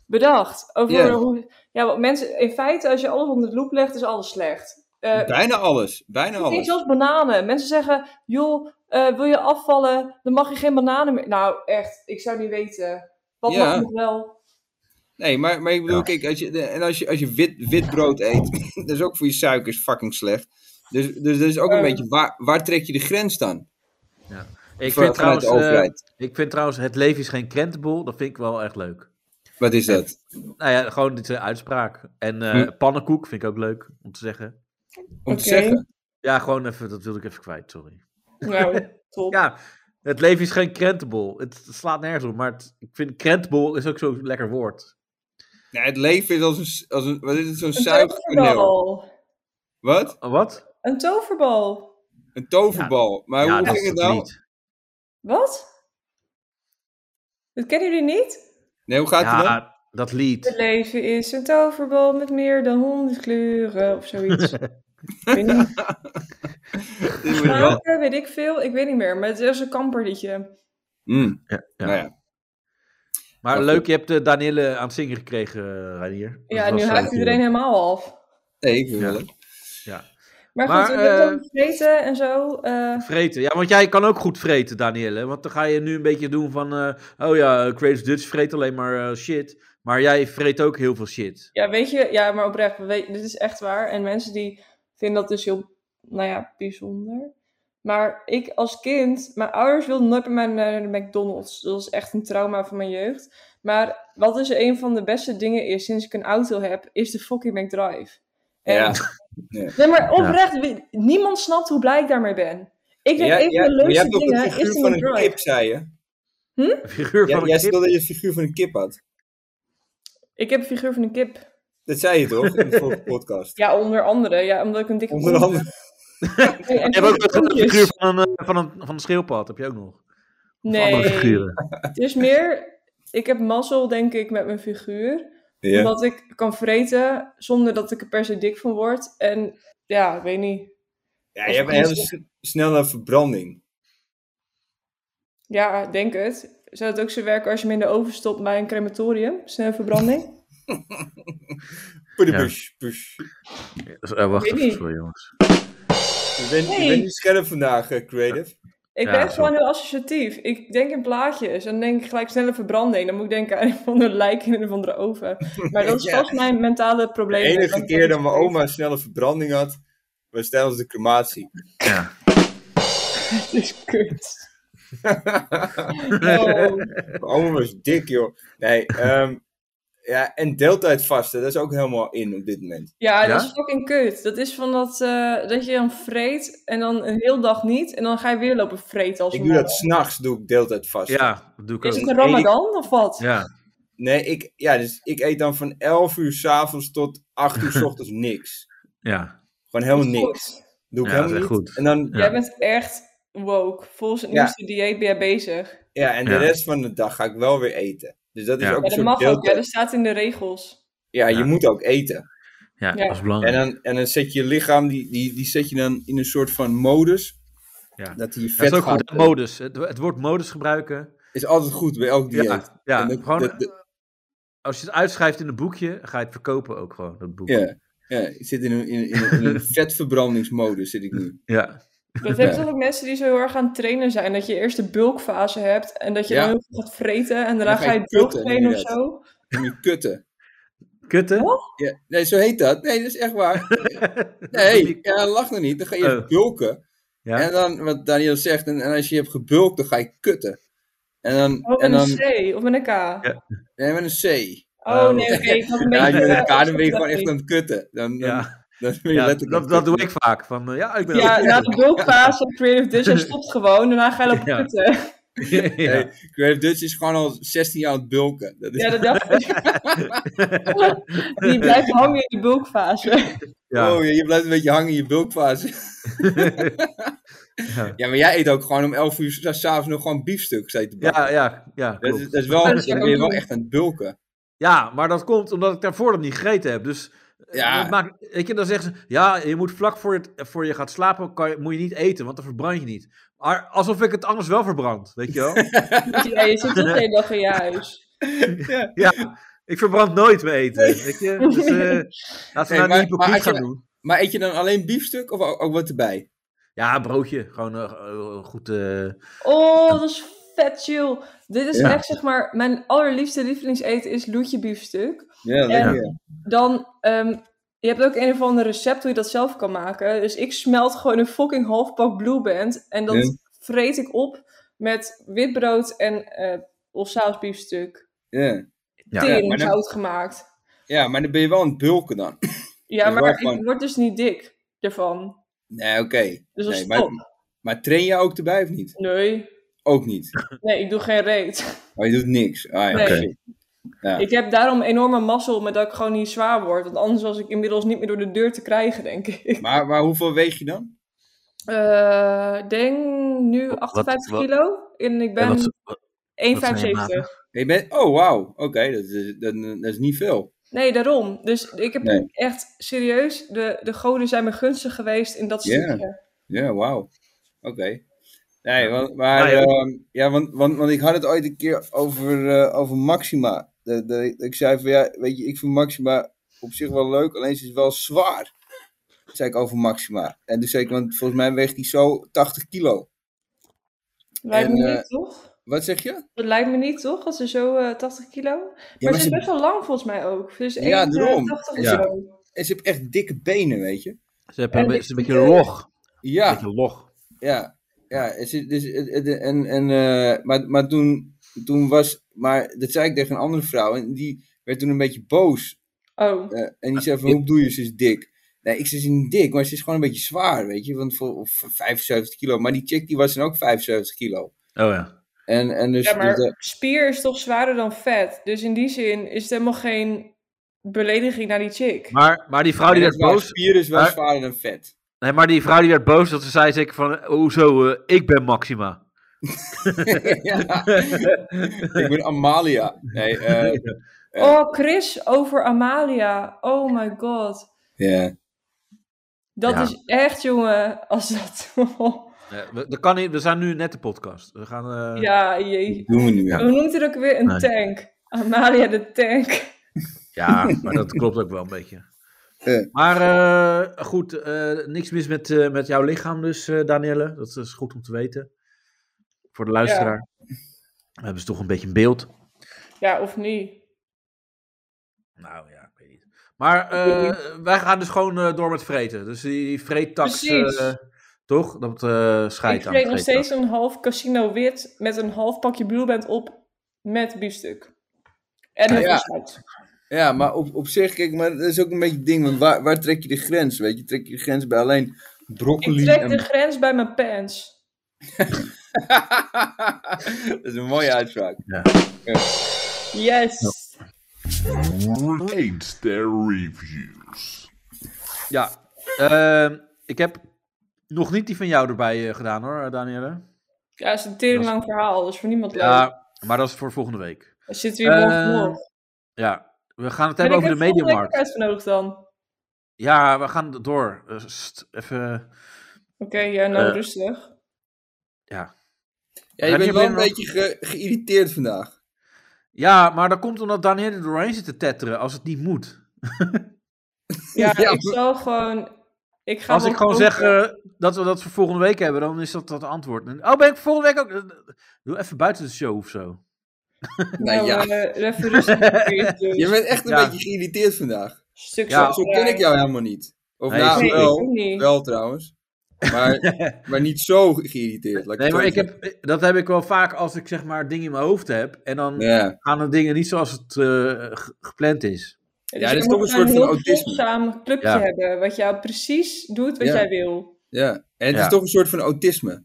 S3: bedacht. Over
S5: Ja.
S3: hoe. Ja, want mensen, in feite, als je alles onder de loep legt, is alles slecht. Eh,
S5: bijna alles, bijna
S3: Ik denk
S5: alles.
S3: zelfs bananen. Mensen zeggen, joh, eh, wil je afvallen, dan mag je geen bananen meer. Nou, echt, ik zou niet weten. Wat
S5: Ja.
S3: mag nog wel?
S5: Nee, maar, maar ik bedoel, kijk, als je, de- en als je, als je wit, wit brood eet, dat is ook voor je suikers fucking slecht. Dus, dus dat is ook een
S3: Eh.
S5: beetje, waar, waar trek je de grens dan?
S4: Ik
S5: Van-
S4: vind,
S5: vanuit
S4: trouwens,
S5: de
S4: eh,
S5: overheid.
S4: ik vind trouwens, het leven is geen krentenbol, dat vind ik wel echt leuk.
S5: Wat is dat?
S4: Nou ja, gewoon dit eh, uitspraak. En eh,
S5: Hm.
S4: pannenkoek vind ik ook leuk om te zeggen.
S5: Om te Oké. zeggen?
S4: Ja, gewoon even, dat wilde ik even kwijt, sorry.
S3: Nou, top.
S4: ja, het leven is geen krentenbol. Het, het slaat nergens op, maar het- ik vind krentenbol is ook zo'n lekker woord.
S5: Nee, het leven is als een, s- als een wat is het, zo'n
S3: Een
S5: zuigpaneel.
S3: toverbal.
S5: Wat?
S4: Oh, Wat?
S3: Een toverbal.
S5: Een toverbal. maar
S4: ja,
S5: hoe
S4: dat
S5: ging
S4: is
S5: het
S4: het
S5: nou?
S4: niet.
S3: Wat? Dat kennen jullie niet?
S5: Nee, hoe gaat het nou?
S4: ja,
S5: dan?
S4: dat lied.
S3: Het leven is een toverbal met meer dan honderd kleuren of zoiets. Ik weet niet. Smaken, weet ik veel. Ik weet niet meer. Maar het is een kamperliedje.
S4: Ja, ja.
S5: Nou ja.
S4: Maar
S5: Maar
S4: leuk,
S5: goed.
S4: je hebt eh, Danielle aan het zingen gekregen, eh, Reinier.
S3: Ja,
S4: Dat
S3: nu
S4: was,
S3: haakt
S4: eh,
S3: iedereen helemaal af.
S5: Nee, ik wil wel.
S4: Ja.
S3: Maar goed,
S4: Maar,
S3: we hebben
S4: eh,
S3: het over vreten en zo. eh,
S4: Vreten. Ja, want jij kan ook goed vreten, Danielle. Want dan ga je nu een beetje doen van... eh, oh ja, Creative Dutch vreet alleen maar eh, shit. Maar jij vreet ook heel veel shit.
S3: ja, weet je, ja, maar oprecht, we weten- dit is echt waar. En mensen die vinden dat dus heel, nou ja, bijzonder. Maar ik als kind, mijn ouders wilden nooit bij mij naar de McDonald's. Dat was echt een trauma van mijn jeugd. Maar wat dus een van de beste dingen is sinds ik een auto heb, is de fucking McDrive.
S5: Ja.
S3: Nee, maar oprecht, wie- niemand snapt hoe blij ik daarmee ben. Ik denk,
S5: Ja,
S3: een
S5: ja,
S3: van de
S5: maar je
S3: leukste
S5: hebt ook
S3: dingen
S5: een
S3: is
S5: figuur
S3: de
S5: van een
S3: McDrive.
S5: kip, zei je.
S3: Hm?
S4: Figuur
S5: Ja,
S4: van
S5: jij
S4: een kip.
S5: stelde dat je een figuur van een kip had.
S3: Ik heb een figuur van een kip.
S5: Dat zei je toch, in de vorige podcast?
S3: Ja, onder andere. Ja, omdat ik een dikke
S5: Onder
S3: kont
S5: andere.
S3: heb. Nee, en
S4: Je hebt ook
S3: dikke
S4: nog een
S3: kontjes.
S4: figuur van een, eh, van een, van een schildpad. Heb je ook nog.
S3: Nee,
S4: andere figuren.
S3: het is meer... Ik heb mazzel, denk ik, met mijn figuur.
S4: Ja.
S3: Omdat ik kan vreten zonder dat ik er per se dik van word. En ja, ik weet niet.
S5: Ja, je hebt een hele s- snelle verbranding.
S3: Ja, ik denk het. Zou het ook zo werken als je me in de oven stopt bij een crematorium? Snelle verbranding?
S5: Push,
S4: Ja.
S5: push, push.
S4: Eh, wacht
S3: Weet
S4: even,
S3: niet.
S4: sorry jongens.
S5: Je bent, je
S3: Nee.
S5: bent niet scherp vandaag, eh, Creative.
S3: Ik
S4: Ja,
S3: ben
S4: zo.
S3: gewoon heel associatief. Ik denk in plaatjes en dan denk ik gelijk snelle verbranding. Dan moet ik denken aan een van de lijk in een van de oven. Maar dat is
S5: Ja.
S3: vast mijn mentale
S5: De
S3: probleem.
S5: enige keer dat mijn oma een snelle verbranding had, was tijdens de crematie.
S4: Ja.
S3: Het is kut. Oh.
S5: Mijn oma was dik, joh. Nee, ehm, ja, en deeltijd vasten, dat is ook helemaal in op dit moment.
S3: Ja, dat is fucking kut. Dat is van dat, eh, dat je dan vreet en dan een heel dag niet. En dan ga je weer lopen vreten als
S5: Ik
S3: een
S5: doe
S3: malle.
S5: dat s'nachts, doe ik deeltijd vasten.
S4: Ja, dat doe ik
S3: Is het een ramadan of wat?
S4: Ja.
S5: Nee, ik, ja, dus ik eet dan van 11 uur s'avonds tot 8 uur s ochtends niks.
S4: Ja.
S5: Gewoon helemaal
S3: Goed.
S5: Oh, niks. Doe ik
S4: Ja, dat is
S5: helemaal niet.
S4: echt goed.
S5: En dan,
S3: Jij bent echt woke. Volgens het
S5: Ja.
S3: nieuwste dieet ben jij bezig.
S5: ja, en de
S4: Ja.
S5: rest van de dag ga ik wel weer eten. Dus dat is
S4: Ja.
S5: ook
S3: Ja,
S5: een
S3: dat
S5: soort
S3: mag ook. Ja,
S5: deeltijd.
S3: dat staat in de regels.
S5: Ja, je moet ook eten.
S4: Ja,
S3: Ja.
S4: dat is
S5: En
S4: belangrijk.
S5: dan, en dan zet je je lichaam, die, die, die zet je dan in een soort van modus.
S4: Ja.
S5: Dat die
S4: Dat
S5: vet
S4: is ook goed,
S5: gaat-
S4: hè, modus. Het, het woord modus gebruiken.
S5: Is altijd goed bij elk dieet.
S4: Ja, ja,
S5: En dat-
S4: gewoon-
S5: dat- dat-
S4: Als je het uitschrijft in een boekje, ga je het verkopen ook gewoon, dat boek.
S5: ja, ja, ik zit in een, in, in, in een vetverbrandingsmodus zit ik nu.
S4: Ja.
S3: Dat hebben
S5: Ja.
S3: toch ook mensen die zo heel erg aan het trainen zijn. Dat je eerst de bulkfase hebt en dat je
S5: Ja.
S3: dan heel veel gaat vreten. En daarna
S5: ga
S3: ga
S5: je
S3: je bulk
S5: kutten,
S3: trainen of
S5: inderdaad.
S3: zo.
S5: En nu kutten.
S4: Kutten?
S3: Oh.
S5: Ja, nee, zo heet dat. Nee, dat is echt waar. Nee, ja, lach nog niet. Dan ga je
S4: Oh.
S5: bulken.
S4: Ja.
S5: En dan, wat Daniel zegt, en, en als je hebt gebulkt, dan ga je kutten. En dan,
S3: Oh,
S5: en
S3: met
S5: dan,
S3: een C of met een K.
S5: nee, met een C.
S3: Oh nee, oké. ik had een
S5: Ja,
S3: beetje...
S5: met een K, dan ben je
S3: eh,
S5: gewoon echt aan het kutten. Dan, dan,
S4: Ja.
S5: dan ben je
S4: Ja,
S5: letterlijk aan
S4: dat,
S5: het
S4: dat doe
S5: kutten.
S4: ik vaak. Van, eh, ja, ik ben
S3: Ja,
S4: ook-
S3: na de bulkfase, Creative Dutch, hij stopt gewoon. Daarna ga je lopen
S4: Ja.
S3: kutten.
S4: Ja.
S5: Nee, Creative Dutch is gewoon al 16 jaar aan het bulken. Dat is,
S3: Ja, dat dacht ik. Die blijft hangen in die bulkfase.
S4: Ja.
S5: Oh, ja, je blijft een beetje hangen in je bulkfase. ja. maar jij eet ook gewoon om 11 uur s- s'avonds nog gewoon biefstuk, zei te bakken.
S4: Ja, ja, ja,
S5: dat,
S4: klopt.
S5: is, dat is wel,
S3: Ja,
S5: dan
S3: Oh, dat zou ik
S5: ben je
S3: ook
S5: wel
S3: doen.
S5: echt aan het bulken.
S4: Ja, maar dat komt omdat ik daarvoor dat niet gegeten heb. Dus eh,
S5: Ja.
S4: dat maakt, weet je, dan zeggen ze, ja, je moet vlak voor, het, voor je gaat slapen, kan je, moet je niet eten, want dan verbrand je niet. Maar alsof ik het anders wel verbrand, weet je wel?
S3: Ja, je zit toch de hele dag in je huis.
S4: ja, ik verbrand nooit mijn eten, weet je? Dus eh, laten we nou
S5: Nee,
S4: niet
S5: eet
S4: hypocriet
S5: je
S4: gaan
S5: dan-
S4: doen.
S5: maar eet je dan alleen biefstuk of ook, ook wat erbij?
S4: Ja, broodje, gewoon eh, eh, goed... eh,
S3: Oh, dat is vet chill. Dit is
S4: Ja.
S3: echt zeg maar, mijn allerliefste lievelingseten is loetje biefstuk.
S5: Ja, lekker.
S3: En dan, ehm, je hebt ook een of ander recept hoe je dat zelf kan maken. Dus ik smelt gewoon een fucking half pak Blue Band en dat
S5: Ja.
S3: vreet ik op. met witbrood en eh of saus biefstuk.
S5: Ja. Ja,
S3: Tering
S5: maar dan-
S3: zout gemaakt.
S5: Ja, maar dan ben je wel aan het bulken dan.
S3: Ja,
S5: Dus waar
S3: maar
S5: gewoon-
S3: ik word dus niet dik ervan.
S5: Nee, oké.
S3: Dus dat is
S5: nee, maar,
S3: top.
S5: maar train je ook erbij of niet?
S3: Nee,
S5: Ook niet.
S3: nee ik doe geen reet.
S5: Oh, je doet niks. Ah, ja,
S3: Nee.
S5: oké. Ja.
S3: Ik heb daarom enorme mazzel met dat ik gewoon niet zwaar word. Want anders was ik inmiddels niet meer door de deur te krijgen, denk ik.
S5: Maar, maar hoeveel weeg je dan?
S3: Eh, denk nu 58
S5: wat-
S3: kilo. En ik ben
S5: wat- wat- wat
S3: 1,75.
S5: Je bent, oh, wauw. Oké, dat, is, dat, dat is niet veel.
S3: Nee, daarom. Dus ik heb
S5: Nee.
S3: echt serieus, de, de goden zijn me gunstig geweest in dat
S5: Ja.
S3: stukje.
S5: Ja, wauw. Oké. Nee, want, maar,
S4: Nou ja,
S5: ehm,
S4: dat-
S5: ja. want, want, want ik had het ooit een keer over, eh, over Maxima. De, de- ik zei van, ja, weet je, ik vind Maxima op zich wel leuk, alleen ze is wel zwaar. Dat zei ik over Maxima. En toen zei ik, want volgens mij weegt die zo 80 kilo.
S3: Lijkt
S5: En,
S3: me
S5: eh,
S3: niet, toch?
S5: Wat zeg je?
S3: Dat lijkt me niet, toch? Dat ze zo eh, 80 kilo... Maar,
S5: maar
S3: ze
S5: ze-
S3: is best wel lang, volgens mij ook. Dus
S5: Ja, daarom.
S3: 80
S5: En
S3: of
S5: ze-
S3: zo.
S5: En ze heeft echt dikke benen, weet je.
S4: Ze hebben een,
S3: En
S4: be-
S3: dit-
S4: ze een beetje log.
S5: Ja.
S4: Een beetje log.
S5: Ja, ja het is- dus, het- het- en, en, eh, maar, maar toen, toen was, maar dat zei ik tegen een andere vrouw en die werd toen een beetje boos. eh,
S3: Oh.
S5: en die zei van, hoe bedoel je, ze is dik? Nee, ik zei, ze is niet dik, maar ze is gewoon een beetje zwaar, weet je, want voor, voor 75 kilo. Maar die chick, die was dan ook 75 kilo. Oh
S4: ja.
S5: En, en dus,
S3: ja, maar
S5: dus, eh,
S3: spier is toch zwaarder dan vet. Dus in die zin is het helemaal geen belediging naar die chick.
S4: Maar, maar die vrouw Oh, die
S5: dat
S4: werd
S5: is waar,
S4: boos.
S5: Spier is wel
S4: maar-
S5: zwaarder dan vet.
S4: Nee, maar die vrouw die werd boos dat ze zei zeker van, eh, hoezo, eh, ik ben Maxima.
S5: ja. ik ben Amalia. Nee, eh, eh,
S3: Oh, Chris over Amalia. Oh my god.
S5: ja.
S3: Dat
S4: Ja.
S3: is echt, jongen, als dat...
S4: Eh, we, dat kan niet, we zijn nu net de podcast. We gaan... eh,
S3: ja, jee.
S5: Doen we nu, ja.
S3: Hoe noemt hij dat ook weer? Een
S4: Nee.
S3: tank. Amalia de tank.
S4: Ja, maar dat klopt ook wel een beetje. Maar eh, goed, eh, niks mis met, eh, met jouw lichaam dus, eh Danielle. Dat is goed om te weten. Voor de luisteraar. We hebben ze toch een beetje een beeld.
S3: Ja, of niet?
S4: Nou ja, ik weet niet. Maar eh, wij gaan dus gewoon eh, door met vreten. Dus die, die vreettax,
S3: Precies.
S4: eh, toch? Dat eh
S3: Ik
S4: scheidt aan de
S3: vreet nog
S4: vreettax.
S3: steeds een half casino wit met een half pakje blueband op met biefstuk.
S4: Ah,
S3: En een
S5: Ja.
S3: visbout.
S5: Ja, maar op, op zich, kijk, maar dat is ook een beetje het ding, want waar, waar trek je de grens, weet je? Trek je de grens bij alleen broccoli
S3: Ik trek
S5: en...
S3: de grens bij mijn pants.
S5: Dat is een mooie uitspraak.
S4: Ja.
S3: Yes.
S1: Rate their reviews.
S4: Ja, ehm, ik heb nog niet die van jou erbij eh, gedaan hoor, eh, Danielle.
S3: Ja, het is een tering lang verhaal, dus voor niemand leuk.
S4: Ja, Eh, maar dat is voor volgende week.
S3: Dan zitten we hier morgen
S4: Eh,
S3: nog.
S4: Ja, we gaan het hebben over
S3: Ben ik
S4: de
S3: er volgende week
S4: mediamarkt.
S3: ook uitgenodigd dan?
S4: Ja, we gaan door. Eh, st- even.
S3: Oké, ja, nou
S4: Eh,
S3: rustig.
S4: Ja.
S5: Ja, je
S4: Heb
S5: bent wel een
S4: weer nog-
S5: beetje ge- geïrriteerd vandaag.
S4: Ja, maar dat komt omdat Daniel er doorheen zit te tetteren als het niet moet.
S3: Ja,
S4: Ja,
S3: ik zal gewoon... Ik ga
S4: Als
S3: wel
S4: ik gewoon
S3: koken.
S4: zeg eh, dat we dat voor volgende week hebben, dan is dat dat antwoord. En- Oh, ben ik volgende week ook. eh, Doe even buiten de show of zo.
S5: Nou,
S3: Nou,
S5: ja.
S3: eh, even rustig. doen.
S5: Je bent echt een
S4: Ja.
S5: beetje geïrriteerd vandaag.
S3: Stuk
S5: Ja,
S3: ja,
S5: zo ken ik jou helemaal niet. Of
S4: Nee,
S5: nou,
S4: ik-
S5: wel,
S3: ik ook niet.
S5: wel trouwens. Maar, maar niet zo geïrriteerd. laat
S4: Nee,
S5: het
S4: maar
S5: zo
S4: ik heb, eh, dat heb ik wel vaak als ik zeg maar dingen in mijn hoofd heb. En dan
S5: Ja.
S4: gaan de dingen niet zoals het eh, g- gepland is.
S5: Ja,
S3: Dus
S5: dit is toch een soort van autisme.
S3: Een samen clubje
S4: Ja.
S3: hebben, wat jou precies doet wat
S5: Ja.
S3: jij wil.
S5: zeggen. Ja, en het
S4: Ja.
S5: is toch een soort van autisme.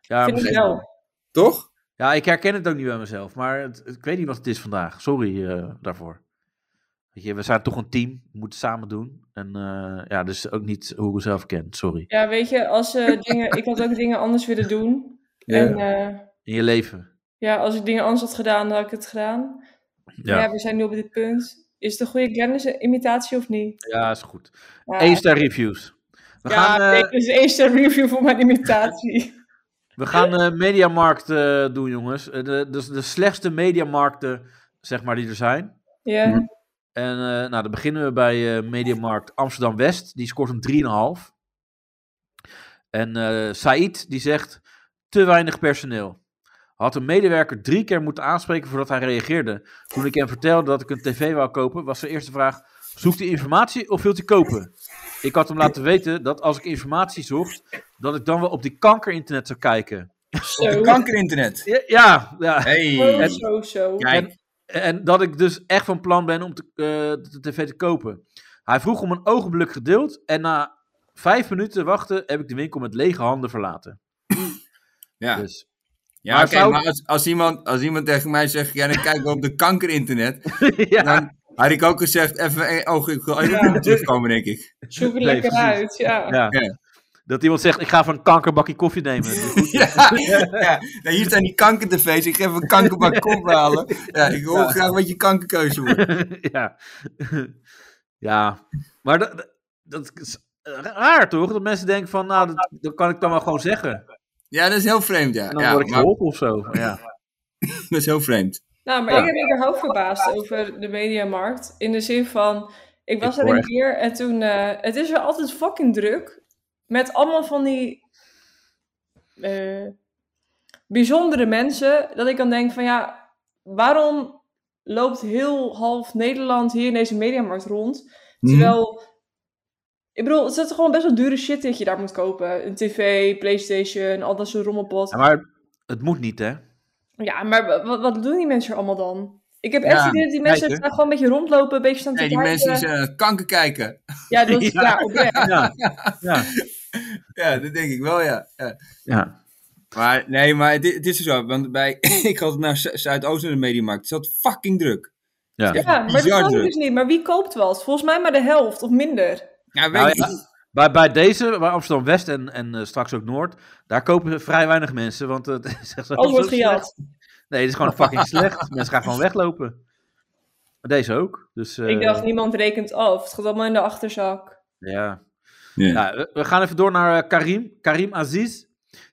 S4: Ja,
S3: Vind ik
S4: misschien-
S3: wel.
S5: Toch?
S4: Ja, ik herken het ook niet bij mezelf, maar het, ik weet niet wat het is vandaag. Sorry eh, daarvoor. Weet je, we zijn toch een team, we moeten het samen doen. En eh, ja, dus ook niet hoe ik mezelf ken, sorry.
S3: Ja, weet je, als eh, dingen... Ik had ook dingen anders willen doen.
S4: Ja.
S3: En eh,
S4: In je leven.
S3: ja, als ik dingen anders had gedaan, dan had ik het gedaan. Ja. we zijn nu op dit punt. Is het een goede Glennis imitatie of niet?
S4: Ja, is goed.
S3: Ja.
S4: Eén ster reviews. We
S3: ja,
S4: gaan, eh,
S3: nee, dus eerst een review voor mijn imitatie.
S4: we gaan eh, mediamarkt eh, doen, jongens. Eh, de, dus de slechtste mediamarkten, zeg maar, die er zijn.
S3: ja.
S5: Mm.
S4: En eh, nou, dan beginnen we bij eh, Mediamarkt Amsterdam-West. Die scoort een 3,5. En eh Said, die zegt, te weinig personeel. Had een medewerker drie keer moeten aanspreken voordat hij reageerde. Toen ik hem vertelde dat ik een tv wou kopen, was zijn eerste vraag... Zoekt hij informatie of wilt hij kopen? Ik had hem laten weten dat als ik informatie zocht, dat ik dan wel op die kanker-internet zou kijken.
S5: Op kankerinternet.
S4: Ja, ja. ja.
S5: Hey.
S4: En-
S3: Oh, Zo, zo.
S4: En, en dat ik dus echt van plan ben om te, eh, de tv te kopen. Hij vroeg om een ogenblik geduld en na vijf minuten wachten heb ik de winkel met lege handen verlaten.
S5: Ja,
S4: dus.
S5: ja
S4: Maar
S5: oké,
S4: zou-
S5: maar als, als, iemand, als iemand tegen mij zegt, ja, dan kijken we op de kankerinternet. Dan had ik ook gezegd, even een oog, ik wil even terugkomen, denk ik.
S3: Zoek er lekker
S4: precies.
S3: uit, ja.
S4: Ja. Dat iemand zegt, ik ga van kanker bakje koffie nemen. Dat is goed.
S5: Ja, ja. Nou, hier staan die kankertefees, ik ga even een kankerbak kop halen. Ja, ik hoor
S4: Ja.
S5: graag wat je kankerkeuze wordt.
S4: ja. ja, maar dat, dat is raar toch? Dat mensen denken van, nou, dat, dat kan ik dan wel gewoon zeggen.
S5: Ja, dat is heel vreemd, ja.
S4: En dan
S5: ja,
S4: word ik
S5: maar-
S4: geholpen of zo. Ja.
S5: dat is heel vreemd.
S3: Nou, maar
S5: Ja.
S3: ik heb me überhaupt verbaasd over de mediamarkt. In de zin van, ik was
S5: Ik
S3: er
S5: hoor
S3: een
S5: echt.
S3: keer en toen... eh, het is wel altijd fucking druk. Met allemaal van die... eh, bijzondere mensen. Dat ik dan denk van, ja, waarom loopt heel half Nederland hier in deze mediamarkt rond?
S17: Mhm.
S3: Terwijl... Ik bedoel, het is toch gewoon best wel dure shit dat je daar moet kopen. Een tv, Playstation, al dat soort rommelpot.
S4: Ja, maar het moet niet, hè?
S3: Ja, maar wa- wat, wat doen die mensen er allemaal dan? Ik heb echt
S4: Ja,
S3: het idee dat die mensen
S4: kijken.
S3: daar gewoon een beetje rondlopen, een beetje staan te
S5: Nee, die
S3: kijken. eh,
S5: mensen die zijn aan het kanker kijken.
S3: Ja, dat is- ja, oprecht.
S4: Ja. Ja.
S5: Ja, dat denk ik wel, ja. ja.
S4: Ja.
S5: Maar nee, maar het, i- het is er zo. Want bij, ik had naar Zu- Zuidoost naar de mediamarkt. Het zat fucking druk.
S4: Ja,
S5: Echt
S3: Ja, maar dat
S5: bizar
S3: kan
S5: druk.
S3: dus niet. Maar wie koopt wat? Volgens mij maar de helft of minder.
S5: Ja, weet
S4: Nou
S5: ik
S4: ja,
S5: niet.
S4: bij, bij deze, bij Amsterdam West en, en eh, straks ook Noord, daar kopen vrij weinig mensen. Want eh, het is echt zo-
S3: Alles wordt
S4: zo slecht.
S3: gejat.
S4: Nee, het is gewoon fucking slecht. Mensen gaan gewoon weglopen. Deze ook. Dus, eh,
S3: Ik dacht, niemand rekent af. Het gaat allemaal in de achterzak.
S4: Ja. Nou, we, we gaan even door naar eh, Karim. Karim Aziz.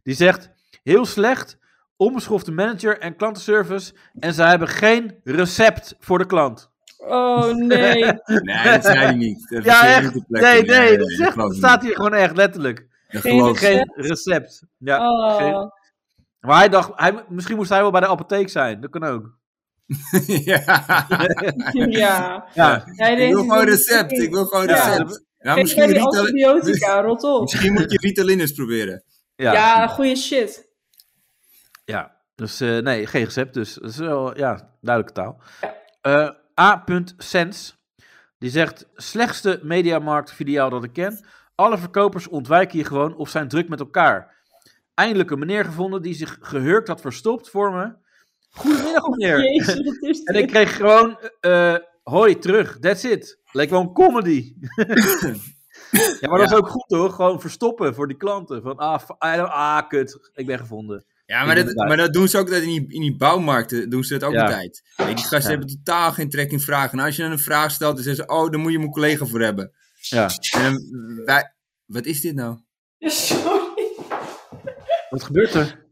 S4: Die zegt: heel slecht, onbeschofte manager en klantenservice. En ze hebben geen recept voor de klant.
S3: Oh nee.
S5: Nee, dat zei hij niet. Dat
S4: ja,
S5: is
S4: echt.
S5: niet de plek.
S4: Nee,
S5: Ja,
S4: nee,
S5: nee,
S4: dat,
S5: dat
S4: zegt-
S5: geloof
S4: dat
S5: ik
S4: staat
S5: niet.
S4: hier gewoon echt letterlijk.
S5: Dat geloof ik
S4: geen
S5: niet.
S4: recept. Ja,
S3: Oh.
S4: geen- maar hij dacht, hij, misschien moest hij wel bij de apotheek zijn. Dat kan ook.
S5: ja.
S3: ja.
S4: Ja.
S3: Nee,
S5: Ik
S3: deze
S5: wil
S3: is
S5: gewoon
S3: niet
S5: recept.
S3: goed.
S5: Ik wil gewoon
S3: Ja.
S5: recept. Ja,
S3: Geef
S5: misschien,
S3: mij die
S5: Ritalin-
S3: antibiotica, rot op.
S5: misschien moet je Ritalin eens proberen.
S4: Ja.
S3: Ja, goede shit.
S4: Ja, dus eh, nee, geen recept dus. Dat is wel, ja, duidelijke taal. Eh A. Sens, die zegt, slechtste mediamarktfiliaal dat ik ken. Alle verkopers ontwijken je gewoon of zijn druk met elkaar. Eindelijk een meneer gevonden die zich gehurkt had verstopt voor me. Goedemiddag meneer.
S3: Jezus, wat is
S4: en ik kreeg gewoon, eh, eh, hoi terug, that's it. Leek wel een comedy. ja, maar dat is
S5: Ja.
S4: ook goed hoor, gewoon verstoppen voor die klanten. Van, ah, f- ah, ah, kut, ik ben gevonden.
S5: Ja, maar dat, maar dat doen ze ook dat in, die, in die bouwmarkten. Doen ze dat ook
S4: Ja.
S5: altijd. Weet je, die gasten
S4: Ja.
S5: hebben totaal geen trek in vragen. En als je dan een vraag stelt, dan zeggen ze: Oh, daar moet je mijn collega voor hebben.
S4: Ja.
S5: En dan, wij- wat is dit nou?
S3: Sorry.
S4: Wat gebeurt er?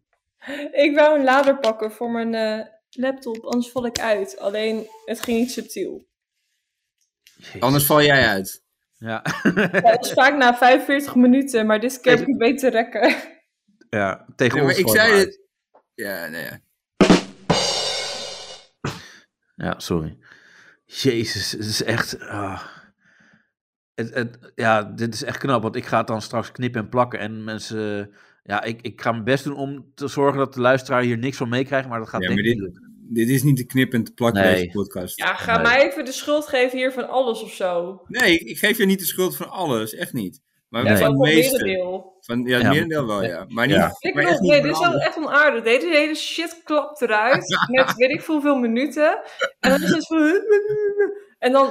S3: Ik wou een lader pakken voor mijn eh, laptop, anders val ik uit. Alleen, het ging niet subtiel.
S5: Anders val jij uit.
S4: Ja.
S3: Ja, dat is vaak na 45 minuten, maar dit keer heb ik het beter rekken.
S4: Ja, tegen
S5: Nee, maar
S4: ons
S5: ik
S4: gewoon
S5: zei
S4: maar.
S5: het. Ja, nee. ja.
S4: Ja, sorry. Jezus, het is echt... ah. Het, het, ja, dit is echt knap, want ik ga het dan straks knippen en plakken. En mensen... Ja, ik, ik ga mijn best doen om te zorgen dat de luisteraar hier niks van meekrijgt, maar dat gaat
S5: Ja,
S4: denk
S5: maar
S4: ik niet
S5: dit,
S4: lukken.
S5: dit is niet de knip en te plakken
S4: Nee.
S5: deze podcast.
S3: Ja, ga mij even de schuld geven hier van alles of zo.
S5: Nee, ik geef je niet de schuld van alles, echt niet. Maar
S3: Nee.
S5: van het
S3: Van het
S5: meeste.
S3: merendeel.
S5: Van, ja, het
S4: Ja,
S5: merendeel wel,
S4: maar-
S5: ja. Maar niet,
S4: Ja.
S3: Ik
S5: maar
S3: bedoel,
S5: echt niet
S3: nee,
S5: van
S3: dit is wel
S5: alles.
S3: echt onaardig. Deze hele shit klapt eruit met weet ik veel hoeveel minuten. En dan is het van... En dan...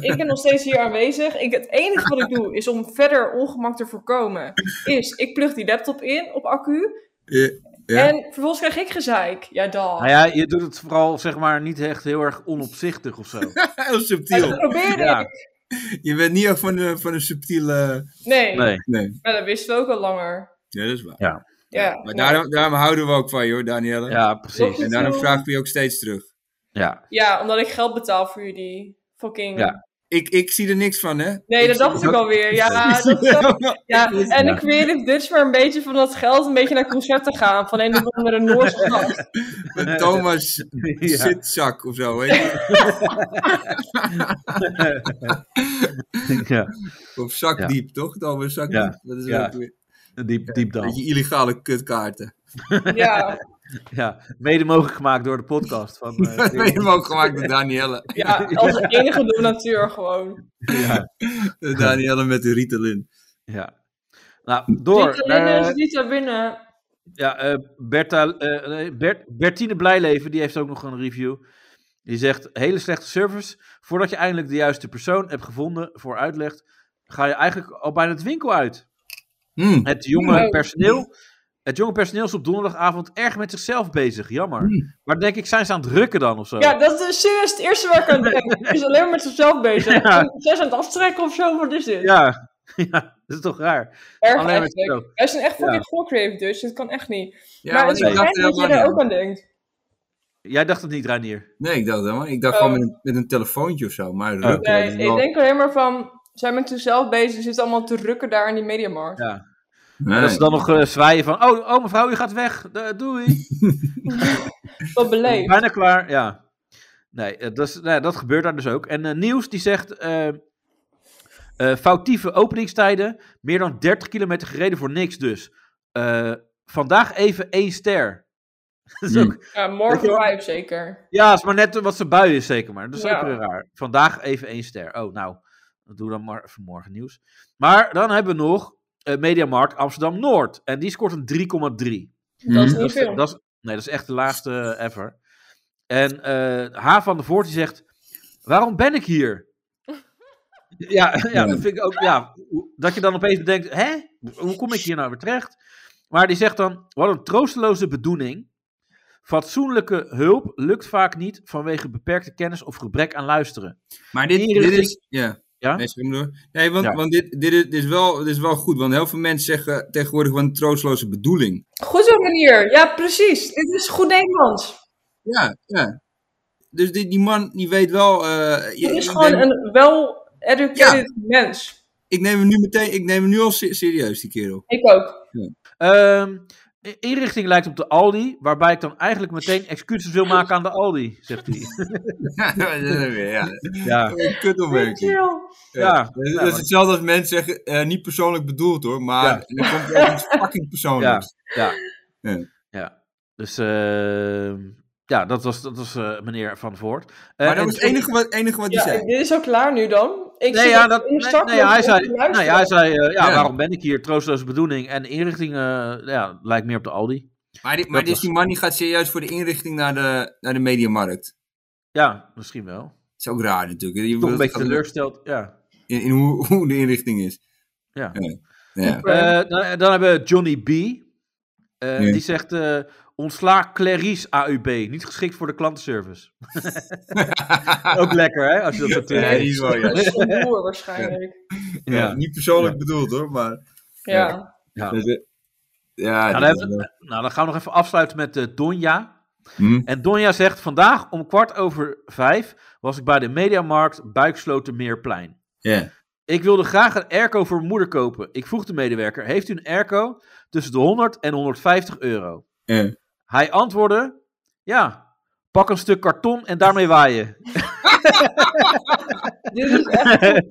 S3: Ik ben nog steeds hier aanwezig. Ik, het enige wat ik doe is om verder ongemak te voorkomen. Is, ik plug die laptop in op accu.
S5: Ja.
S3: En vervolgens krijg ik gezeik. Ja, dan.
S4: Nou ja, je doet het vooral, zeg maar, niet echt heel erg onopzichtig of zo.
S5: Heel subtiel.
S3: Dat probeer
S4: Ja.
S3: ik.
S5: Je bent niet echt van, een- van een subtiele...
S3: Nee.
S4: Nee.
S5: Nee,
S3: Maar dat wisten we ook al langer.
S5: ja, dat is waar.
S4: Ja,
S3: Ja.
S5: Maar
S3: nou,
S5: daarom, daarom houden we ook van je hoor, Danielle.
S4: Ja, precies.
S5: En daarom vragen we je ook steeds terug.
S4: Ja.
S3: ja, omdat ik geld betaal voor jullie. Fucking...
S5: Ik, ik zie er niks van, hè?
S3: Nee, dat dacht ik alweer. Ja, dat is ook- ja, en de Creative Dutch dus maar een beetje van dat geld een beetje naar concerten gaan. Van een of andere Noorse gast.
S5: Een Thomas zitzak of zo, weet je?
S4: ja.
S5: Of zakdiep, toch? Thomas zakdiep.
S4: Ja.
S5: Dat is
S4: Ja.
S5: ook weer...
S4: Diep, diep dan.
S5: Beetje illegale kutkaarten.
S3: Ja.
S4: ja, mede mogelijk gemaakt door de podcast van... eh,
S5: Mede mogelijk gemaakt door Danielle.
S3: Ja, als enige donateur gewoon.
S4: Ja.
S5: Danielle met de Ritalin.
S4: Ja. Nou, door.
S3: Niet alleen
S4: eh,
S3: is niet daar binnen.
S4: Ja, eh, Bertha, eh, nee, Bert, Bertine Blijleven, die heeft ook nog een review. Die zegt, hele slechte service. Voordat je eindelijk de juiste persoon hebt gevonden voor uitleg, ga je eigenlijk al bijna het winkel uit.
S5: Hmm.
S4: Het, jonge
S5: Nee.
S4: personeel, het jonge personeel is op donderdagavond erg met zichzelf bezig. Jammer. Maar denk ik, zijn ze aan het rukken dan of zo?
S3: Ja, dat is serieus het eerste waar ik aan denk. Hij is alleen maar met zichzelf bezig.
S4: Ja.
S3: Ze zijn aan het aftrekken of zo, wat is dit?
S4: ja. Ja, dat is toch raar.
S3: Erg
S4: Alleen met
S3: eigenlijk.
S4: zichzelf.
S3: Wij zijn echt
S4: Ja.
S3: fucking voorcreatief, dus dit kan echt niet.
S5: Ja,
S3: maar
S5: want
S3: het is
S5: ik dacht
S3: fijn dat je
S5: helemaal
S3: er
S5: niet
S3: ook aan denkt.
S4: Jij dacht het niet, Ranier.
S5: Nee, ik dacht helemaal. Ik dacht
S3: Oh.
S5: gewoon met een, met een telefoontje of zo. Maar rukken,
S3: Nee,
S5: dat is
S3: ik
S5: wel-
S3: denk alleen maar van, zijn met zichzelf bezig, zitten allemaal te rukken daar in die mediamarkt.
S4: Ja. En dat ze dan nog eh, zwaaien van, oh, oh mevrouw, je gaat weg. Eh, doei.
S3: Wat beleefd.
S4: Bijna klaar, ja. Nee, eh, dat, is, nou ja, dat gebeurt daar dus ook. En eh, Niels die zegt... eh, eh, foutieve openingstijden. Meer dan 30 kilometer gereden voor niks dus. Eh, vandaag even één ster. dat is ook,
S3: Ja,
S4: Weet je
S3: morgen
S4: wel?
S3: vijf zeker.
S4: ja, is maar net wat zijn bui is zeker maar. Dat is
S3: Ja.
S4: ook weer raar. Vandaag even één ster. Oh, nou. Dat doe dan maar even morgen nieuws. Maar dan hebben we nog eh, Mediamarkt Amsterdam-Noord. En die scoort een 3,3.
S3: Dat is niet veel.
S4: Mhm. Dat is, nee, dat is echt de laagste ever. En eh H. van der Voort die zegt... Waarom ben ik hier? ja, ja, dat vind ik ook... Ja, dat je dan opeens bedenkt... Hè? Hoe kom ik hier nou weer terecht? Maar die zegt dan... Wat een troosteloze bedoeling. Fatsoenlijke hulp lukt vaak niet... vanwege beperkte kennis of gebrek aan luisteren.
S5: Maar dit, dit
S4: Inrichting-
S5: is. Ja. Nee, sorry, maar door. Nee, want,
S4: Ja.
S5: want dit, dit, is, dit, is wel, dit is wel goed. Want heel veel mensen zeggen tegenwoordig van een troostloze bedoeling.
S3: Goed zo, manier. Ja, precies. Dit is goed Nederlands.
S5: Ja, ja. Dus die, die man die weet wel. eh, je-
S3: Dit is
S5: ik
S3: gewoon
S5: neem-
S3: een well-educated mens.
S5: Ik neem hem nu meteen. Ik neem hem nu al se- serieus, die kerel.
S3: Ik ook.
S4: Ehm, i- inrichting lijkt op de Aldi, waarbij ik dan eigenlijk meteen excuses wil maken aan de Aldi, zegt hij.
S5: ja.
S4: Ja.
S5: Kut opmerking.
S4: Ja,
S5: dat
S4: ja,
S5: is- dat is
S4: maar-
S5: hetzelfde als mensen zeggen, eh, niet persoonlijk bedoeld hoor, maar
S4: Ja.
S5: er komt wel iets fucking persoonlijks.
S4: Ja,
S5: ja.
S4: ja. Dus ehm, ja, dat was, dat was eh, meneer Van Voort. Eh,
S5: Maar dat
S4: en
S5: was het
S4: toen-
S5: enige wat, enige wat
S3: Ja,
S5: hij zei.
S3: dit is ook klaar nu dan. Ik
S4: Nee,
S3: zit
S4: ja,
S3: ook
S4: dat,
S3: in de
S4: nee,
S3: start
S4: nee, hij
S3: om te
S4: zei,
S3: luisteren.
S4: nee, hij zei eh, ja,
S5: Ja.
S4: waarom ben ik hier? Troosteloze bedoeling. En inrichting eh, ja, lijkt meer op de Aldi.
S5: Maar, dit, maar
S4: Dat
S5: dit is
S4: was-
S5: die man die gaat serieus voor de inrichting naar de, naar de mediamarkt.
S4: Ja, misschien wel.
S5: Dat is ook raar natuurlijk. Je
S4: Toch een
S5: wilt-
S4: beetje teleurgesteld, ja.
S5: In, in hoe, hoe de inrichting is.
S4: Ja.
S5: Ja.
S4: Eh, dan, dan hebben we Johnny B. Eh,
S5: Ja.
S4: Die zegt: eh, ontsla Clarice AUB. Niet geschikt voor de klantenservice. Ook lekker, hè? Als je dat zo
S5: Ja,
S4: terugleest.
S5: die is wel, ja.
S3: Dat is een boer waarschijnlijk.
S5: Ja,
S4: Ja.
S5: Niet persoonlijk bedoeld hoor, maar...
S3: Ja.
S4: Ja.
S5: Dus, eh, ja,
S4: nou,
S5: dit
S4: dan
S5: is
S4: hebben
S5: wel-
S4: we- nou, dan gaan we nog even afsluiten met eh, Donja.
S5: Hm.
S4: En Donja zegt: Vandaag om kwart over vijf was ik bij de Mediamarkt Buikslotermeerplein.
S5: Ja.
S4: Ik wilde graag een airco voor mijn moeder kopen. Ik vroeg de medewerker: Heeft u een airco tussen de 100 en 150 euro?
S5: Ja.
S4: Hij antwoordde: Ja, pak een stuk karton en daarmee waaien.
S3: Dit is echt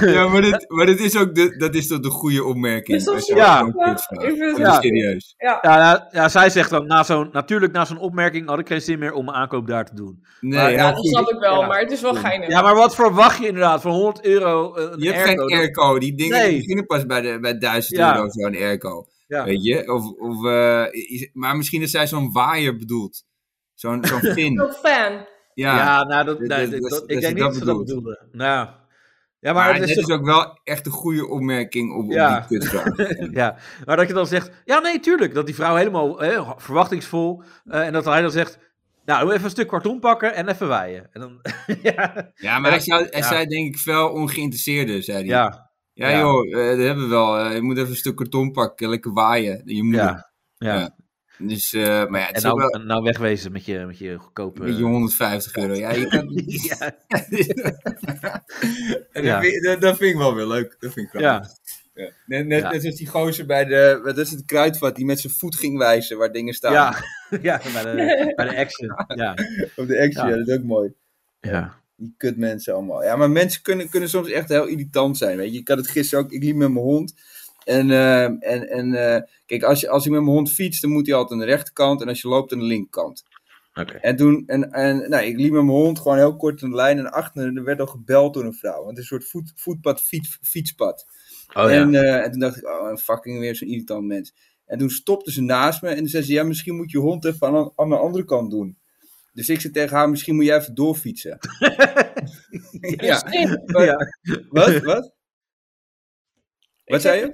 S5: Ja, maar dit, maar dit is ook de, dat is toch de goede opmerking.
S3: Is dat
S5: Als je
S3: zo?
S5: ook
S4: Ja.
S5: zo'n kutvraag.
S3: Ik vind het
S5: Dat is
S4: Ja.
S5: serieus.
S3: Ja.
S4: Ja, ja, ja, zij zegt dan: na zo'n, Natuurlijk, na zo'n opmerking had ik geen zin meer om mijn aankoop daar te doen.
S5: Nee,
S4: Maar-
S5: ja,
S3: Ja, dat
S5: goed.
S3: snap ik wel,
S4: Ja.
S3: maar het is wel geinig.
S4: Ja, maar wat verwacht je inderdaad van 100 euro? eh, Een
S5: Je hebt
S4: airco?
S5: geen airco. Die dingen
S4: Nee.
S5: die beginnen pas bij, de, bij 1000
S4: Ja.
S5: euro zo'n airco.
S4: Ja.
S5: Weet je? Of, of, eh, is- maar misschien is zij zo'n waaier bedoeld. Zo'n zo'n
S3: Ik ben
S5: fin.
S3: ook fan.
S5: Ja,
S4: Ja, nou, dat,
S5: Dat-
S4: nee,
S5: dat-
S4: dat-
S5: dat- dat
S4: ik
S5: ze
S4: denk niet
S5: dat
S4: dat ze dat
S5: bedoelt.
S4: bedoelden. Nou, ja, maar,
S5: maar
S4: het is dus
S5: dit is
S4: toch-
S5: ook wel echt een goede opmerking op, op
S4: Ja.
S5: die kutvraag.
S4: ja, maar dat je dan zegt, ja, nee, tuurlijk, dat die vrouw helemaal eh, verwachtingsvol eh, en dat hij dan zegt, nou, even een stuk karton pakken en even waaien. En dan, ja,
S5: Ja, maar hij, zou, hij
S4: Ja.
S5: zei denk ik veel ongeïnteresseerder, zei hij.
S4: Ja.
S5: Ja,
S4: Ja.
S5: joh, eh, dat hebben we wel. Eh, je moet even een stuk karton pakken, lekker waaien. Je moet
S4: Ja. Ja.
S5: Dus, eh, maar ja, het
S4: en
S5: is
S4: nou,
S5: ook wel
S4: en nou wegwezen met je, met je goedkope...
S5: met je 150 euro. Ja, je kan...
S4: ja.
S5: En
S4: Ja.
S5: dat, vind, dat, dat vind ik wel weer leuk. Dat vind ik wel
S4: Ja.
S5: leuk. Ja. Net, net,
S4: Ja.
S5: net als die gozer bij de, wat is het kruidvat, die met zijn voet ging wijzen waar dingen staan.
S4: Ja, ja, bij de, bij de action, ja.
S5: Op de
S4: Ja.
S5: action, ja. dat is ook mooi.
S4: Ja.
S5: Die kut mensen allemaal. Ja, maar mensen kunnen, kunnen soms echt heel irritant zijn. Weet je. Ik had het gisteren ook, ik liep met mijn hond. En, eh, en, en eh, kijk, als, je, als ik met mijn hond fiets, dan moet hij altijd aan de rechterkant. En als je loopt, aan de linkerkant.
S4: Oké.
S5: En toen, en, en, nou, ik liep met mijn hond gewoon heel kort aan de lijn en achter. En er werd al gebeld door een vrouw. Want het is een soort voet, voetpad, fiets, fietspad.
S4: Oh, ja.
S5: en, eh, en toen dacht ik, oh, fucking weer zo'n irritant mens. En toen stopte ze naast me en toen zei ze, ja, misschien moet je hond even aan, aan de andere kant doen. Dus ik zei tegen haar, misschien moet jij even doorfietsen. ja. Maar- Wat? Wat? Wat zei je?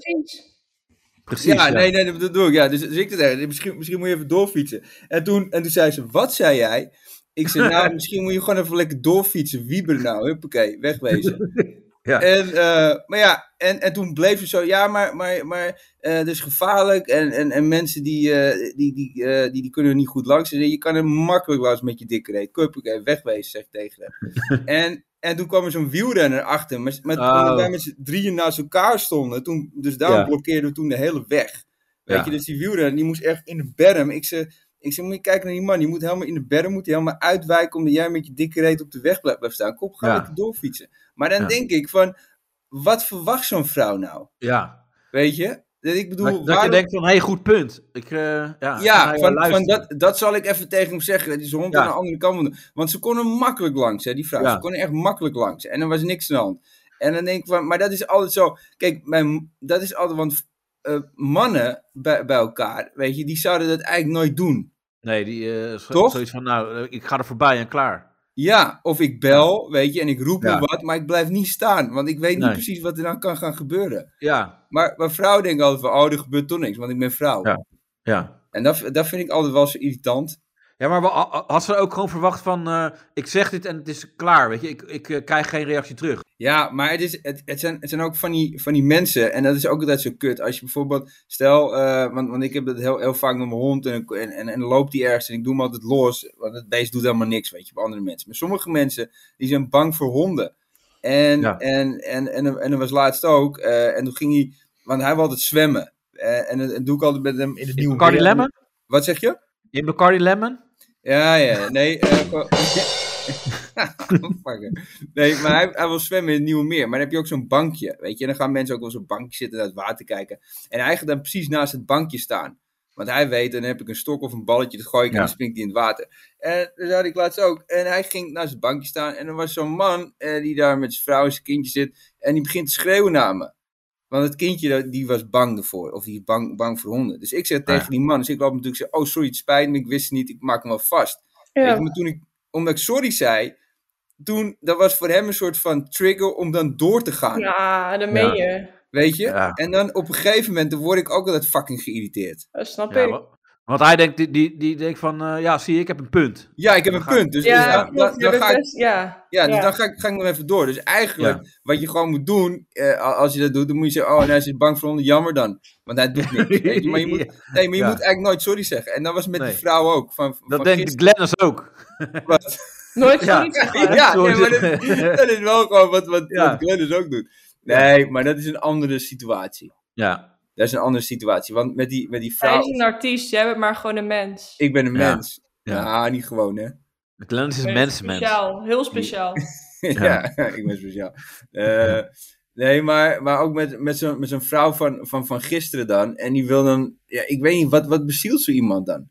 S4: Precies,
S5: Ja,
S4: ja.
S5: nee, nee, dat bedoel ik. Ja. Dus, dus ik zei, misschien, misschien moet je even doorfietsen. En toen, en toen zei ze, wat zei jij? Ik zei, nou, misschien moet je gewoon even lekker doorfietsen. Wieber nou, huppakee, wegwezen.
S4: Ja.
S5: En, eh, maar ja, en, en toen bleef ze zo, ja, maar, maar, maar eh dat is gevaarlijk. En, en, en mensen die, eh, die, die, eh, die, die kunnen er niet goed langs. Ze zei, je kan er makkelijk wel eens met je dikke reet. Huppakee, wegwezen, zeg ik tegen haar. en, en toen kwam er zo'n wielrenner achter. Met, met,
S4: Oh.
S5: Omdat wij met z'n drieën naast elkaar stonden. Toen, dus daarom
S4: Ja.
S5: blokkeerden we toen de hele weg. Weet
S4: Ja.
S5: je, dus die wielrenner, die moest echt in de berm. Ik zei, ik zei, moet je kijken naar die man. Die moet helemaal in de berm, moet hij helemaal uitwijken... omdat jij met je dikke reet op de weg blijft, blijft staan. Kom, ga
S4: Ja.
S5: lekker doorfietsen. Maar dan
S4: Ja.
S5: denk ik van, wat verwacht zo'n vrouw nou?
S4: Ja.
S5: Weet je? Dat, ik bedoel,
S4: Dat, dat je
S5: waarom-
S4: denkt van, hé, hey, goed punt. Ik, eh, ja, ik ga
S5: ja,
S4: je
S5: van,
S4: luisteren.
S5: van dat, dat zal ik even tegen hem zeggen. Dat hij zijn hond
S4: Ja.
S5: aan de andere kant moet doen. Want ze konden makkelijk langs, hè, die vrouw.
S4: Ja.
S5: Ze konden echt makkelijk langs. En er was niks aan de hand. En dan denk ik van, maar dat is altijd zo. Kijk, mijn, dat is altijd, want eh, mannen bij, bij elkaar, weet je, die zouden dat eigenlijk nooit doen.
S4: Nee, die eh, zo-
S5: Toch?
S4: zoiets van, nou, eh, ik ga er voorbij en klaar.
S5: Ja, of ik bel, weet je, en ik roep
S4: Ja.
S5: me wat, maar ik blijf niet staan. Want ik weet
S4: Nee.
S5: niet precies wat er dan kan gaan gebeuren.
S4: Ja,
S5: Maar, maar vrouwen denken altijd van, oh, er gebeurt toch niks, want ik ben vrouw.
S4: Ja. ja.
S5: En dat, dat vind ik altijd wel zo irritant.
S4: Ja, maar wa- ha- had ze ook gewoon verwacht van, eh, ik zeg dit en het is klaar, weet je. Ik, ik eh, krijg geen reactie terug.
S5: Ja, maar het, is, het, het, zijn, het zijn ook van die, van die mensen. En dat is ook altijd zo kut. Als je bijvoorbeeld, stel, eh, want, want ik heb dat heel, heel vaak met mijn hond. En, ik- en, en, en dan loopt die ergens en ik doe hem altijd los. Want het beest doet helemaal niks, weet je, bij andere mensen. Maar sommige mensen, die zijn bang voor honden. En,
S4: Ja.
S5: en, en, en, en er was laatst ook. eh, en toen ging hij, want hij wil altijd zwemmen. Eh, en dat dat doe ik altijd met hem in het nieuwe
S4: Bacardi
S5: weer.
S4: Lemon?
S5: Wat zeg je?
S4: In Bacardi Lemon?
S5: Ja, ja, nee. eh, gewoon- Fucker. nee, maar hij, hij wil zwemmen in het Nieuwe Meer. Maar dan heb je ook zo'n bankje, weet je. En dan gaan mensen ook wel zo'n bankje zitten naar het water kijken. En hij gaat dan precies naast het bankje staan. Want hij weet, dan heb ik een stok of een balletje, dat gooi ik en
S4: Ja.
S5: dan springt hij in het water. En dat had ik laatst ook. En hij ging naast het bankje staan. En er was zo'n man eh, die daar met zijn vrouw en zijn kindje zit. En die begint te schreeuwen naar me. Want het kindje dat- die was bang ervoor. Of die is bang, bang voor honden. Dus ik zeg tegen die man. Dus ik loop natuurlijk zeggen. Oh sorry het spijt me. Ik wist het niet. Ik maak hem wel vast.
S3: Ja.
S5: Weet je, maar toen ik, omdat ik sorry zei. Toen, dat was voor hem een soort van trigger om dan door te gaan.
S3: Ja, dan meen je.
S5: Weet je?
S4: Ja.
S5: En dan op een gegeven moment dan word ik ook altijd fucking geïrriteerd.
S3: Dat snap
S4: Ja,
S3: ik.
S4: wa- want hij denkt, die, die, die denkt van, eh, ja, zie je, ik heb een punt.
S5: Ja, ik heb een punt. Dus, dus
S3: ja,
S5: dan, dan,
S3: klopt. Je
S5: dan
S3: bent
S5: ga ik,
S3: best- ja.
S5: Ja, dus dan ga ik, ga ik nog even door. Dus eigenlijk, wat je gewoon moet doen, eh, a- als je dat doet, dan moet je zeggen, oh, en hij zit bang voor honden, jammer dan. Want hij doet niks. weet je. maar je moet, nee, maar je
S4: Ja.
S5: moet eigenlijk nooit sorry zeggen. En dat was met
S4: Nee.
S5: die vrouw ook. Van,
S4: Dat denkt Glennis ook.
S3: Nooit
S5: ja,
S3: sorry zeggen.
S5: ja, nee, maar dat, dat is wel gewoon wat, wat,
S4: Ja.
S5: wat Glennis ook doet. Nee, maar dat is een andere situatie.
S4: Ja.
S5: Dat is een andere situatie. Want met die, met die
S3: Hij
S5: vrouw,
S3: is nou- een artiest, jij bent maar gewoon een mens.
S5: ik ben een
S4: Ja.
S5: mens. Ja, niet gewoon, hè.
S4: Glennis is
S3: Ik
S4: een
S3: ben
S4: mensenmens.
S3: Speciaal, heel speciaal.
S5: ja, ik ben speciaal. Eh, Nee, maar, maar ook met, met zo'n met zo'n vrouw van, van, van gisteren dan. En die wil dan... Ja, ik weet niet, wat, wat bezielt zo iemand dan?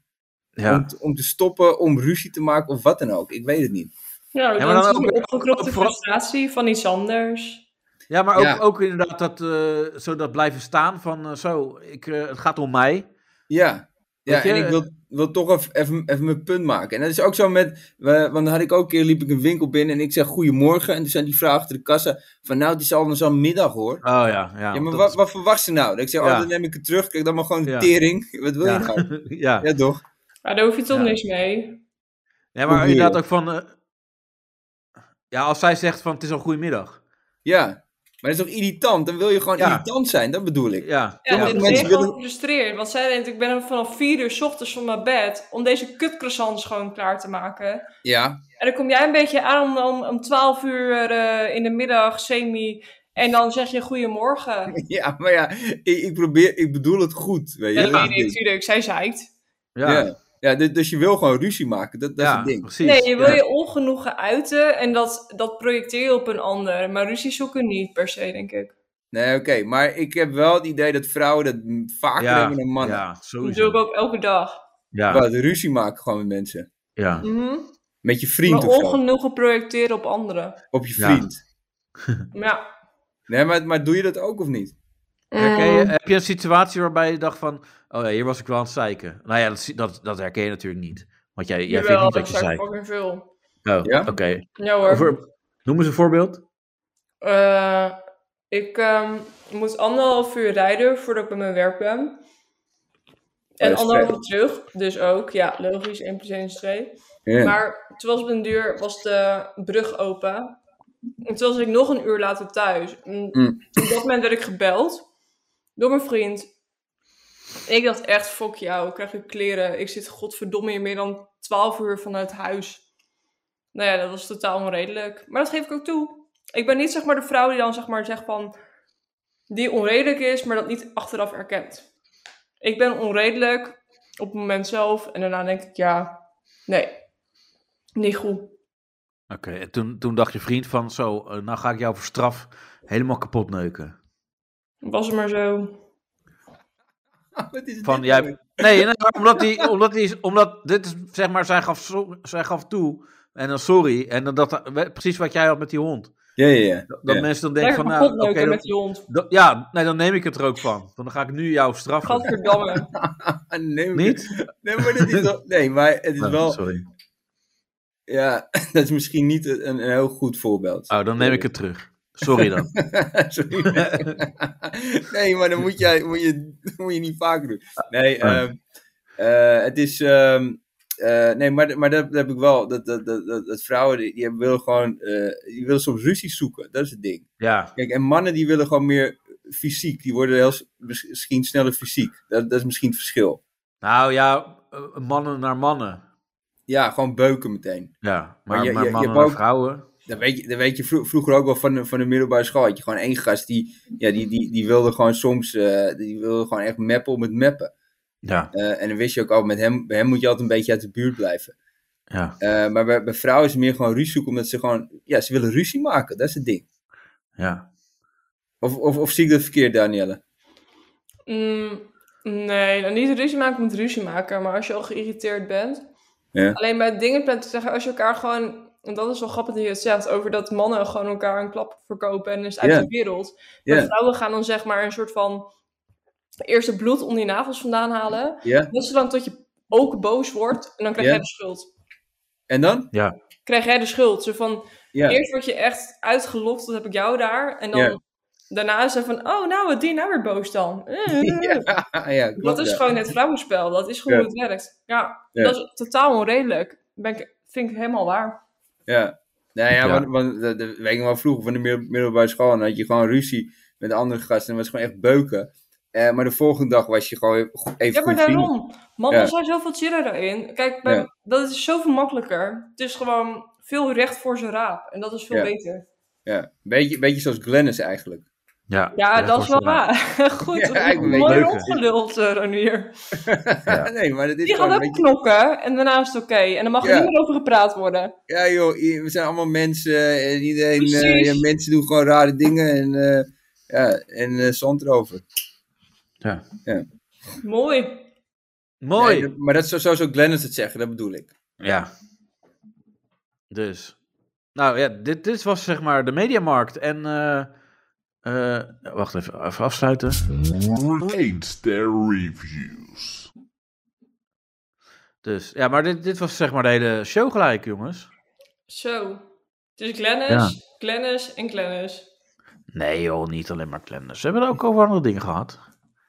S4: Ja.
S5: Om, te- om te stoppen, om ruzie te maken of wat dan ook. Ik weet het niet.
S3: Ja,
S4: Ja,
S3: dan
S4: maar dan
S3: is
S4: ook-
S3: die opgekropte
S4: ook vooral-
S3: frustratie van iets anders.
S4: Ja, maar ook,
S5: Ja.
S4: ook inderdaad dat, eh, zo dat blijven staan van eh, zo, ik, eh, het gaat om mij.
S5: Ja, ja
S4: Weet je,
S5: en ik
S4: eh,
S5: wil, wil toch even, even, even mijn punt maken. En dat is ook zo met... we- want dan had ik ook een keer, liep ik een winkel binnen en ik zeg goedemorgen. En toen zei die vrouw achter de kassa van nou, het is al zo'n middag hoor.
S4: Oh ja, ja.
S5: Ja, maar
S4: dat
S5: wat,
S4: is-
S5: wat verwacht ze nou? Dat ik zeg,
S4: Ja.
S5: oh, dan neem ik het terug. Kijk, dan maar gewoon de
S4: Ja.
S5: tering. Wat wil
S4: Ja.
S5: je nou?
S4: ja.
S5: Ja, toch?
S3: Maar daar hoef je toch
S4: Ja.
S3: niks mee.
S4: ja, maar
S5: Hoe
S4: inderdaad ook van, eh, ja, als zij zegt van het is al goedemiddag.
S5: Ja, maar dat is toch irritant? Dan wil je gewoon
S4: Ja.
S5: irritant zijn, dat bedoel ik.
S4: Ja,
S3: Ja,
S5: Sommige
S3: ik ben
S5: mensen
S3: gewoon
S5: willen...
S3: gefrustreerd. Want zij denkt, ik ben er vanaf vier uur 's ochtends van mijn bed om deze kutcroissants gewoon klaar te maken.
S5: Ja,
S3: En dan kom jij een beetje aan om, om, om 12 uur eh, in de middag, semi. En dan zeg je goedemorgen.
S5: ja, maar ja, ik, ik probeer, ik bedoel het goed, weet je.
S3: Ja,
S5: dat is
S3: nee,
S5: het
S3: nee,
S5: ding.
S3: natuurlijk. Zij zeikt.
S5: ja. ja. dus- dus je wil gewoon ruzie maken, dat, dat is
S4: Ja,
S5: het ding.
S4: precies.
S3: Nee, je wil
S5: Ja.
S3: je ongenoegen uiten en dat, dat projecteer je op een ander. Maar ruzie zoeken niet per se, denk ik.
S5: Nee, oké. Maar ik heb wel het idee dat vrouwen dat m- vaker
S4: Ja,
S5: hebben dan mannen.
S4: ja,
S3: Dat doe ik ook elke dag.
S4: Ja.
S5: Wat, ruzie maken gewoon met mensen.
S4: Ja.
S3: Mhm.
S5: Met je vriend
S3: Maar
S5: of zo.
S3: ongenoegen projecteren op anderen.
S5: Op je
S4: Ja.
S5: vriend.
S3: Ja.
S5: Nee, maar, maar doe je dat ook of niet?
S4: Herken je,
S3: Ehm.
S4: heb je een situatie waarbij je dacht van, oh ja, hier was ik wel aan het zeiken. Nou ja, dat, zie- dat, dat herken je natuurlijk niet. Want jij, jij vindt niet dat je
S3: zijn
S4: zeikt.
S3: fucking veel.
S4: Oh,
S5: Ja?
S4: oké.
S3: Ja hoor.
S4: Voor- Noem eens een voorbeeld.
S3: Eh, ik ehm, moet anderhalf uur rijden voordat ik bij mijn werk ben. En
S5: Oh, Dat is
S3: anderhalf
S5: ver.
S3: uur terug, dus ook. Ja, logisch. 1 plus 1 is 2.
S5: Ja.
S3: Maar toen was op een duur was de brug open. En toen was ik nog een uur later thuis. En
S5: Mm.
S3: Op dat moment werd ik gebeld door mijn vriend. En ik dacht echt, fuck jou, ik krijg je kleren. Ik zit godverdomme hier meer dan 12 uur vanuit huis. Nou ja, dat was totaal onredelijk. Maar dat geef ik ook toe. Ik ben niet zeg maar de vrouw die dan zeg maar zegt van... Die onredelijk is, maar dat niet achteraf erkent. Ik ben onredelijk op het moment zelf. En daarna denk ik, ja, nee. Niet goed.
S4: Oké, en toen, toen dacht je vriend van, zo, eh, nou ga ik jou voor straf helemaal kapot neuken.
S3: Was het maar zo.
S4: Van, jij...
S5: nou?
S4: Nee, nee, maar omdat, die, omdat, die, is- omdat dit is, zeg maar, zij gaf, so- zij gaf toe en dan sorry. En dan dat, we- precies wat jij had met die hond.
S5: Ja, ja, ja.
S4: Dat
S5: Ja.
S4: mensen dan denken van,
S3: Lekker
S4: nou,
S3: kapot
S4: oké.
S3: neuken
S4: dan-
S3: met die hond.
S4: dan- ja, nee, dan neem ik het er ook van. Want dan ga ik nu jou straffen.
S3: Gadverdamme.
S5: Ah, Nee, maar-
S4: Niet?
S5: Nee, maar, dit is wel- nee, maar het is
S4: Oh,
S5: wel...
S4: Sorry.
S5: Ja, dat is misschien niet een, een heel goed voorbeeld. Eh,
S4: Oh, dan neem ik het terug. Sorry dan.
S5: Sorry. nee, maar dan moet, jij, moet, je, moet je niet vaker doen. Nee,
S4: Ah.
S5: ehm, eh, het is. ehm, eh, nee, maar, maar dat, dat heb ik wel. Dat, dat, dat, dat, dat vrouwen die, die willen gewoon. eh, die willen soms ruzie zoeken. Dat is het ding.
S4: Ja.
S5: Kijk, en mannen die willen gewoon meer fysiek. Die worden heel, s- misschien sneller fysiek. Dat, dat is misschien het verschil.
S4: Nou ja, eh, mannen naar mannen.
S5: Ja, gewoon beuken meteen.
S4: Ja, maar,
S5: Maar je-
S4: maar
S5: je- je
S4: mannen
S5: hebt ook-
S4: naar vrouwen.
S5: Dat weet je, dat weet je vro- vroeger ook wel van de, van de middelbare school. Had je gewoon één gast die, ja, die, die, die wilde gewoon soms eh, die wilde gewoon echt meppen om het meppen.
S4: Ja.
S5: Eh, en dan wist je ook al, met hem, bij hem moet je altijd een beetje uit de buurt blijven.
S4: Ja.
S5: Eh, maar bij, bij vrouwen is het meer gewoon ruzie zoeken, omdat ze gewoon, ja, ze willen ruzie maken. Dat is het ding.
S4: Ja.
S5: Of, of, of zie ik dat verkeerd, Danielle?
S3: Mm, nee, nou, niet ruzie maken moet ruzie maken. Maar als je al geïrriteerd bent.
S5: Ja.
S3: Alleen bij dingen ben te zeggen, als je elkaar gewoon... En dat is wel grappig dat je het zegt, over dat mannen gewoon elkaar een klap verkopen en is het uit
S5: Ja.
S3: de wereld.
S5: Ja.
S3: Maar vrouwen gaan dan zeg maar een soort van eerst het bloed onder die nagels vandaan halen.
S5: Ja.
S3: Dat is dan tot je ook boos wordt en dan krijg
S5: Ja.
S3: jij de schuld.
S5: En dan?
S4: Ja.
S3: Krijg jij de schuld. Zo van,
S5: Ja.
S3: eerst word je echt uitgelokt, dat heb ik jou daar. En dan
S5: Ja.
S3: daarna is het van, oh nou, wat die nou weer boos dan? Eh,
S5: ja, ja, klopt,
S3: dat is
S5: ja.
S3: gewoon het vrouwenspel. Dat is gewoon
S5: Ja.
S3: hoe het werkt. Ja,
S5: Ja.
S3: dat is totaal onredelijk. Ben ik, vind ik helemaal waar.
S5: Ja. Nou ja,
S4: Ja.
S5: Want, want dat, dat weet ik nog wel vroeger van de middel- middelbare school. Dan had je gewoon ruzie met de andere gasten. En was het gewoon echt beuken. Eh, maar de volgende dag was je gewoon even
S3: ja, maar
S5: goed vrienden.
S3: daarom. Mannen
S5: Ja.
S3: zijn zoveel chiller daarin. Kijk, bij-
S5: Ja.
S3: dat is zoveel makkelijker. Het is gewoon veel recht voor zijn raap. En dat is veel
S5: Ja.
S3: beter.
S5: Ja, beetje, beetje zoals Glennis eigenlijk.
S4: Ja,
S3: Ja, dat is wel waar. Goed,
S5: Ja, ik weet
S3: mooi
S5: het.
S3: rondgeluld, eh, Ronier.
S5: nee, maar dat is
S3: Die
S5: gewoon
S3: gaat
S5: een
S3: ook
S5: beetje...
S3: knokken en daarna is het oké. En dan mag er
S5: Ja.
S3: niet meer over gepraat worden.
S5: Ja joh, i- we zijn allemaal mensen en iedereen... eh,
S3: Precies.
S5: ja, mensen doen gewoon rare dingen en... eh, ja, en eh, zand erover.
S4: Ja.
S5: ja.
S3: Mooi.
S4: Mooi.
S5: Nee, dat- maar dat zou zo zou Glennis het zeggen, dat bedoel ik.
S4: Ja. Dus. Nou ja, dit, dit was zeg maar de mediamarkt. En. eh, eh, wacht even, even afsluiten.
S1: Rate their reviews.
S4: Dus ja, maar dit, dit was zeg maar de hele show gelijk, jongens.
S3: Zo. Dus Glennis,
S4: Ja.
S3: Glennis en Glennis.
S4: Nee, joh, niet alleen maar klenders. Ze hebben het ook over andere dingen gehad.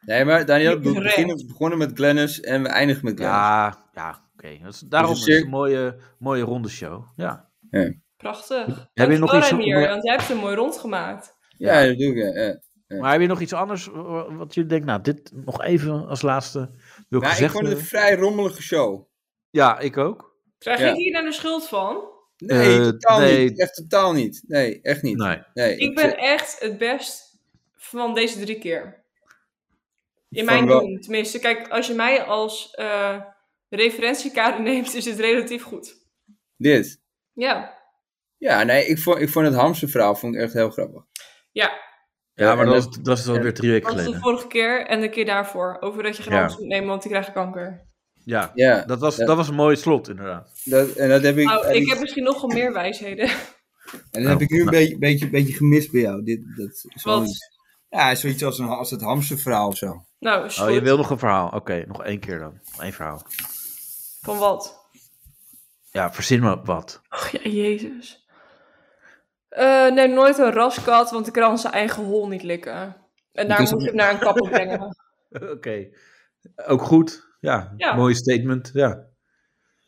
S5: Nee, maar Daniel, we
S3: Iedereen.
S5: beginnen, we begonnen met Glennis en we eindigen met Glennis.
S4: Ja, ja oké. Dat is- Daarom
S5: Dus
S4: is
S5: een
S4: het
S5: cir-
S4: een mooie, mooie ronde show. Ja.
S5: Ja.
S3: Prachtig.
S4: Heb je nog
S3: Dankjewel,
S4: iets-
S3: Reinier,
S4: maar-
S3: want jij hebt hem mooi rondgemaakt.
S5: Ja, dat doe ik, ja. ja.
S4: Maar heb je nog iets anders eh, wat je denkt? Nou, dit nog even als laatste wil ik
S5: Nou, ik
S4: gezegd eh?
S5: vond het een
S4: hebben?
S5: vrij rommelige show.
S4: Ja, ik ook.
S3: Krijg
S5: Ja.
S3: ik hier nou de schuld van?
S5: Nee,
S4: Eh,
S5: totaal
S4: nee.
S5: niet. Echt totaal niet. Nee, echt niet.
S4: Nee.
S5: Nee,
S3: Ik ben echt het best van deze drie keer. In
S5: Van
S3: mijn
S5: wel-
S3: doen, tenminste. Kijk, als je mij als eh, referentiekader neemt, is het relatief goed.
S5: Dit.
S3: Ja,
S5: Ja, nee, ik vond, ik vond het hamsterverhaal vond ik echt heel grappig.
S3: ja.
S4: Ja, maar
S5: en
S4: dat,
S5: dat-
S4: was- dat is alweer drie weken
S3: Dat was de
S4: geleden.
S3: vorige keer en de keer daarvoor. Over dat je geen
S4: Ja.
S3: anders moet nemen, want die krijgen kanker.
S4: Ja,
S5: Ja,
S4: dat, was,
S5: dat-
S4: dat... was een mooi slot, inderdaad.
S5: Dat, en dat heb ik,
S3: Nou,
S5: en
S3: ik
S5: ik-
S3: heb misschien nogal meer wijsheden.
S5: en dat heb ik nu een
S4: nou.
S5: beetje, beetje, beetje gemist bij jou. Dit, dat is wel
S3: Wat?
S5: iets- Ja, zoiets als, een, als het hamsterverhaal of zo.
S3: Nou, is
S4: Oh, je
S3: goed.
S4: wil nog een verhaal? Oké, nog één keer dan. Eén verhaal.
S3: Van wat?
S4: Ja, verzin maar wat.
S3: Och, ja, jezus. Eh, nee, nooit een raskat, want ik kan zijn eigen hol niet likken. En daar
S4: Dus-
S3: moet je hem naar een kapper brengen.
S4: Oké. Ook goed. Ja,
S3: Ja.
S4: mooi statement. Ja.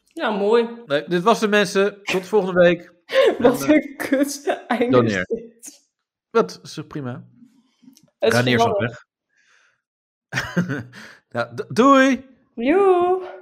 S3: Ja, mooi.
S4: Nee, dit was de mensen. Tot volgende week.
S3: Wat
S4: En, eh,
S3: een kut einde is
S4: Doneer.
S3: dit.
S4: Dat is eh, prima.
S3: Het is
S4: Ranier zat
S3: geweldig.
S4: weg. ja, d- doei!
S3: Joe.